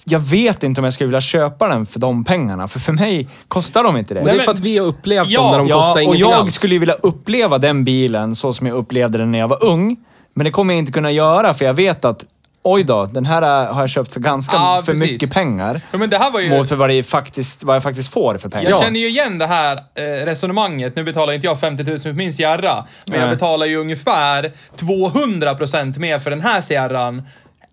Speaker 1: Jag vet inte om jag skulle vilja köpa den för de pengarna, för för mig kostar de inte det.
Speaker 3: Men det är
Speaker 2: Nej,
Speaker 3: för
Speaker 2: men-
Speaker 3: att vi har upplevt
Speaker 2: Ja,
Speaker 3: dem när de
Speaker 1: ja,
Speaker 3: kostar
Speaker 1: och
Speaker 3: ingenting
Speaker 1: jag
Speaker 3: alls.
Speaker 1: skulle vilja uppleva den bilen så som jag upplevde den när jag var ung, men det kommer jag inte kunna göra för jag vet att oj då, den här är- har jag köpt för ganska
Speaker 2: Ja,
Speaker 1: för
Speaker 2: precis.
Speaker 1: mycket pengar.
Speaker 2: Ja, men det här var ju...
Speaker 1: Mot för vad, det faktiskt, vad jag faktiskt får för pengar.
Speaker 2: Jag känner ju igen det här eh, resonemanget. Nu betalar inte jag 50 000 för min Sierra, men jag
Speaker 1: Nej.
Speaker 2: betalar ju ungefär 200% mer för den här Sierran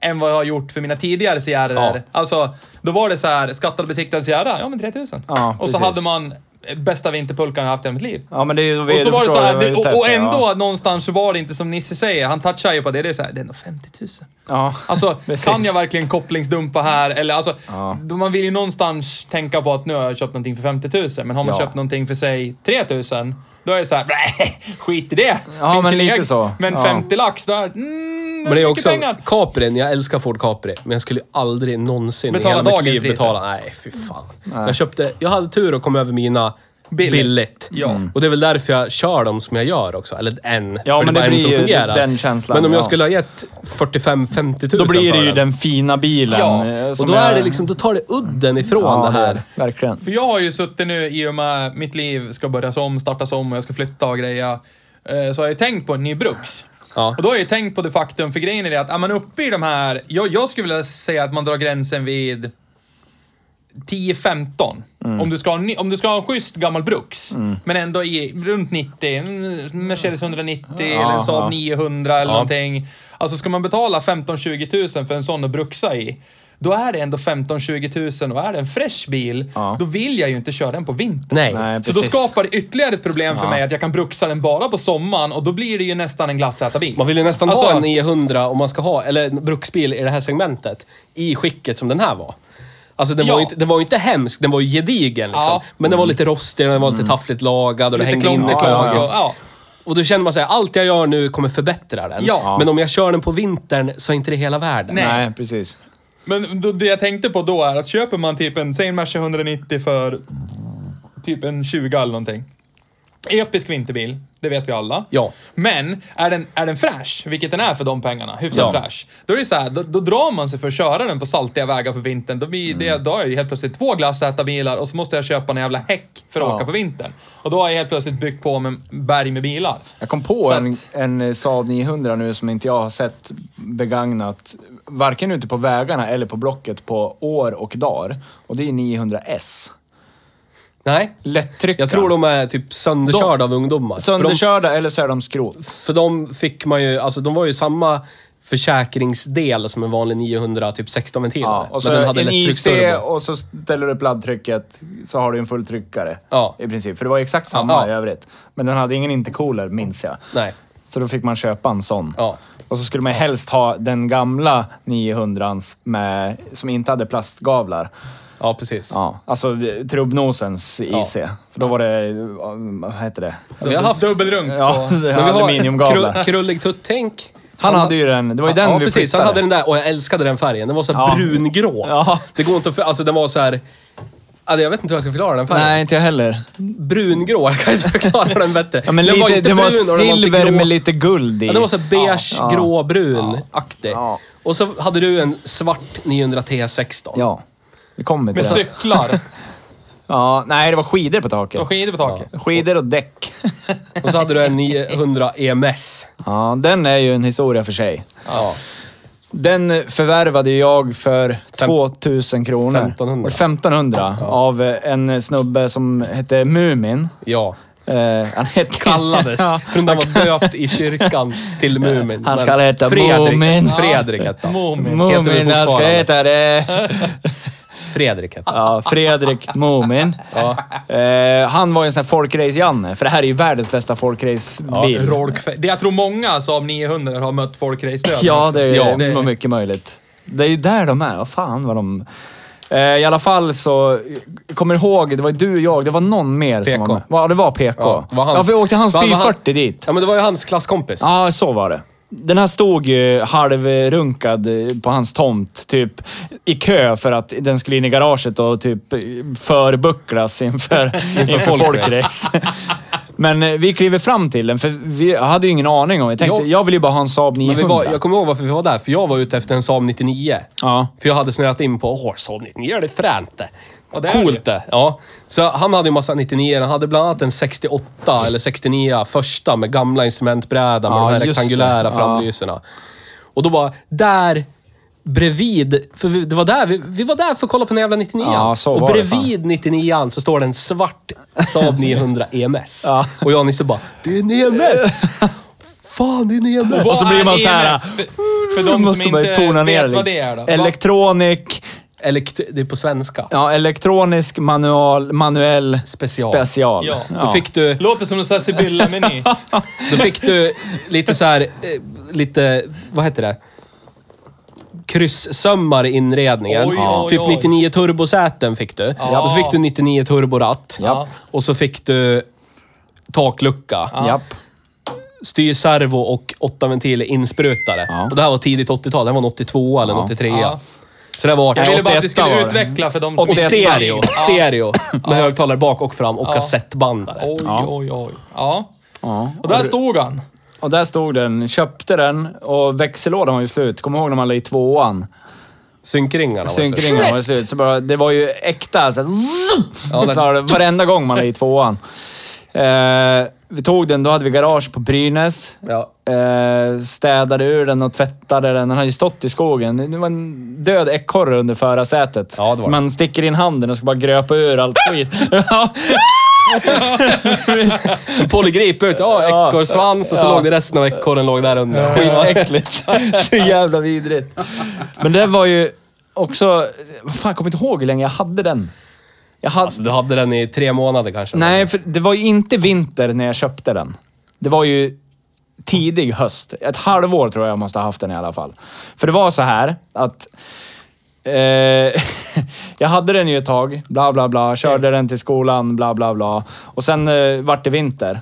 Speaker 2: än vad jag har gjort för mina tidigare Sierror. Alltså, då var det så här, skattad besiktad Sierra, ja men 3000.
Speaker 1: Ja,
Speaker 2: och så
Speaker 1: precis.
Speaker 2: hade man eh, bästa vinterpulkan jag haft i hela mitt liv.
Speaker 1: Ja, men det är ju...
Speaker 2: Och så var det så här, det, och, och ändå
Speaker 1: Ja.
Speaker 2: någonstans så var det inte som Nisse säger, han touchar ju på det, det är så här, det är nog 50 000.
Speaker 1: Ja.
Speaker 2: *laughs* Alltså,
Speaker 1: *laughs* Precis.
Speaker 2: kan jag verkligen kopplingsdumpa här? Eller alltså,
Speaker 1: Ja.
Speaker 2: då man vill ju någonstans tänka på att nu har jag köpt någonting för 50 000, men har man
Speaker 1: Ja.
Speaker 2: köpt någonting för sig 3 000, då är det så här, *laughs* nej, skit i det.
Speaker 1: Ja,
Speaker 2: Finns
Speaker 1: men
Speaker 2: ju
Speaker 1: lite
Speaker 2: inga-
Speaker 1: så.
Speaker 2: Men
Speaker 1: Ja.
Speaker 2: 50 lax, då är det, mm,
Speaker 3: Men det är
Speaker 2: mycket
Speaker 3: också
Speaker 2: pengar.
Speaker 3: Caprin, jag älskar Ford Capri, men jag skulle ju aldrig någonsin
Speaker 2: Betala
Speaker 3: i hela mitt
Speaker 2: dagens
Speaker 3: liv
Speaker 2: priser.
Speaker 3: betala. Nej, fy fan. Jag köpte, jag hade tur och kom över mina billigt.
Speaker 2: Ja. Mm.
Speaker 3: Och det är väl därför jag kör dem som jag gör också. Eller en,
Speaker 1: Ja,
Speaker 3: för
Speaker 1: men
Speaker 3: det är bara
Speaker 1: det
Speaker 3: en
Speaker 1: blir
Speaker 3: som
Speaker 1: ju
Speaker 3: fungerar.
Speaker 1: den känslan,
Speaker 3: Men om
Speaker 1: ja.
Speaker 3: jag skulle ha gett 45-50 tusen
Speaker 1: Då blir
Speaker 3: för
Speaker 1: det ju
Speaker 3: den.
Speaker 1: den fina bilen.
Speaker 2: Ja,
Speaker 1: eh,
Speaker 3: Och
Speaker 1: som
Speaker 3: då
Speaker 1: jag-
Speaker 3: är det liksom, då tar det udden ifrån
Speaker 1: Ja,
Speaker 3: det här.
Speaker 1: Verkligen.
Speaker 2: För jag har ju suttit nu i och med mitt liv ska börjas om, startas om och jag ska flytta och greja. eh, Så har jag ju tänkt på en ny bruks.
Speaker 3: Ja.
Speaker 2: Och då har jag ju tänkt på det faktum, för grejen är det att är man uppe i de här, jag, jag skulle vilja säga att man drar gränsen vid 10-15.
Speaker 1: Mm.
Speaker 2: Om, du ska ha en ny- om du ska ha en schysst gammal bruks, men ändå i, runt 90, mm, Mercedes 190 eller en Saab
Speaker 1: ja.
Speaker 2: 900 eller någonting. Alltså ska man betala 15-20 000 för en sån att bruxa i, då är det ändå 15-20 000 och är det en fräsch bil,
Speaker 1: Ja.
Speaker 2: då vill jag ju inte köra den på vintern.
Speaker 3: Nej.
Speaker 1: Nej,
Speaker 2: Så då
Speaker 1: precis.
Speaker 2: skapar det ytterligare ett problem för mig att jag kan bruxa den bara på sommaren och då blir det ju nästan en glassätarbil.
Speaker 3: Man vill ju nästan
Speaker 2: Alltså-
Speaker 3: ha en 900 om man ska ha, eller en bruksbil i det här segmentet, i skicket som den här var. Alltså den,
Speaker 2: Ja.
Speaker 3: var, ju inte, den var ju inte hemsk, den var ju gedigen liksom.
Speaker 2: Ja. Mm.
Speaker 3: Men den var lite rostig, den var lite taffligt lagad och det
Speaker 2: Lite
Speaker 3: hängde in i
Speaker 2: klonigt
Speaker 3: klagen.
Speaker 2: lag och- ja.
Speaker 3: Och då känner man såhär, allt jag gör nu kommer förbättra den.
Speaker 2: Ja.
Speaker 3: Men om jag kör den på vintern så är inte det hela världen.
Speaker 2: Nej.
Speaker 1: Nej, precis.
Speaker 2: Men då, det jag tänkte på då är att köper man typ en, säg en Merca 190 för typ en 20 eller någonting. Episk vinterbil, det vet vi alla.
Speaker 3: Ja.
Speaker 2: Men är den, är den fräsch, vilket den är för de pengarna, hyfsat
Speaker 3: Ja.
Speaker 2: fräsch. Då är det så här, då, då drar man sig för att köra den på saltiga vägar på vintern. Då, blir det,
Speaker 1: Mm.
Speaker 2: då har jag ju helt plötsligt två glassätarbilar och så måste jag köpa en jävla häck för att åka på vintern. Och då har jag helt plötsligt byggt på mig en berg med bilar.
Speaker 1: Jag kom på
Speaker 2: Så
Speaker 1: en,
Speaker 2: att-
Speaker 1: en eh, Saab 900 nu som inte jag har sett begagnat, varken ute på vägarna eller på Blocket på år och dagar. Och det är 900S.
Speaker 3: Nej.
Speaker 1: Lättryckare.
Speaker 3: Jag tror de är typ sönderkörda av ungdomar.
Speaker 1: Sönderkörda eller så är de skrot.
Speaker 3: För de, för de fick man ju, alltså de var ju samma försäkringsdel som en vanlig 900, typ 16-ventilare.
Speaker 1: Ja, och så
Speaker 3: Men den hade
Speaker 1: en IC
Speaker 3: lättrycksturbo.
Speaker 1: och så ställer du upp laddtrycket så har du en fulltryckare.
Speaker 3: Ja.
Speaker 1: I princip. För det var ju exakt samma
Speaker 3: Ja.
Speaker 1: i övrigt. Men den hade ingen intercooler, minns jag.
Speaker 3: Nej.
Speaker 1: Så då fick man köpa en sån.
Speaker 3: Ja.
Speaker 1: Och så skulle man helst ha den gamla 900ans med, som inte hade plastgavlar.
Speaker 3: Ja, precis.
Speaker 1: Ja, alltså det- trubbnosens IC. För då var det, ja, vad heter det?
Speaker 3: Vi har haft...
Speaker 2: Dubbelrunk
Speaker 1: Ja,
Speaker 2: på...
Speaker 1: det har aluminiumgavlar.
Speaker 3: kru- krullig tutt-tänk.
Speaker 1: Han hade ju den, det var ju den
Speaker 3: ja,
Speaker 1: vi
Speaker 3: precis. Han
Speaker 1: flyttade.
Speaker 3: hade den där och jag älskade den färgen. Den var så här
Speaker 1: Ja.
Speaker 3: brungrå.
Speaker 1: Ja.
Speaker 3: Det går inte att... för- Alltså den var så här... Alltså, jag vet inte hur jag ska förklara den färgen.
Speaker 1: Nej, inte jag heller.
Speaker 3: Brungrå, jag kan inte förklara den bättre.
Speaker 1: Ja, men
Speaker 3: den
Speaker 1: lite,
Speaker 3: var inte
Speaker 1: det var
Speaker 3: brun och den var inte
Speaker 1: silver
Speaker 3: grå.
Speaker 1: med lite guld i.
Speaker 3: Ja, den var så här beige,
Speaker 1: Ja.
Speaker 3: gråbrun-aktig.
Speaker 1: Ja.
Speaker 3: Och så hade du en svart 900 T16.
Speaker 1: Ja, vi kommer till
Speaker 2: Med
Speaker 1: det.
Speaker 2: cyklar
Speaker 1: Ja, nej, det var skidor på taket.
Speaker 2: och skidor på taket.
Speaker 1: Skidor och däck. *laughs*
Speaker 3: Och så hade du en E 900 EMS.
Speaker 1: Ja, den är ju en historia för sig.
Speaker 3: Ja.
Speaker 1: Den förvärvade jag för 2000 kronor.
Speaker 3: 1500.
Speaker 1: 1500 av en snubbe som hette Mumin.
Speaker 3: Ja.
Speaker 1: Eh, han hette... *laughs*
Speaker 3: Kallades.
Speaker 1: Ja,
Speaker 3: För den där var döpt i kyrkan
Speaker 1: *laughs*
Speaker 3: till Mumin.
Speaker 1: Han
Speaker 3: Men
Speaker 1: ska heta
Speaker 3: Fredrik,
Speaker 1: Mumin.
Speaker 3: Fredrik hette han.
Speaker 2: Mumin.
Speaker 3: Heter vi
Speaker 1: Mumin, han ska
Speaker 3: fortfarande.
Speaker 1: heta det.
Speaker 3: *laughs* Fredrik hette han.
Speaker 1: Ja, Fredrik Mumin. Eh, han var ju en sån här folkrace-Janne, för det här är ju världens bästa folkrace-bil.
Speaker 2: Rolkfe- det jag tror många Saab 900 har mött folkrace
Speaker 1: Ja, det är
Speaker 3: Ja,
Speaker 1: det... var mycket möjligt. Det är ju där de är. Vad fan vad de... Eh, I alla fall så, jag kommer ihåg, det var du och jag, det var någon mer som
Speaker 3: PK.
Speaker 1: var med. Ja, det var PK. Ja,
Speaker 3: var hans-
Speaker 1: för vi åkte hans
Speaker 3: var- var
Speaker 1: 440 dit.
Speaker 3: Ja, men det var ju hans klasskompis.
Speaker 1: Ja, så var det. Den här stod ju halvrunkad eh, på hans tomt, typ i kö för att den skulle in i garaget och typ eh, förbucklas inför, inför folkrace. *laughs* Men eh, vi kliver fram till den, för vi hade ju ingen aning om Jag tänkte,
Speaker 3: Jo.
Speaker 1: jag vill ju bara ha en Saab 900.
Speaker 3: Men vi var, jag kommer ihåg varför vi var där, för jag var ute efter en Saab 99.
Speaker 1: Ja.
Speaker 3: För jag hade snöat in på, åh, Saab 99, det är fränt det.
Speaker 2: det är
Speaker 3: Coolt det. Ja. Så han hade ju massa 99 han hade bland annat en 68 eller 69 första med gamla instrumentbräda med
Speaker 1: Ja,
Speaker 3: de här
Speaker 1: just
Speaker 3: rektangulära
Speaker 1: det. Ja.
Speaker 3: framlyserna. Och då bara, där bredvid, för vi, det var där, vi, vi var där för att kolla på den jävla 99
Speaker 1: Ja, så
Speaker 3: Och
Speaker 1: var det
Speaker 3: bredvid 99 så står det en svart Saab 900 EMS.
Speaker 1: Ja.
Speaker 3: Och jag och Nisse bara, det är
Speaker 1: *laughs*
Speaker 3: en EMS! Fan, det är en E EMS!
Speaker 1: Och så blir man så här, eh,
Speaker 2: För, E för de som
Speaker 1: Måste bara
Speaker 2: inte
Speaker 1: tona
Speaker 2: vet
Speaker 1: ner
Speaker 2: vad
Speaker 1: lite.
Speaker 2: det är då.
Speaker 1: Elektronik,
Speaker 3: Elekt- det är på svenska.
Speaker 1: ja, elektronisk manual, manuell
Speaker 3: Special.
Speaker 1: special.
Speaker 2: Ja.
Speaker 3: Då fick du...
Speaker 2: Låter som en sån här
Speaker 1: *laughs*
Speaker 2: Sibylla-meny.
Speaker 3: Då fick du lite så här, eh, lite, vad heter det? Kryssömmar i inredningen.
Speaker 2: Oj, oj,
Speaker 3: typ
Speaker 2: oj.
Speaker 3: 99 turbosäten fick du. Och så fick du 99 turboratt.
Speaker 1: Ja.
Speaker 3: Och så fick du taklucka,
Speaker 1: Japp.
Speaker 3: styrservo och åtta ventiler insprutare.
Speaker 1: Ja.
Speaker 3: Och det här var tidigt 80-tal. Det här var en 82 eller en 83
Speaker 2: Ja.
Speaker 3: Så det här var
Speaker 2: Jag ville bara att
Speaker 1: 81
Speaker 2: vi skulle
Speaker 1: var det.
Speaker 2: utveckla för de som
Speaker 3: Och
Speaker 2: inte-
Speaker 3: stereo.
Speaker 2: Ja.
Speaker 3: Stereo. Med högtalare bak och fram och kassettbandare.
Speaker 2: Oj,
Speaker 1: Ja.
Speaker 2: oj, oj. Ja.
Speaker 1: Ja.
Speaker 2: Och där stod han.
Speaker 1: Och där stod den, köpte den och växellådan var ju slut. Kommer ihåg när man la i tvåan?
Speaker 3: Synkringarna var det.
Speaker 1: Synkringen var ju slut. Så bara, det var ju äkta så här, zoom!
Speaker 3: Ja, den-
Speaker 1: så var det varenda gång man la i tvåan. Eh, vi tog den, då hade vi garage på Brynäs.
Speaker 3: Ja.
Speaker 1: Eh, städade ur den och tvättade den. Den hade ju stått i skogen. Det var en död ekorre under förarsätet.
Speaker 3: Ja, det var
Speaker 1: Man sticker in handen och ska bara gröpa ur allt skit. Ja.
Speaker 3: Polygrip ut. Ja, ekorrsvans och så
Speaker 1: Ja.
Speaker 3: låg det resten av ekorren låg där under.
Speaker 1: Skitäckligt. *laughs* Så jävla vidrigt. Men den var ju också... Vad fan, jag kommer inte ihåg hur länge jag hade den. Jag hade,
Speaker 3: Alltså, du hade den i tre månader kanske?
Speaker 1: Nej, för det var ju inte vinter när jag köpte den. Det var ju tidig höst. Ett halvår tror jag jag måste ha haft den i alla fall. För det var så här att... Eh, *laughs* jag hade den ju ett tag, bla bla bla. Körde den till skolan, bla bla bla. Och sen eh, vart det vinter.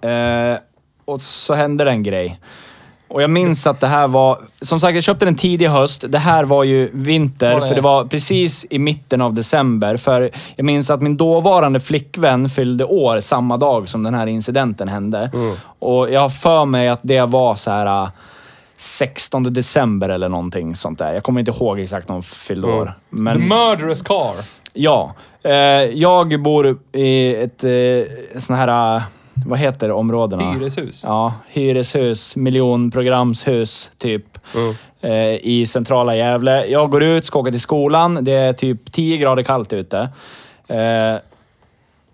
Speaker 1: Eh, och så hände det en grej. Och jag minns att det här var... Som sagt, jag köpte den tidig höst. Det här var ju vinter, för det var precis i mitten av december. För jag minns att min dåvarande flickvän fyllde år samma dag som den här incidenten hände. Och jag har för mig att det var så här... äh, 16 december eller någonting sånt där. Jag kommer inte ihåg exakt när hon fyllde år. Men...
Speaker 2: The murderous car.
Speaker 1: Ja. Eh, jag bor i ett eh, sån här, eh, vad heter områdena?
Speaker 2: Hyreshus.
Speaker 1: Ja, hyreshus, miljonprogramshus typ.
Speaker 3: Mm.
Speaker 1: Eh, I centrala Gävle. Jag går ut, ska åka till skolan. Det är typ 10 grader kallt ute. Eh,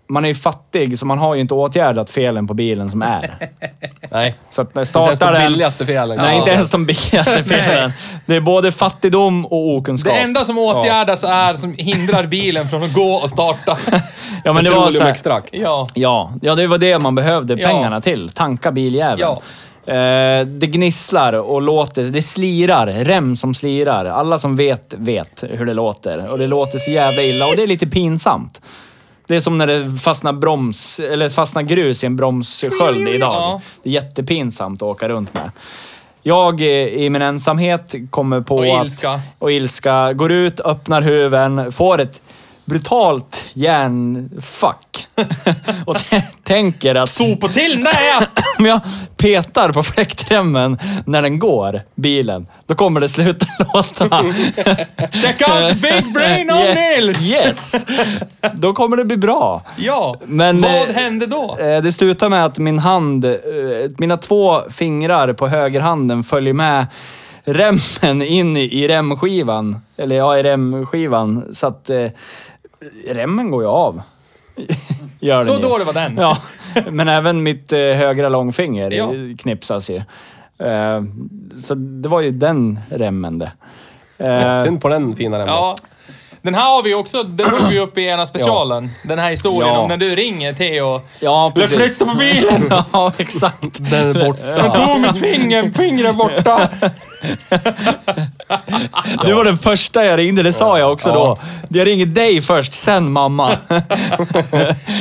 Speaker 1: man är ju fattig, så man har ju inte åtgärdat felen på bilen som
Speaker 3: *laughs*
Speaker 1: är.
Speaker 3: Nej.
Speaker 1: Så att när jag
Speaker 3: Inte ens
Speaker 1: startar
Speaker 3: de
Speaker 1: den...
Speaker 3: billigaste felen.
Speaker 1: Nej,
Speaker 3: Ja.
Speaker 1: inte ens de
Speaker 3: *laughs*
Speaker 1: billigaste felen. Det är både fattigdom och
Speaker 2: Det
Speaker 1: okunskap.
Speaker 2: enda som åtgärdas är som hindrar bilen från att gå och starta.
Speaker 1: *laughs* ja, men det var så här,
Speaker 3: Petroleumextrakt.
Speaker 2: Ja.
Speaker 1: Ja, ja det var det man behövde
Speaker 2: Ja.
Speaker 1: pengarna till. Tanka biljäveln.
Speaker 2: Ja.
Speaker 1: Eh, det gnisslar och låter, det slirar, rem som slirar. Alla som vet, vet hur det låter. Och det låter så jävla illa och det är lite pinsamt. Det är som när det fastnar, broms, eller fastnar grus i en bromssköld idag.
Speaker 2: Ja.
Speaker 1: Det är jättepinsamt att åka runt med. Jag eh, i min ensamhet kommer på
Speaker 2: Och
Speaker 1: att...
Speaker 2: ilska.
Speaker 1: Och ilska. Går ut, öppnar huven, får ett brutalt hjärnfuck. *laughs* och t- tänker att...
Speaker 2: Sopa till! Nej!
Speaker 1: Om jag petar på fläktremmen när den går, bilen, då kommer det sluta *laughs* låta.
Speaker 2: Check out Big Brain
Speaker 1: *laughs*
Speaker 2: on Nils!
Speaker 1: Yes! Då kommer det bli bra.
Speaker 2: Ja.
Speaker 1: Men,
Speaker 2: Vad
Speaker 1: eh,
Speaker 2: hände då?
Speaker 1: Eh, Det slutar med att min hand, eh, mina två fingrar på högerhanden följer med remmen in i- i remskivan. Eller ja, i remskivan. Så att eh, remmen går ju av. *laughs* Gör den
Speaker 2: Så
Speaker 1: ju.
Speaker 2: dålig var den.
Speaker 1: Ja, men även mitt eh, högra långfinger
Speaker 2: Ja.
Speaker 1: eh, knipsas ju. Eh, Så det var ju den remmen det. Eh,
Speaker 3: Synd på den fina remmen.
Speaker 2: Ja. Den här har vi också, den tog vi upp i ena specialen. Den här historien
Speaker 1: Ja.
Speaker 2: om när du ringer Theo.
Speaker 1: Ja,
Speaker 2: Jag
Speaker 1: precis.
Speaker 2: flyttar på bilen!
Speaker 1: Ja, exakt.
Speaker 3: Den är borta.
Speaker 2: De tog mitt finger, fingret är borta!
Speaker 1: Du var den första jag ringde, det sa jag också då. Jag ringer dig först, sen mamma.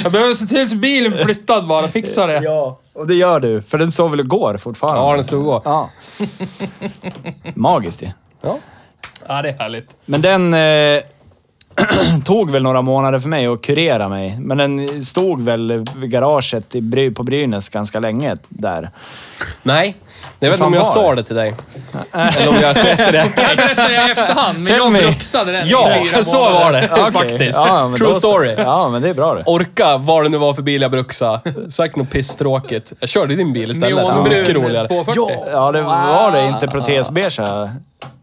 Speaker 2: Jag behöver se till så bilen blir flyttad bara, fixa det.
Speaker 1: Ja, och det gör du. För den sov väl igår fortfarande?
Speaker 3: Ja, den stod och
Speaker 1: Ja. Magiskt ju.
Speaker 3: ja.
Speaker 2: Ja, det är härligt.
Speaker 1: Men den... Eh, *clears throat* tog väl några månader för mig att kurera mig. Men den stod väl i garaget i Bry, på Brynäs ganska länge där.
Speaker 3: Nej, jag vet inte
Speaker 1: fan
Speaker 3: om jag
Speaker 1: var
Speaker 3: sa
Speaker 1: det?
Speaker 3: det till dig. Eller om jag
Speaker 1: *laughs*
Speaker 3: skötte det.
Speaker 2: Jag berättade det i efterhand, men
Speaker 1: Tell
Speaker 2: jag
Speaker 1: me.
Speaker 2: bruxade den i fyra
Speaker 3: Ja, så
Speaker 2: månader.
Speaker 3: var det
Speaker 1: Okej.
Speaker 3: *laughs* faktiskt.
Speaker 1: Ja, men
Speaker 3: True
Speaker 1: då så.
Speaker 3: story.
Speaker 1: Ja, men det är bra det.
Speaker 3: Orka vad det nu var för bil jag bruxade. Säkert något pisstråkigt. Jag körde din bil istället.
Speaker 2: Neonbrun
Speaker 3: Mycket roligare.
Speaker 2: 240.
Speaker 3: Ja,
Speaker 1: Ja, det var det. Inte protesbeige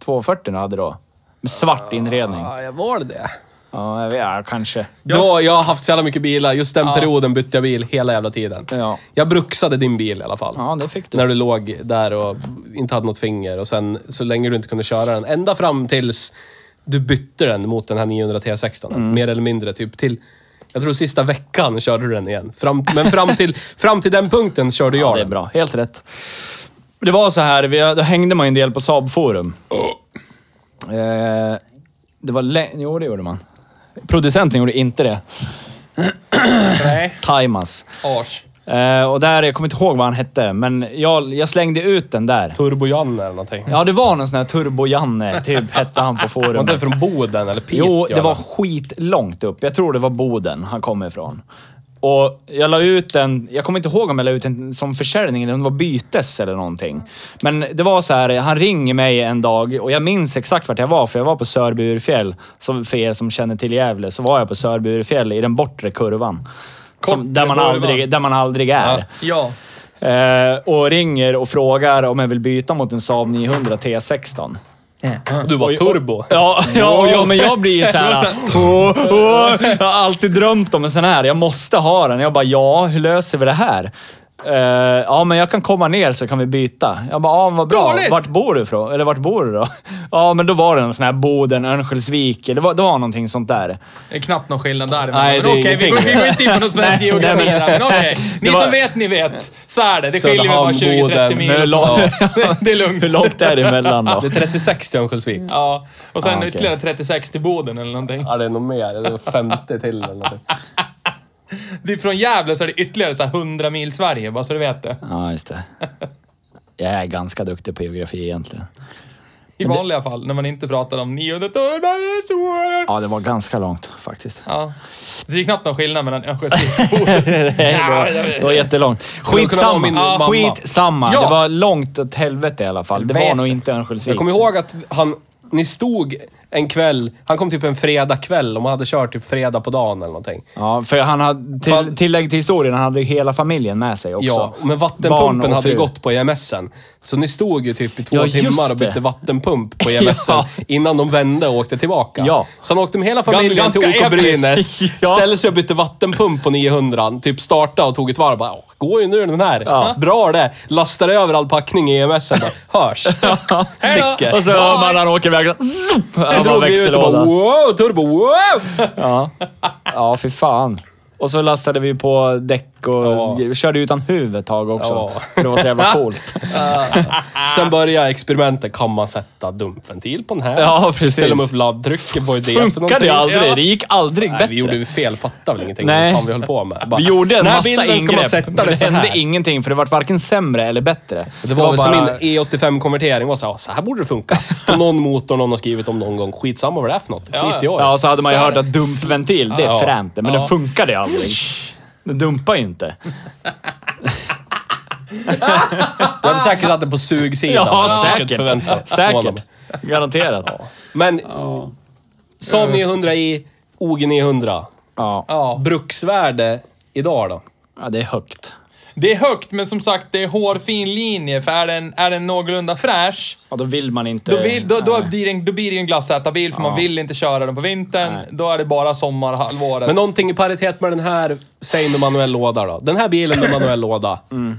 Speaker 1: 240 du hade då. Med svart inredning.
Speaker 3: Ja, jag var det.
Speaker 1: Ja, jag vet, ja kanske.
Speaker 3: Då, jag har haft så jävla mycket bilar. Just den perioden bytte jag bil hela jävla tiden.
Speaker 1: Ja.
Speaker 3: Jag bruxade din bil i alla fall.
Speaker 1: Ja, det fick du.
Speaker 3: När du låg där och inte hade något finger och sen så länge du inte kunde köra den. Ända fram tills du bytte den mot den här 900 T16.
Speaker 1: Mm.
Speaker 3: Mer eller mindre typ till... Jag tror sista veckan körde du den igen. Fram, men
Speaker 1: *laughs*
Speaker 3: fram till, fram till den punkten körde jag
Speaker 1: Ja, det är
Speaker 3: den.
Speaker 1: bra. Helt rätt. Det var så här, vi, då hängde man ju en del på Saab-forum. Eh, det var lä- Jo, det gjorde man. Producenten gjorde inte det.
Speaker 2: Nej.
Speaker 1: Timas.
Speaker 2: Ars.
Speaker 1: Eh, och där, jag kommer inte ihåg vad han hette, men jag, jag slängde ut den där.
Speaker 3: Turbo-Janne eller någonting.
Speaker 1: Ja, det var någon sån här Turbo-Janne, typ, hette han på
Speaker 3: Var inte
Speaker 1: forumet.
Speaker 3: det från Boden eller Piteå?
Speaker 1: Jo, det var
Speaker 3: eller?
Speaker 1: skitlångt upp. Jag tror det var Boden han kom ifrån. Och jag la ut en, jag kommer inte ihåg om jag la ut en som försäljning eller om det var bytes eller någonting. Men det var så här, han ringer mig en dag och jag minns exakt vart jag var för jag var på Sörby Urfjäll. Som för er som känner till Gävle så var jag på Sörby Urfjäll i den bortre kurvan. Som, där, man
Speaker 2: kurvan.
Speaker 1: aldrig, där man aldrig är.
Speaker 2: Ja.
Speaker 1: Eh, och ringer och frågar om jag vill byta mot en Saab 900 T16.
Speaker 3: Du var turbo.
Speaker 1: *laughs* Ja, ja, och jag, men jag blir så här. "Åh, åh." jag har alltid drömt om en sån här. Jag måste ha den. Jag bara, ja, hur löser vi det här? Eh, ja, men jag kan komma ner så kan vi byta. Jag bara, ja, men vad bra.
Speaker 2: Dåligt!
Speaker 1: Vart bor du ifrån? Eller vart bor du då? *laughs* Ja, men då var det någon sån här Boden, Örnsköldsvik. Det var, det var någonting sånt där.
Speaker 2: Det är knappt någon skillnad där.
Speaker 1: Nej,
Speaker 2: men
Speaker 1: det är
Speaker 2: okej, vi,
Speaker 1: ingenting.
Speaker 2: går- vi går inte in på någon svensk
Speaker 1: Nej,
Speaker 2: geografi
Speaker 1: nej, men-
Speaker 2: där. Men okej. Ni
Speaker 1: Det var-
Speaker 2: som vet, ni vet. Så är det. Det skiljer
Speaker 3: Söderhamn,
Speaker 2: väl bara
Speaker 3: Boden,
Speaker 2: 20-30 mil.
Speaker 1: Men hur, lång,
Speaker 2: Ja. *laughs* Det är lugnt.
Speaker 1: hur långt är det emellan då?
Speaker 3: Det är 36 till Örnsköldsvik.
Speaker 2: Ja. Och sen
Speaker 1: Ah, okej.
Speaker 2: ytterligare 36 till Boden eller någonting.
Speaker 3: Ja, det är nog mer. Det är 50 till eller någonting.
Speaker 2: Det är från Gävle så är det ytterligare så här 100 mil Sverige, bara så du vet det.
Speaker 1: *laughs* Ja, just det. Jag är ganska duktig på geografi egentligen.
Speaker 2: I vanliga fall, när man inte pratar om 900 år.
Speaker 1: Ja, det var ganska långt faktiskt.
Speaker 2: Ja. Så det är knappt någon skillnad mellan Örnsköldsvik och
Speaker 1: *laughs*
Speaker 2: Boden. Ja,
Speaker 1: Det var jättelångt.
Speaker 3: Skulle kunna vara
Speaker 1: Skitsamma.
Speaker 3: min mamma.
Speaker 1: Skitsamma.
Speaker 2: Ja.
Speaker 1: Det var långt åt helvete i alla fall. Det var
Speaker 3: Helvete.
Speaker 1: nog inte
Speaker 3: Jag
Speaker 1: Örnsköldsvik.
Speaker 3: kommer ihåg att han, ni stod en kväll, han kom typ en fredag kväll och man hade kört typ fredag på dagen eller någonting.
Speaker 1: Ja, för han hade, till,
Speaker 3: Fan.
Speaker 1: tillägg till historien, han hade ju hela familjen med sig också.
Speaker 3: Ja, men
Speaker 1: Barn
Speaker 3: vattenpumpen
Speaker 1: och
Speaker 3: hade ju
Speaker 1: fru.
Speaker 3: gått på EMSen. Så ni stod ju typ i två
Speaker 1: Ja, just
Speaker 3: timmar och bytte
Speaker 1: det. *laughs*
Speaker 3: vattenpump på EMSen
Speaker 1: Ja.
Speaker 3: innan de vände och åkte tillbaka.
Speaker 1: Ja.
Speaker 3: Så han åkte med hela familjen till
Speaker 2: ganska
Speaker 3: OK Brynäs,
Speaker 1: episkt. *laughs* Ja.
Speaker 3: ställde sig och bytte vattenpump på 900 typ starta och tog ett varv. Bara, "Åh, går ju nu den här. *laughs* Bra det. Lastar över all packning i EMSen. Bara,
Speaker 1: *laughs*
Speaker 3: Hörs. Sticker.
Speaker 1: Och så hör man han åker iväg. zoop!
Speaker 3: Sen
Speaker 1: Han bara
Speaker 3: drog vi ut och bara
Speaker 1: växellåda.
Speaker 3: wow, turbo, wow!
Speaker 1: Ja. ja, fy fan. Och så lastade vi på däck och
Speaker 3: Ja.
Speaker 1: körde utan huvud ett tag också.
Speaker 3: Ja.
Speaker 1: För det var så jävla coolt.
Speaker 3: *laughs* Sen börjar experimentet. Kan man sätta dumpventil på den här?
Speaker 1: Ja, precis.
Speaker 3: Ställer man upp laddtryck? Vad är *laughs* det för
Speaker 1: Funkade
Speaker 3: någonting?
Speaker 1: ju aldrig.
Speaker 3: Ja.
Speaker 1: Det gick aldrig
Speaker 3: Nej,
Speaker 1: bättre.
Speaker 3: vi gjorde ju fel. Fattade väl ingenting
Speaker 1: Nej.
Speaker 3: vad fan vi höll på med. Bara,
Speaker 1: Vi gjorde en
Speaker 3: den här
Speaker 1: massa
Speaker 3: bilden ska man
Speaker 1: ingrepp,
Speaker 3: sätta
Speaker 1: men
Speaker 3: det
Speaker 1: det
Speaker 3: så
Speaker 1: hände
Speaker 3: här.
Speaker 1: ingenting för det vart varken sämre eller bättre.
Speaker 3: Det var, väl som min E E85-konvertering var såhär, så här borde det funka. På någon motor någon har skrivit om någon gång. Skitsamma vad det är för något. Skit i år.
Speaker 1: Ja, så hade man ju hört att dumpventil, det är
Speaker 3: Ja.
Speaker 1: fränt men
Speaker 2: Ja.
Speaker 1: det funkade ju aldrig. Den dumpar ju inte.
Speaker 3: Jag hade säkert satt det på sugsidan.
Speaker 1: Ja,
Speaker 3: Jag skulle inte
Speaker 1: säkert.
Speaker 3: förvänta mig.
Speaker 1: Säkert. Garanterat.
Speaker 3: Men Saab 900 i OG 900.
Speaker 1: Ja.
Speaker 2: Ja.
Speaker 3: Bruksvärde idag då?
Speaker 1: ja, det är högt.
Speaker 2: Det är högt, men som sagt, det är hårfin linje. För är den, är den någorlunda fräsch,
Speaker 1: Ja, då vill man inte...
Speaker 2: då, vill, då, då,
Speaker 1: Nej.
Speaker 2: blir, det en, då blir det ju en glassätarbil, för man vill inte köra den på vintern. Då är det bara sommarhalvåret.
Speaker 3: Men någonting i paritet med den här, säg med manuell låda då. Den här bilen med manuell låda.
Speaker 2: Mm.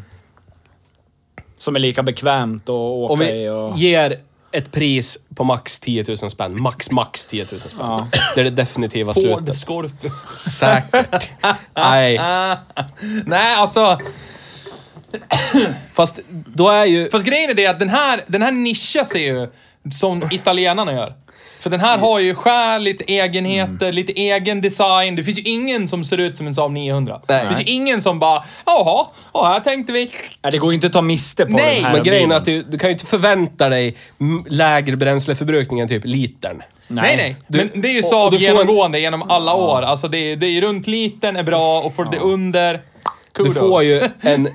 Speaker 1: Som är lika bekvämt att åka
Speaker 3: Om
Speaker 1: i
Speaker 3: vi
Speaker 1: och...
Speaker 3: ger ett pris på max 10 000 spänn. Max, max 10 000 spänn. Det är det definitiva
Speaker 2: Hård
Speaker 3: slutet.
Speaker 2: skorp. *laughs*
Speaker 3: Säkert. Nej.
Speaker 2: Nej, alltså.
Speaker 3: Fast då är ju...
Speaker 2: Fast grejen är det att den här, den här nischar sig ju som italienarna gör. För den här har ju skär, lite egenheter, lite egen design. Det finns ju ingen som ser ut som en Saab 900.
Speaker 3: Nej.
Speaker 2: Det finns ju ingen som bara, jaha, och här tänkte vi...
Speaker 1: Nej, det går ju inte att ta miste på
Speaker 2: Nej,
Speaker 1: den här
Speaker 3: Men grejen är
Speaker 1: bilen.
Speaker 3: att du, du kan ju inte förvänta dig m- lägre bränsleförbrukning än typ litern.
Speaker 2: Nej, nej.
Speaker 3: Du-
Speaker 2: men det är ju
Speaker 3: och-
Speaker 2: Saab
Speaker 3: och du får-
Speaker 2: genomgående genom alla år. Alltså det är, det är runt liten är bra och får det under,
Speaker 3: Du
Speaker 2: kudos.
Speaker 3: får ju
Speaker 2: *laughs*
Speaker 3: en...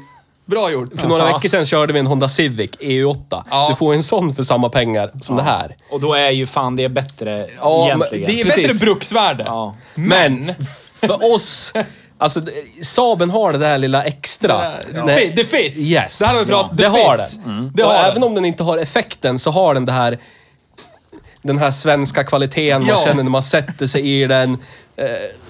Speaker 2: bra gjort.
Speaker 3: För några veckor sedan körde vi en Honda Civic EU8.
Speaker 2: Ja.
Speaker 3: Du får en sån för samma pengar som det här.
Speaker 1: Och då är ju fan det bättre
Speaker 3: Ja, men
Speaker 1: egentligen.
Speaker 2: Det är
Speaker 3: Precis.
Speaker 2: bättre bruksvärde. eh,
Speaker 1: Ja.
Speaker 3: Men för oss... Alltså, d- Saben har det där lilla extra.
Speaker 2: Det,
Speaker 3: Nej.
Speaker 2: fi- det finns.
Speaker 3: Yes.
Speaker 2: Det här har vi pratat
Speaker 3: det har
Speaker 2: finns.
Speaker 3: den.
Speaker 2: Det
Speaker 3: och
Speaker 2: har
Speaker 3: även
Speaker 2: den.
Speaker 3: om den inte har effekten så har den det här... Den här svenska kvaliteten man
Speaker 2: Ja.
Speaker 3: känner när man sätter sig i den. Eh,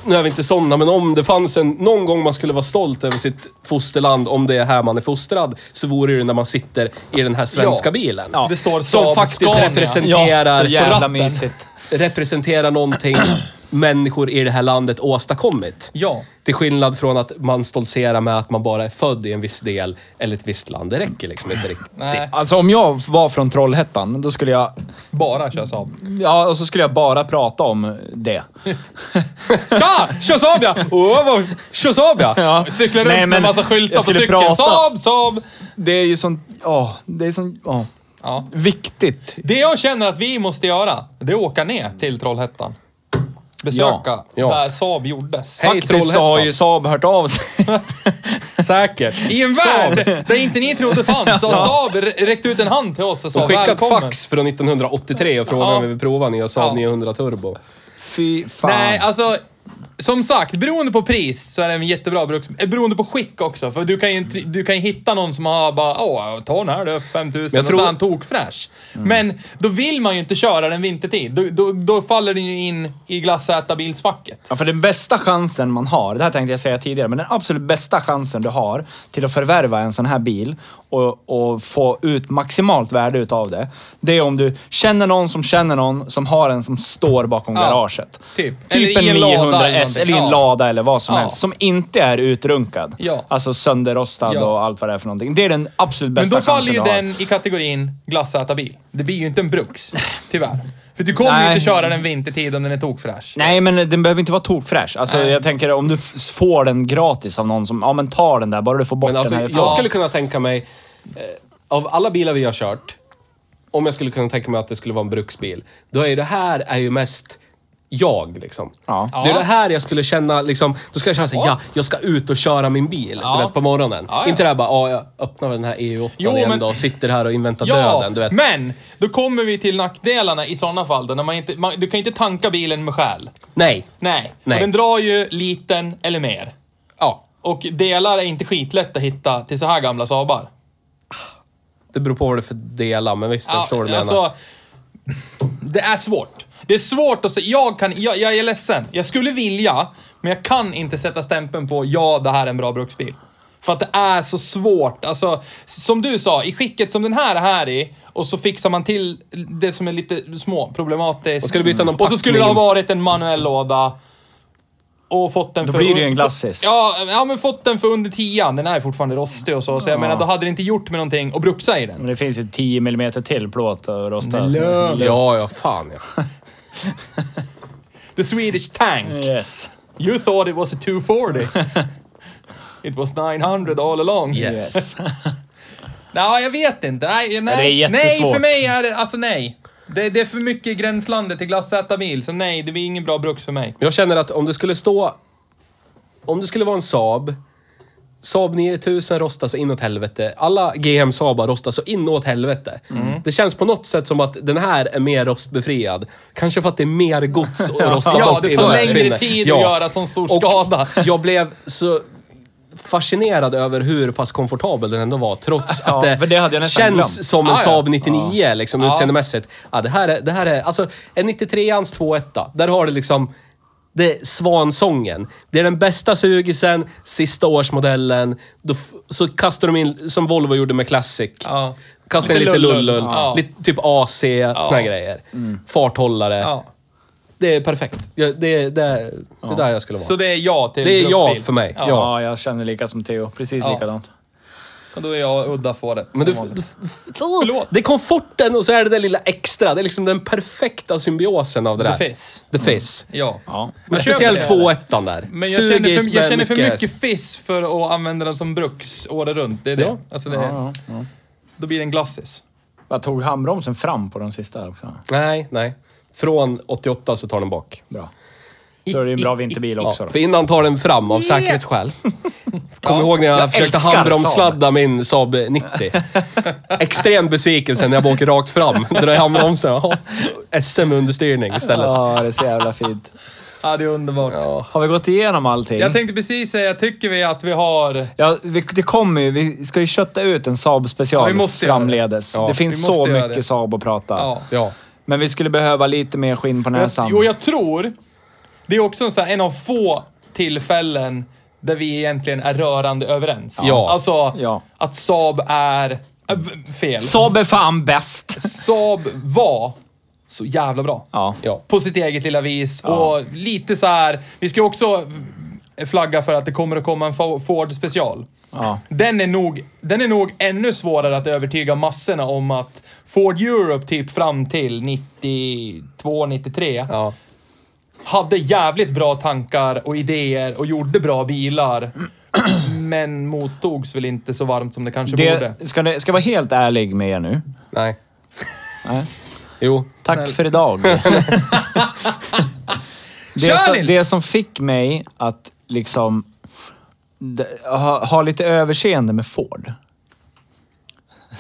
Speaker 3: nu är vi inte sådana, men om det fanns en... Någon gång man skulle vara stolt över sitt fosterland, om det är här man är fostrad, så vore det ju när man sitter i den här svenska
Speaker 2: Ja.
Speaker 3: bilen.
Speaker 2: Ja. Det står
Speaker 3: Som
Speaker 2: Saab
Speaker 3: faktiskt
Speaker 2: Scania.
Speaker 1: Ja,
Speaker 3: representerar...
Speaker 1: så jävla
Speaker 2: ratten.
Speaker 1: mysigt.
Speaker 2: *clears throat*
Speaker 3: representerar någonting människor i det här landet åstadkommit.
Speaker 2: Ja.
Speaker 3: Till skillnad från att man stoltserar med att man bara är född i en viss del eller ett visst land. Det räcker liksom inte riktigt.
Speaker 2: Nej,
Speaker 1: Alltså om jag var från Trollhättan, då skulle jag...
Speaker 2: bara kör Saab.
Speaker 1: Ja, och så skulle jag bara prata om det.
Speaker 3: Tja! Kör Saab ja! Åh, vad... Kör Saab ja!
Speaker 1: Ja.
Speaker 2: Cyklar runt
Speaker 1: Nej,
Speaker 2: med
Speaker 1: men
Speaker 2: en massa skyltar
Speaker 1: jag
Speaker 2: på
Speaker 1: skulle
Speaker 2: cykeln.
Speaker 1: prata.
Speaker 2: Saab, Saab!
Speaker 1: *laughs* Det är ju sånt... Ja, det är sånt... Ja.
Speaker 2: Ja.
Speaker 1: Viktigt.
Speaker 2: Det jag känner att vi måste göra, det är att åka ner till Trollhättan. Besöka
Speaker 1: Ja,
Speaker 3: ja.
Speaker 2: där Saab gjordes.
Speaker 3: Hej,
Speaker 1: Faktiskt så har ju Saab hört av *laughs* sig.
Speaker 3: Säkert.
Speaker 2: I en
Speaker 3: Saab.
Speaker 2: värld där inte ni trodde
Speaker 1: *laughs*
Speaker 2: fanns har Saab r- räckt ut en hand till oss och
Speaker 3: De
Speaker 2: sa
Speaker 3: skickat
Speaker 2: välkommen.
Speaker 3: fax från 1983 och frågade
Speaker 2: Ja.
Speaker 3: om vi vill prova nya Saab
Speaker 2: Ja.
Speaker 3: 900 Turbo.
Speaker 1: Fy fan.
Speaker 2: Nej, alltså... Som sagt, beroende på pris så är det en jättebra bruks... eh, Beroende på skick också. För du kan ju, inte- du kan ju hitta någon som har bara åh, ta den här du, 5000
Speaker 3: jag
Speaker 2: och
Speaker 3: tror-
Speaker 2: så är han tokfräsch. Men då vill man ju inte köra den vintertid. Då, då, då faller den ju in i glassätarbilsfacket.
Speaker 1: Ja, för den bästa chansen man har, det här tänkte jag säga tidigare, men den absolut bästa chansen du har till att förvärva en sån här bil och, och få ut maximalt värde utav det, det är om du känner någon som känner någon som har en som står bakom
Speaker 2: Ja,
Speaker 1: garaget.
Speaker 2: typ.
Speaker 1: Typ
Speaker 2: Eller i
Speaker 1: en
Speaker 2: en lada
Speaker 1: 900
Speaker 2: eller
Speaker 1: S eller i en
Speaker 2: någonting. Ja.
Speaker 1: lada eller vad som
Speaker 2: Ja.
Speaker 1: helst, som inte är utrunkad.
Speaker 2: Ja.
Speaker 1: Alltså sönderrostad
Speaker 2: Ja.
Speaker 1: och allt vad det är för någonting. Det är den absolut
Speaker 2: Men
Speaker 1: bästa
Speaker 2: då faller
Speaker 1: chansen
Speaker 2: ju
Speaker 1: du har.
Speaker 2: den i kategorin glassätarbil. Det blir ju inte en bruks, tyvärr. För du kommer ju
Speaker 1: Nej.
Speaker 2: inte köra den vintertid om den är tokfräsch.
Speaker 1: Nej, men den behöver inte vara tokfräsch. Alltså, jag tänker om du f- får den gratis av någon som, ja men ta den där, bara du får bort
Speaker 3: Men alltså,
Speaker 1: den härifrån.
Speaker 3: jag skulle kunna tänka mig, eh, av alla bilar vi har kört, om jag skulle kunna tänka mig att det skulle vara en bruksbil, då är ju det här är ju mest jag liksom.
Speaker 1: Ja.
Speaker 3: Det är
Speaker 2: Ja.
Speaker 3: det här jag skulle känna liksom, då skulle jag känna såhär, ja. jag ska ut och köra min bil, du vet, på morgonen.
Speaker 2: Ja, ja.
Speaker 3: Inte det här bara, ja, jag öppnar den här EU8
Speaker 2: Jo,
Speaker 3: igen
Speaker 2: men-
Speaker 3: då och sitter här och inväntar
Speaker 2: Ja,
Speaker 3: döden, du vet.
Speaker 2: men då kommer vi till nackdelarna i sådana fall då, när man inte, man, Du kan inte tanka bilen med själ.
Speaker 3: Nej.
Speaker 2: Nej.
Speaker 3: Nej.
Speaker 2: Och den drar ju liten eller mer.
Speaker 3: Ja,
Speaker 2: Och delar är inte skitlätt att hitta till så här gamla Saabar.
Speaker 3: det beror på vad det är för delar, men visst, jag
Speaker 2: Ja,
Speaker 3: förstår vad du menar.
Speaker 2: alltså, det är svårt. Det är svårt att säga. Jag, kan, jag, jag är ledsen. Jag skulle vilja, men jag kan inte sätta stämpeln på ja, det här är en bra bruksbil. För att det är så svårt. Alltså, som du sa, i skicket som den här är här i, och så fixar man till det som är lite små problematiskt.
Speaker 3: Och skulle byta någon
Speaker 2: Och så skulle det ha
Speaker 3: packning.
Speaker 2: varit en manuell låda. Och fått den
Speaker 1: Då
Speaker 2: för...
Speaker 1: blir det ju en glassis.
Speaker 2: Ja, ja, men fått den för under tian. Den är fortfarande rostig och så. Så jag menar, då hade det inte gjort med någonting att bruxa i den.
Speaker 1: Men det finns ju 10 mm till plåt att rosta.
Speaker 3: Ja, ja, fan ja.
Speaker 2: The Swedish tank.
Speaker 1: Yes.
Speaker 2: You thought it was a
Speaker 3: *laughs*
Speaker 2: 240. it was 900 all along.
Speaker 1: Yes. *laughs*
Speaker 2: Nej, jag vet inte. Nej, nej.
Speaker 1: Det är jättesvårt.
Speaker 2: nej för mig är det... Alltså nej. Det, det är för mycket i gränslandet till glassätarbil, så nej, det blir ingen bra bruks för mig.
Speaker 3: Jag känner att om det skulle stå... Om det skulle vara en Saab. Saab 9000 rostar så inåt helvete. Alla GM Saabar rostar så inåt helvete.
Speaker 2: Mm.
Speaker 3: Det känns på något sätt som att den här är mer rostbefriad. Kanske för att det är mer gods att rosta
Speaker 2: *laughs* Ja,
Speaker 3: bort
Speaker 2: det
Speaker 3: innan
Speaker 2: tar längre
Speaker 3: försvinner.
Speaker 2: tid att göra sån stor skada.
Speaker 3: Jag blev så fascinerad över hur pass komfortabel den ändå var. Trots att
Speaker 1: Ja, för
Speaker 3: det,
Speaker 1: det hade jag nästan
Speaker 3: känns
Speaker 1: glömt.
Speaker 3: som en
Speaker 2: Ah, ja.
Speaker 3: Saab 99 liksom utseendemässigt. Ja, det här är, det här är, alltså en 93-ans 21 där har du liksom det är svansången. Det är den bästa sugisen, sista årsmodellen. Då, f- så kastar de in, som Volvo gjorde med Classic.
Speaker 2: Ja.
Speaker 3: Kastar in
Speaker 2: Lite
Speaker 3: lite
Speaker 2: lullull.
Speaker 3: lullull,
Speaker 2: Ja. Mm.
Speaker 3: lite typ AC, såna grejer. Farthållare.
Speaker 2: Ja.
Speaker 3: Det är perfekt. Ja, det, det, det är där jag skulle vara.
Speaker 2: Så det är ja till
Speaker 3: Det är
Speaker 2: bruksbil.
Speaker 3: ja för mig.
Speaker 2: Ja.
Speaker 1: Ja,
Speaker 3: Ja.
Speaker 1: jag känner lika som Theo. Precis
Speaker 2: Ja.
Speaker 1: likadant.
Speaker 2: Och då är jag udda fåret.
Speaker 3: Men du,
Speaker 2: som vanligt.
Speaker 3: du, Det är komforten och så är det det lilla extra. Det är liksom den perfekta symbiosen av det där.
Speaker 2: The fizz.
Speaker 3: The fizz.
Speaker 2: Ja.
Speaker 1: Ja.
Speaker 3: Men
Speaker 2: Jag köper
Speaker 3: speciellt
Speaker 2: det.
Speaker 3: 2-1 där.
Speaker 2: Men jag
Speaker 3: Sugis
Speaker 2: känner, för, jag
Speaker 3: med
Speaker 2: känner för mycket
Speaker 3: S.
Speaker 2: fiss för att använda den som bruks året runt. Det är det.
Speaker 3: Ja.
Speaker 2: Alltså det är, Då blir det en glassis.
Speaker 1: Vad tog handbromsen fram på den sista också?
Speaker 3: Nej, nej. Från 88 så tar den bak.
Speaker 1: Bra. Så är det en bra vinterbil
Speaker 3: Ja,
Speaker 1: också då.
Speaker 3: för innan tar den fram
Speaker 2: *laughs*
Speaker 3: av säkerhetsskäl. Kom ihåg när jag,
Speaker 4: Jag
Speaker 3: försökte
Speaker 4: älskar
Speaker 3: handbromssladda min Saab 90.
Speaker 2: *laughs*
Speaker 3: Extrem besvikelse när jag bara åker rakt fram. Drar i handbromsen. Ja, SM understyrning istället.
Speaker 1: Ja, det är så jävla fint.
Speaker 2: Ja, det är underbart.
Speaker 1: Har vi gått igenom allting?
Speaker 2: Jag tänkte precis säga, tycker vi att vi har...
Speaker 1: Ja, vi, det kommer ju. Vi ska ju kötta ut en Saab special
Speaker 2: Ja, vi måste göra det.
Speaker 1: framledes.
Speaker 2: Ja,
Speaker 1: det
Speaker 2: vi
Speaker 1: finns
Speaker 2: måste
Speaker 1: så
Speaker 2: göra
Speaker 1: mycket
Speaker 2: det.
Speaker 1: Saab att prata.
Speaker 2: Ja.
Speaker 3: Ja.
Speaker 1: Men vi skulle behöva lite mer skinn på näsan.
Speaker 2: Och jag tror, det är också så här, en av få tillfällen där vi egentligen är rörande överens.
Speaker 3: Ja.
Speaker 2: Alltså,
Speaker 1: Ja.
Speaker 2: att Saab är... äh, v- fel.
Speaker 1: Saab är fan bäst!
Speaker 2: Saab var så jävla bra.
Speaker 1: Ja.
Speaker 3: Ja.
Speaker 2: På sitt eget lilla vis. Och lite så här, vi ska ju också flagga för att det kommer att komma en Fo- Ford special.
Speaker 1: Ja.
Speaker 2: Den, är nog, den är nog ännu svårare att övertyga massorna om att Ford Europe typ fram till 92, 93
Speaker 3: Ja.
Speaker 2: hade jävligt bra tankar och idéer och gjorde bra bilar. *clears throat* Men mottogs väl inte så varmt som det kanske borde.
Speaker 1: Det, ska, det, ska jag vara helt ärlig med er nu.
Speaker 3: Nej. Jo.
Speaker 1: Tack för
Speaker 2: *laughs*
Speaker 1: idag.
Speaker 2: Kör
Speaker 1: det, som,
Speaker 2: Nils!
Speaker 1: det som fick mig att liksom d- ha, ha lite överseende med Ford.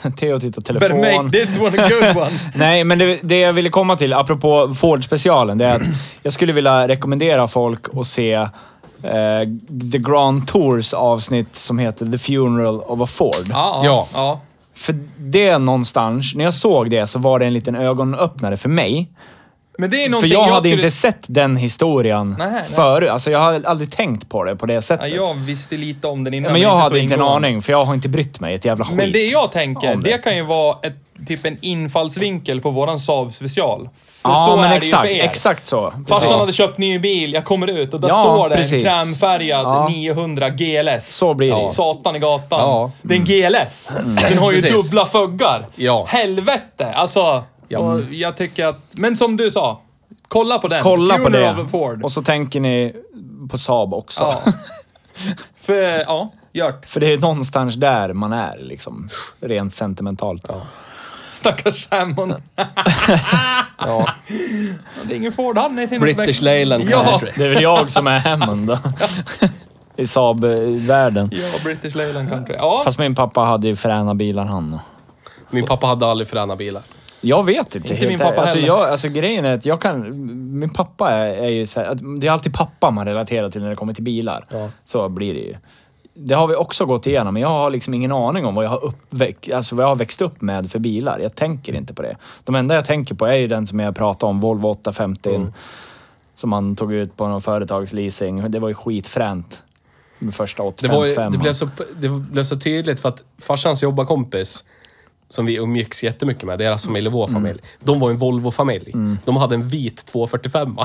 Speaker 1: *laughs* Theo tittar
Speaker 2: Better
Speaker 1: telefon.
Speaker 2: make this one a good one.
Speaker 1: *laughs* Nej, men det, det jag ville komma till, apropå Ford-specialen, det är att jag skulle vilja rekommendera folk att se eh, The Grand Tours avsnitt som heter The Funeral of a Ford.
Speaker 2: Ja.
Speaker 3: Ja.
Speaker 2: ja. ja.
Speaker 1: För det någonstans, när jag såg det så var det en liten ögonöppnare för mig.
Speaker 2: Men det är
Speaker 1: För
Speaker 2: någonting
Speaker 1: jag, hade
Speaker 2: skulle...
Speaker 1: inte sett den historien
Speaker 2: Nej, nej.
Speaker 1: förut. Alltså jag har aldrig tänkt på det på det
Speaker 2: Ja,
Speaker 1: sättet.
Speaker 2: jag visste lite om den innan.
Speaker 1: men jag
Speaker 2: så
Speaker 1: hade inte en
Speaker 2: ingående.
Speaker 1: aning, för jag har inte brytt mig ett jävla skit.
Speaker 2: Men det jag tänker,
Speaker 1: Om det.
Speaker 2: det. kan ju vara ett, typ en infallsvinkel på våran Saab special. För
Speaker 1: ja,
Speaker 2: så
Speaker 1: men
Speaker 2: är
Speaker 1: exakt,
Speaker 2: det ju för er.
Speaker 1: exakt så.
Speaker 2: Farsan
Speaker 1: Precis.
Speaker 2: hade köpt ny bil, jag kommer ut och där
Speaker 1: Ja,
Speaker 2: står det
Speaker 1: precis.
Speaker 2: en krämfärgad
Speaker 1: Ja.
Speaker 2: 900 GLS.
Speaker 1: Så blir det ju. Mm.
Speaker 2: Satan i gatan.
Speaker 3: Ja.
Speaker 2: Det är en GLS. Den har ju
Speaker 3: Precis.
Speaker 2: dubbla föggar.
Speaker 3: Ja.
Speaker 2: Helvete! Alltså, och jag tycker att... Men som du sa, kolla på den.
Speaker 1: Kolla på
Speaker 2: Funeral
Speaker 1: det.
Speaker 2: of a Ford.
Speaker 1: Och så tänker ni på Saab också. *laughs*
Speaker 2: Ja. För, ja, gjort.
Speaker 1: För det är någonstans där man är, liksom. Rent sentimentalt.
Speaker 2: Stackars Hammond. *laughs* Det är ingen Ford han är i sin
Speaker 3: British
Speaker 2: uppväxt.
Speaker 3: Leyland
Speaker 2: Ja.
Speaker 3: Country.
Speaker 1: Det är väl jag som är
Speaker 2: *laughs*
Speaker 1: Hammond då. I Saab-världen.
Speaker 2: ja, British Leyland Country. Ja.
Speaker 1: Fast min pappa hade ju fräna bilar han.
Speaker 3: Min pappa hade aldrig fräna bilar.
Speaker 1: Jag vet inte. helt
Speaker 2: min pappa
Speaker 1: ärligt. alltså,
Speaker 2: heller.
Speaker 1: jag, alltså grejen är att jag kan... Min pappa är, är ju så här, att Det är alltid pappa man relaterar till när det kommer till bilar. Så blir det ju. Det har vi också gått igenom, men jag har liksom ingen aning om vad jag har, uppväxt, alltså vad jag har växt upp med för bilar. Jag tänker inte på det. De enda jag tänker på är ju den som jag pratade om, Volvo 850.
Speaker 3: Mm.
Speaker 1: Som man tog ut på någon företagsleasing. Det var ju skitfränt. Med första
Speaker 3: Det,
Speaker 1: 855.
Speaker 3: var, ju- det, blev så, det blev så tydligt för att farsans jobbarkompis, som vi umgicks jättemycket med, deras familj och vår
Speaker 2: Mm.
Speaker 3: familj, de var ju en Volvo-familj. De hade en vit 245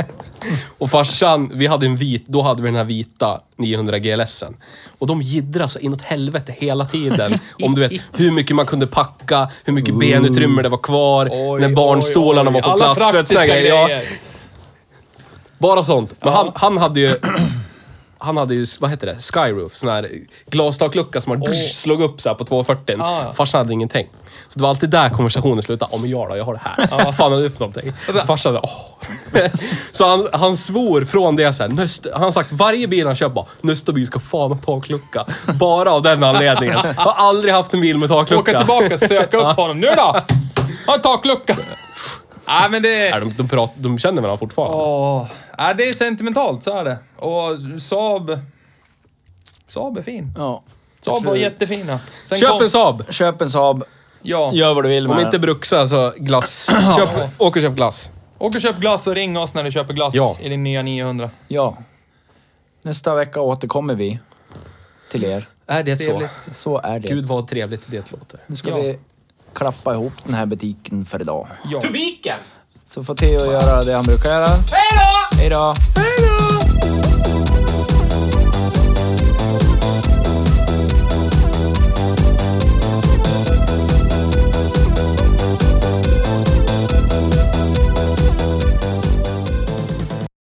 Speaker 3: *laughs* Och farsan, vi hade en vit, då hade vi den här vita 900 GLSen. Och de jiddrade så inåt helvete hela tiden. om du vet hur mycket man kunde packa, hur mycket benutrymme det var kvar,
Speaker 2: Oj,
Speaker 3: när barnstolarna
Speaker 2: oj,
Speaker 3: var
Speaker 2: oj.
Speaker 3: på
Speaker 2: Alla
Speaker 3: plats. du vet, såna
Speaker 2: praktiska
Speaker 3: här
Speaker 2: grejer.
Speaker 3: Ja, bara sånt. Men han, han hade ju... *clears throat* Han hade ju, vad heter det, skyroof. Sån här glastaklucka som man slog upp så här på 240.
Speaker 2: Ja, ja.
Speaker 3: Farsan hade ingenting. Så det var alltid där konversationen slutade. Ja, men jag då? Jag har det
Speaker 2: *laughs*
Speaker 3: här. Vad fan är du för någonting? Farsan, åh. *laughs* Så han, han svor från det sen. Nästa, han har sagt varje bil han köper bara, nästa bil ska fan ha taklucka. *laughs* Bara av den anledningen. Jag har aldrig haft en bil med taklucka.
Speaker 2: Åka tillbaka och söka upp honom. Nu då! Ha en taklucka. Nej, men
Speaker 3: Nej,
Speaker 2: det...
Speaker 3: de, de, pratar, de känner varandra fortfarande.
Speaker 2: Åh. Nej, det är sentimentalt, så är det. Och Saab... Saab är fin.
Speaker 1: ja.
Speaker 2: Saab var jättefina. Sen
Speaker 3: Köp
Speaker 2: kom-
Speaker 3: en Saab!
Speaker 1: Köp en Saab,
Speaker 2: Ja.
Speaker 1: gör vad du vill med
Speaker 3: Om
Speaker 1: den.
Speaker 3: inte bruxa så *clears throat* glass. Köp, åk och köp glass.
Speaker 2: Åk och köp glass och ring oss när du köper glass
Speaker 3: Ja.
Speaker 2: i din nya 900.
Speaker 1: Ja. Nästa vecka återkommer vi till er.
Speaker 3: Är det så?
Speaker 2: Trevligt.
Speaker 1: Så är det.
Speaker 3: Gud vad trevligt det låter.
Speaker 1: Nu ska
Speaker 2: ja.
Speaker 1: vi klappa ihop den här butiken för idag.
Speaker 2: Ja.
Speaker 1: Så får Theo göra det han brukar göra. Hej då! Hej då!